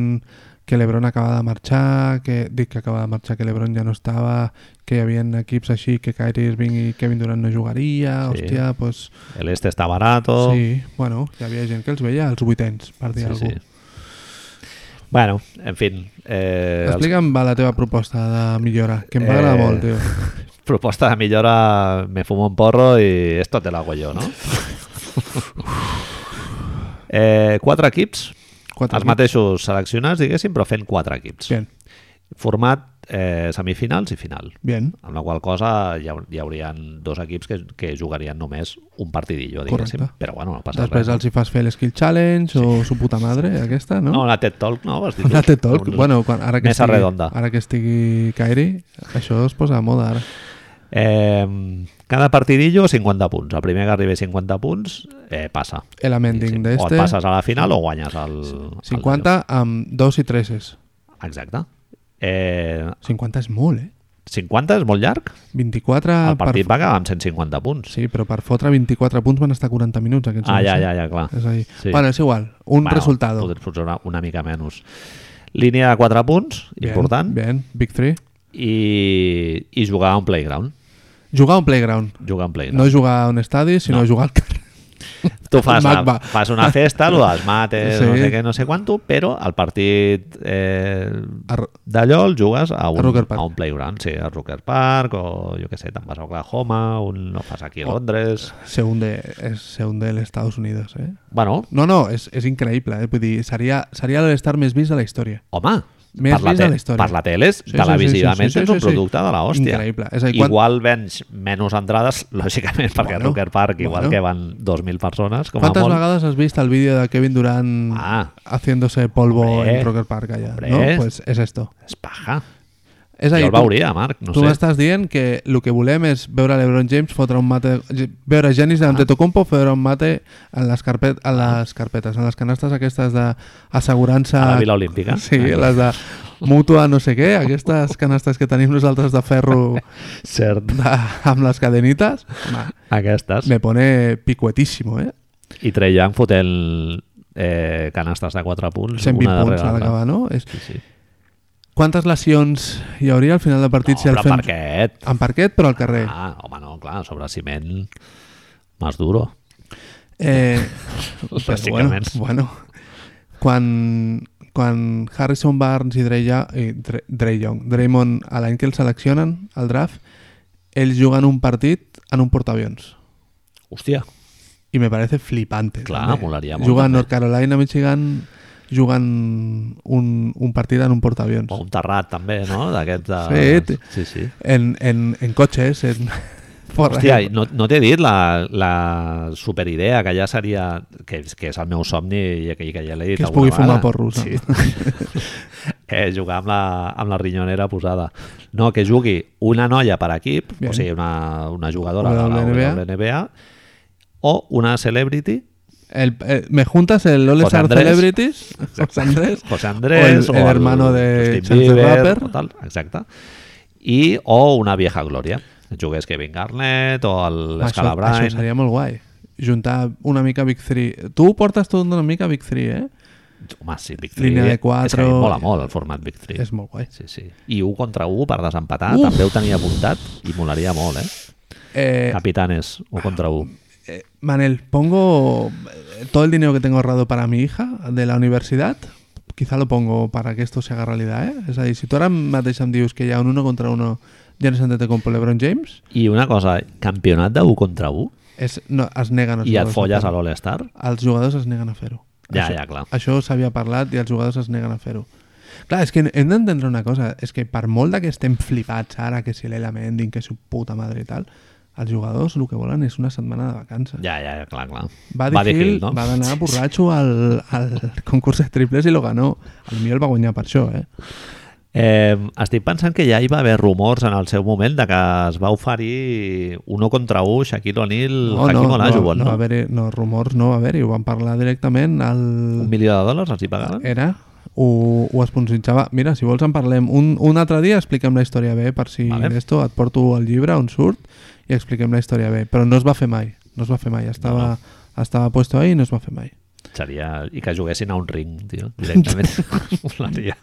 [SPEAKER 2] que l'Ebron acaba de marxar, que dic que acaba de marxar, que l'Ebron ja no estava, que hi havia equips així, que Kyrie Irving i Kevin Durant no jugaria,
[SPEAKER 1] Sí. Oh.
[SPEAKER 2] sí. hòstia, doncs... Pues,
[SPEAKER 1] El este está barato.
[SPEAKER 2] Sí, bueno, hi havia gent que els veia als vuitens, per dir sí, alguna cosa.
[SPEAKER 1] Bueno, en fin. Eh, els-
[SPEAKER 2] Explica'm va la teva proposta de millora, que em va
[SPEAKER 1] Eh,
[SPEAKER 2] agradar molt, tio.
[SPEAKER 1] Proposta de millora, me fumo un porro y esto te lo hago yo, ¿no? eh, quatre equips,
[SPEAKER 2] Quatre
[SPEAKER 1] els mateixos seleccionats, diguéssim, però fent quatre equips.
[SPEAKER 2] Bien,
[SPEAKER 1] Format eh, semifinals i final.
[SPEAKER 2] bien.
[SPEAKER 1] Amb la qual cosa hi, hau- hi haurien dos equips que, que jugarien només un partidillo, diguéssim.
[SPEAKER 2] Correcte.
[SPEAKER 1] Però bueno, no passa
[SPEAKER 2] Després
[SPEAKER 1] res.
[SPEAKER 2] els hi fas fer l'skill challenge o su puta madre, aquesta,
[SPEAKER 1] No,
[SPEAKER 2] no?
[SPEAKER 1] la TED Talk, no? Vas dir tu?
[SPEAKER 2] La TED Talk.
[SPEAKER 1] Un-
[SPEAKER 2] Bueno, quan, ara, que
[SPEAKER 1] Mesa
[SPEAKER 2] estigui,
[SPEAKER 1] redonda.
[SPEAKER 2] ara que estigui Kairi, això es posa de moda ara.
[SPEAKER 1] Eh, cada partidillo 50 punts. El primer que arribi a 50 punts eh, passa.
[SPEAKER 2] El
[SPEAKER 1] o
[SPEAKER 2] amending
[SPEAKER 1] et
[SPEAKER 2] d'este,
[SPEAKER 1] passes a la final o guanyes el... el
[SPEAKER 2] 50 amb 2 i 3 és.
[SPEAKER 1] d'allò. Exacte. Eh,
[SPEAKER 2] 50 és molt, eh?
[SPEAKER 1] 50 és molt llarg.
[SPEAKER 2] 24...
[SPEAKER 1] El partit
[SPEAKER 2] per...
[SPEAKER 1] va acabar amb 150 punts.
[SPEAKER 2] Sí, però per fotre 24 punts van estar 40 minuts aquests.
[SPEAKER 1] Ah,
[SPEAKER 2] homes,
[SPEAKER 1] ja,
[SPEAKER 2] eh?
[SPEAKER 1] ja, ja, clar.
[SPEAKER 2] És a dir,
[SPEAKER 1] Sí.
[SPEAKER 2] sí. bueno, és igual, un
[SPEAKER 1] Bueno,
[SPEAKER 2] bueno, resultado.
[SPEAKER 1] pot- Potser una, una mica menys. Línia de 4 punts,
[SPEAKER 2] Bien,
[SPEAKER 1] important,
[SPEAKER 2] Bien, Big 3.
[SPEAKER 1] I, i jugar a un playground.
[SPEAKER 2] Jugar a un playground.
[SPEAKER 1] Jugar a un playground.
[SPEAKER 2] No jugar a un estadi, sinó
[SPEAKER 1] No.
[SPEAKER 2] no. jugar al carrer.
[SPEAKER 1] tu fas,
[SPEAKER 2] Mac
[SPEAKER 1] la,
[SPEAKER 2] va.
[SPEAKER 1] fas una festa, lo dels mates,
[SPEAKER 2] Sí.
[SPEAKER 1] no sé què, no sé quanto, però el partit eh,
[SPEAKER 2] A Ro-
[SPEAKER 1] d'allò el jugues a un,
[SPEAKER 2] A Rucker Park.
[SPEAKER 1] a un playground, sí, a Rucker Park o jo què sé, te'n vas a Oklahoma, un no fas aquí a Londres...
[SPEAKER 2] Según de, es según del Estados Unidos, eh?
[SPEAKER 1] Bueno,
[SPEAKER 2] No, no, és, és increïble, eh? Vull dir, seria, seria l'estar més vist de la història.
[SPEAKER 1] home,
[SPEAKER 2] Més
[SPEAKER 1] per la,
[SPEAKER 2] vist de
[SPEAKER 1] te-
[SPEAKER 2] la història.
[SPEAKER 1] per la tele, és-
[SPEAKER 2] Sí, sí,
[SPEAKER 1] televisivament,
[SPEAKER 2] sí, sí, sí,
[SPEAKER 1] tens un
[SPEAKER 2] sí, sí.
[SPEAKER 1] producte de la hòstia.
[SPEAKER 2] Increïble. És a dir, quan-
[SPEAKER 1] Igual vens menys entrades, lògicament, perquè
[SPEAKER 2] Bueno,
[SPEAKER 1] a Rucker Park igual
[SPEAKER 2] bueno.
[SPEAKER 1] que van 2.000 persones, com a
[SPEAKER 2] Quantes
[SPEAKER 1] molt.
[SPEAKER 2] vegades has vist el vídeo de Kevin Durant
[SPEAKER 1] Ah.
[SPEAKER 2] haciéndose polvo
[SPEAKER 1] Hombre.
[SPEAKER 2] en Rocker Park allà?
[SPEAKER 1] Hombre.
[SPEAKER 2] No? Pues és esto.
[SPEAKER 1] És paja.
[SPEAKER 2] És a
[SPEAKER 1] Jo
[SPEAKER 2] dir,
[SPEAKER 1] el veuria, Marc, no
[SPEAKER 2] tu
[SPEAKER 1] sé.
[SPEAKER 2] m'estàs dient que el que volem és veure l'Ebron James fotre un mate... Veure Giannis davant de
[SPEAKER 1] Ah.
[SPEAKER 2] Tocompo fotre un mate en les, carpet, en les carpetes, en les canastes aquestes d'assegurança...
[SPEAKER 1] A la Vila Olímpica.
[SPEAKER 2] Sí,
[SPEAKER 1] Ah.
[SPEAKER 2] les de mútua no sé què, aquestes canastes que tenim nosaltres de ferro
[SPEAKER 1] Cert.
[SPEAKER 2] de, amb les cadenites. Home,
[SPEAKER 1] Aquestes.
[SPEAKER 2] me pone picuetísimo, eh?
[SPEAKER 1] I Trey Young fotent eh, canastes de 4 punts.
[SPEAKER 2] 120
[SPEAKER 1] una
[SPEAKER 2] punts
[SPEAKER 1] darrere l'altra.
[SPEAKER 2] a l'acabar, no? És...
[SPEAKER 1] Sí, sí.
[SPEAKER 2] Quantes lesions hi hauria al final del partit
[SPEAKER 1] No,
[SPEAKER 2] si el
[SPEAKER 1] però
[SPEAKER 2] fem...
[SPEAKER 1] parquet.
[SPEAKER 2] En parquet, però al carrer.
[SPEAKER 1] Ah, home, no, clar, sobre ciment més duro.
[SPEAKER 2] Eh, però
[SPEAKER 1] Bàsicament.
[SPEAKER 2] Bueno, bueno, quan, quan Harrison Barnes i Dre, Ja- i Dre, Dre Young, Draymond, a l'any que el seleccionen, al draft, ells juguen un partit en un portaavions.
[SPEAKER 1] Hòstia,
[SPEAKER 2] y me parece flipante.
[SPEAKER 1] Clar,
[SPEAKER 2] també.
[SPEAKER 1] molaria molt,
[SPEAKER 2] Juga a
[SPEAKER 1] també.
[SPEAKER 2] North Carolina, Michigan, juguen un, un partit en un portaavions.
[SPEAKER 1] O un terrat, també, no? D'aquests
[SPEAKER 2] Sí,
[SPEAKER 1] de...
[SPEAKER 2] té-
[SPEAKER 1] Sí, sí.
[SPEAKER 2] En, en, en cotxes, en... por-
[SPEAKER 1] Hòstia, i no, no t'he dit la, la superidea que ja seria... Que, que és el meu somni i que, i que ja l'he dit
[SPEAKER 2] Que es
[SPEAKER 1] alguna
[SPEAKER 2] pugui fumar
[SPEAKER 1] vegada.
[SPEAKER 2] porros, no?
[SPEAKER 1] eh, jugar amb la, amb la rinyonera posada. No, que jugui una noia per equip,
[SPEAKER 2] Bien.
[SPEAKER 1] o sigui, una, una jugadora de la
[SPEAKER 2] WNBA.
[SPEAKER 1] WNBA, o una celebrity,
[SPEAKER 2] El- eh, me juntas el All
[SPEAKER 1] José
[SPEAKER 2] Star
[SPEAKER 1] Andrés.
[SPEAKER 2] Celebrities, José Andrés,
[SPEAKER 1] José Andrés,
[SPEAKER 2] o el, el hermano de
[SPEAKER 1] Justin
[SPEAKER 2] Chance the
[SPEAKER 1] Bieber,
[SPEAKER 2] Rapper.
[SPEAKER 1] o tal, exacte. I, o una vieja glòria. Jugués Kevin Garnett o el
[SPEAKER 2] Home, Això, això
[SPEAKER 1] Scalabrine.
[SPEAKER 2] seria molt guai. Juntar una mica Big 3. Tu portes tot una mica Big 3, eh?
[SPEAKER 1] Home, sí, Big Three.
[SPEAKER 2] Línia de
[SPEAKER 1] És que a mi
[SPEAKER 2] quatre.
[SPEAKER 1] em mola molt el format Big Three.
[SPEAKER 2] És molt guai.
[SPEAKER 1] Sí, sí. I un contra un per desempatar,
[SPEAKER 2] Uf!
[SPEAKER 1] també ho tenia apuntat i molaria molt, eh?
[SPEAKER 2] Eh,
[SPEAKER 1] Capitanes, un contra un.
[SPEAKER 2] eh, Manel, pongo eh, todo el dinero que tengo ahorrado para mi hija de la universidad. Quizá lo pongo para que esto se haga realidad, ¿eh? Es ahí, si tú ahora mateix em dius que hi ha un uno contra uno Giannis Antetokounmpo LeBron James,
[SPEAKER 1] I una cosa, campionat de 1 contra 1
[SPEAKER 2] es, no, es neguen els
[SPEAKER 1] i et
[SPEAKER 2] jugadors
[SPEAKER 1] folles a
[SPEAKER 2] fer-ho.
[SPEAKER 1] l'All-Star?
[SPEAKER 2] Els jugadors es neguen a fer-ho.
[SPEAKER 1] Ja,
[SPEAKER 2] Això-
[SPEAKER 1] ja, clar.
[SPEAKER 2] Això s'havia parlat i els jugadors es neguen a fer-ho. Clar, és que hem d'entendre una cosa, és que per molt de que estem flipats ara, que si l'Ela Mending, que si puta madre i tal, els jugadors el que volen és una setmana de vacances.
[SPEAKER 1] Ja, ja, ja, clar, clar.
[SPEAKER 2] Va
[SPEAKER 1] Buddy
[SPEAKER 2] dir Hill,
[SPEAKER 1] no?
[SPEAKER 2] va anar borratxo al, al concurs de triples i lo ganó. A mi el va guanyar per això, eh?
[SPEAKER 1] Eh, estic pensant que ja hi va haver rumors en el seu moment de que es va oferir un o contra un Shaquille O'Neal, no, Hakim
[SPEAKER 2] no,
[SPEAKER 1] Olajuwon,
[SPEAKER 2] no,
[SPEAKER 1] no?
[SPEAKER 2] va haver no, rumors no va haver-hi, ho van parlar directament al...
[SPEAKER 1] Un milió de dòlars els hi pagaven?
[SPEAKER 2] Era, ho, ho esponsitjava. Mira, si vols en parlem un, un altre dia, expliquem la història bé, per si
[SPEAKER 1] Vale.
[SPEAKER 2] vale. d'esto et porto el llibre on surt i expliquem la història bé. Però no es va fer mai, no es va fer mai. Estava, no. estava puesto ahí i no es va fer mai.
[SPEAKER 1] Seria... I que juguessin a un ring, tio, directament. Molaria.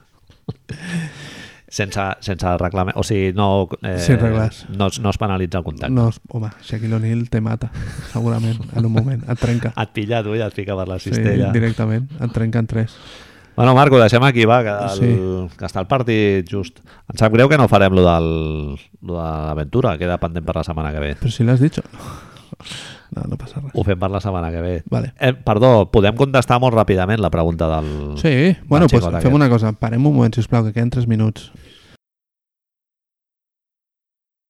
[SPEAKER 1] sense, sense reclamar... O sigui, no, eh,
[SPEAKER 2] Sin regles.
[SPEAKER 1] no, es- no es penalitza el contacte.
[SPEAKER 2] No, es- home, Shaquille O'Neal te mata, segurament, en un moment. Et trenca.
[SPEAKER 1] Et pilla tu i et fica per la
[SPEAKER 2] Sí,
[SPEAKER 1] cistella. Sí,
[SPEAKER 2] directament. Et trenca en tres.
[SPEAKER 1] bueno, Marco, deixem aquí, va, que, el,
[SPEAKER 2] Sí.
[SPEAKER 1] que està el partit just. Em sap greu que no farem lo, del, lo de l'aventura, queda pendent per la setmana que ve.
[SPEAKER 2] Però si l'has dit... No, no passa res.
[SPEAKER 1] Ho fem per la setmana que ve.
[SPEAKER 2] Vale.
[SPEAKER 1] Eh, perdó, podem contestar molt ràpidament la pregunta del...
[SPEAKER 2] Sí, bueno, pues
[SPEAKER 1] xicot
[SPEAKER 2] fem
[SPEAKER 1] aquest.
[SPEAKER 2] una cosa. Parem un moment, sisplau, que queden 3 minuts.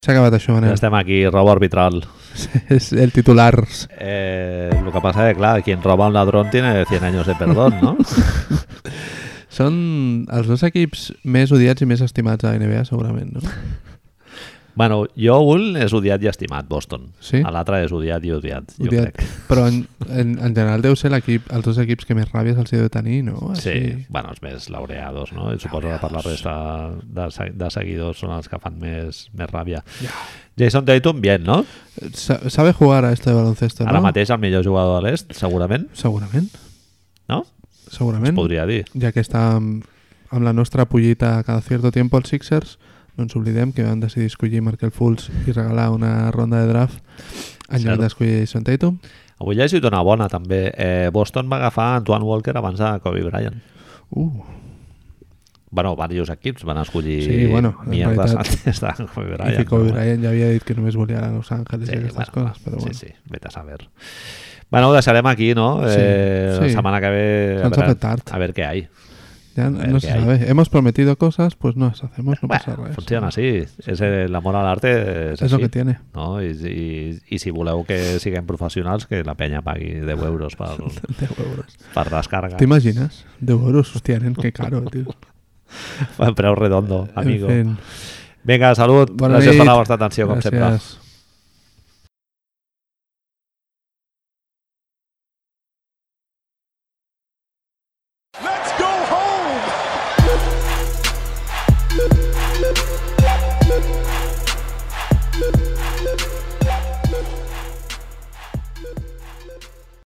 [SPEAKER 2] S'ha acabat això,
[SPEAKER 1] Ja
[SPEAKER 2] Manel.
[SPEAKER 1] estem aquí, roba arbitral.
[SPEAKER 2] És el titular.
[SPEAKER 1] Eh, lo que pasa es que, claro, quien roba a un ladrón tiene 100 años de perdón, ¿no?
[SPEAKER 2] Són els dos equips més odiats i més estimats a la NBA, segurament, no?
[SPEAKER 1] bueno, jo un és odiat i estimat, Boston.
[SPEAKER 2] Sí?
[SPEAKER 1] A l'altre és odiat i odiat, jo
[SPEAKER 2] Odiat.
[SPEAKER 1] crec.
[SPEAKER 2] Però en, en, en general deu ser l'equip, els dos equips que més ràbies els hi deu tenir, no?
[SPEAKER 1] Sí, bueno, els més laureados, no? I suposo que per la resta de, se- de seguidors són els que fan més, més ràbia. Jason Tatum, bien, no?
[SPEAKER 2] Sa- Sabe jugar a esto de baloncesto, no?
[SPEAKER 1] Ara mateix el millor jugador de l'est, segurament,
[SPEAKER 2] Segurament,
[SPEAKER 1] no?
[SPEAKER 2] segurament.
[SPEAKER 1] Podria dir.
[SPEAKER 2] ja que està amb, amb la nostra pollita cada cierto tiempo els Sixers, no ens oblidem que van decidir escollir Markel Fultz i regalar una ronda de draft en lloc
[SPEAKER 1] Cert.
[SPEAKER 2] d'escollir Jason Tatum.
[SPEAKER 1] Avui llegit una bona, també. Eh, Boston va agafar Antoine Walker abans de Kobe Bryant.
[SPEAKER 2] Uh,
[SPEAKER 1] Bueno, diversos equips van escollir
[SPEAKER 2] Sí, bueno, en
[SPEAKER 1] mierdes
[SPEAKER 2] realitat-
[SPEAKER 1] antes de Kobe Bryant.
[SPEAKER 2] i que Kobe
[SPEAKER 1] però bueno.
[SPEAKER 2] Bryant ja havia dit que només volia anar a Los Angeles i aquestes
[SPEAKER 1] bueno,
[SPEAKER 2] coses, però
[SPEAKER 1] sí,
[SPEAKER 2] bueno.
[SPEAKER 1] sí, vete a saber. Bueno, ho deixarem aquí, no?
[SPEAKER 2] Sí,
[SPEAKER 1] eh, La
[SPEAKER 2] sí.
[SPEAKER 1] setmana que ve...
[SPEAKER 2] Se'ns ha fet tard.
[SPEAKER 1] A ver qué hay.
[SPEAKER 2] Ja
[SPEAKER 1] ver
[SPEAKER 2] no se
[SPEAKER 1] qué hay.
[SPEAKER 2] sabe. Hemos prometido cosas, pues no las hacemos, no pasa
[SPEAKER 1] Bueno,
[SPEAKER 2] res.
[SPEAKER 1] funciona así. És el, el amor al arte és
[SPEAKER 2] Es lo
[SPEAKER 1] així.
[SPEAKER 2] que tiene.
[SPEAKER 1] No? I, i, I si voleu que siguem professionals, que la penya pagui 10 euros per,
[SPEAKER 2] 10 euros.
[SPEAKER 1] per descarga.
[SPEAKER 2] T'imagines? 10 euros, hostia, nen, que caro, tío.
[SPEAKER 1] Preu redondo, amigo.
[SPEAKER 2] En fin.
[SPEAKER 1] Vinga, salut.
[SPEAKER 2] Bona
[SPEAKER 1] Gràcies per
[SPEAKER 2] nit.
[SPEAKER 1] la vostra atenció, com sempre.
[SPEAKER 2] Gràcies.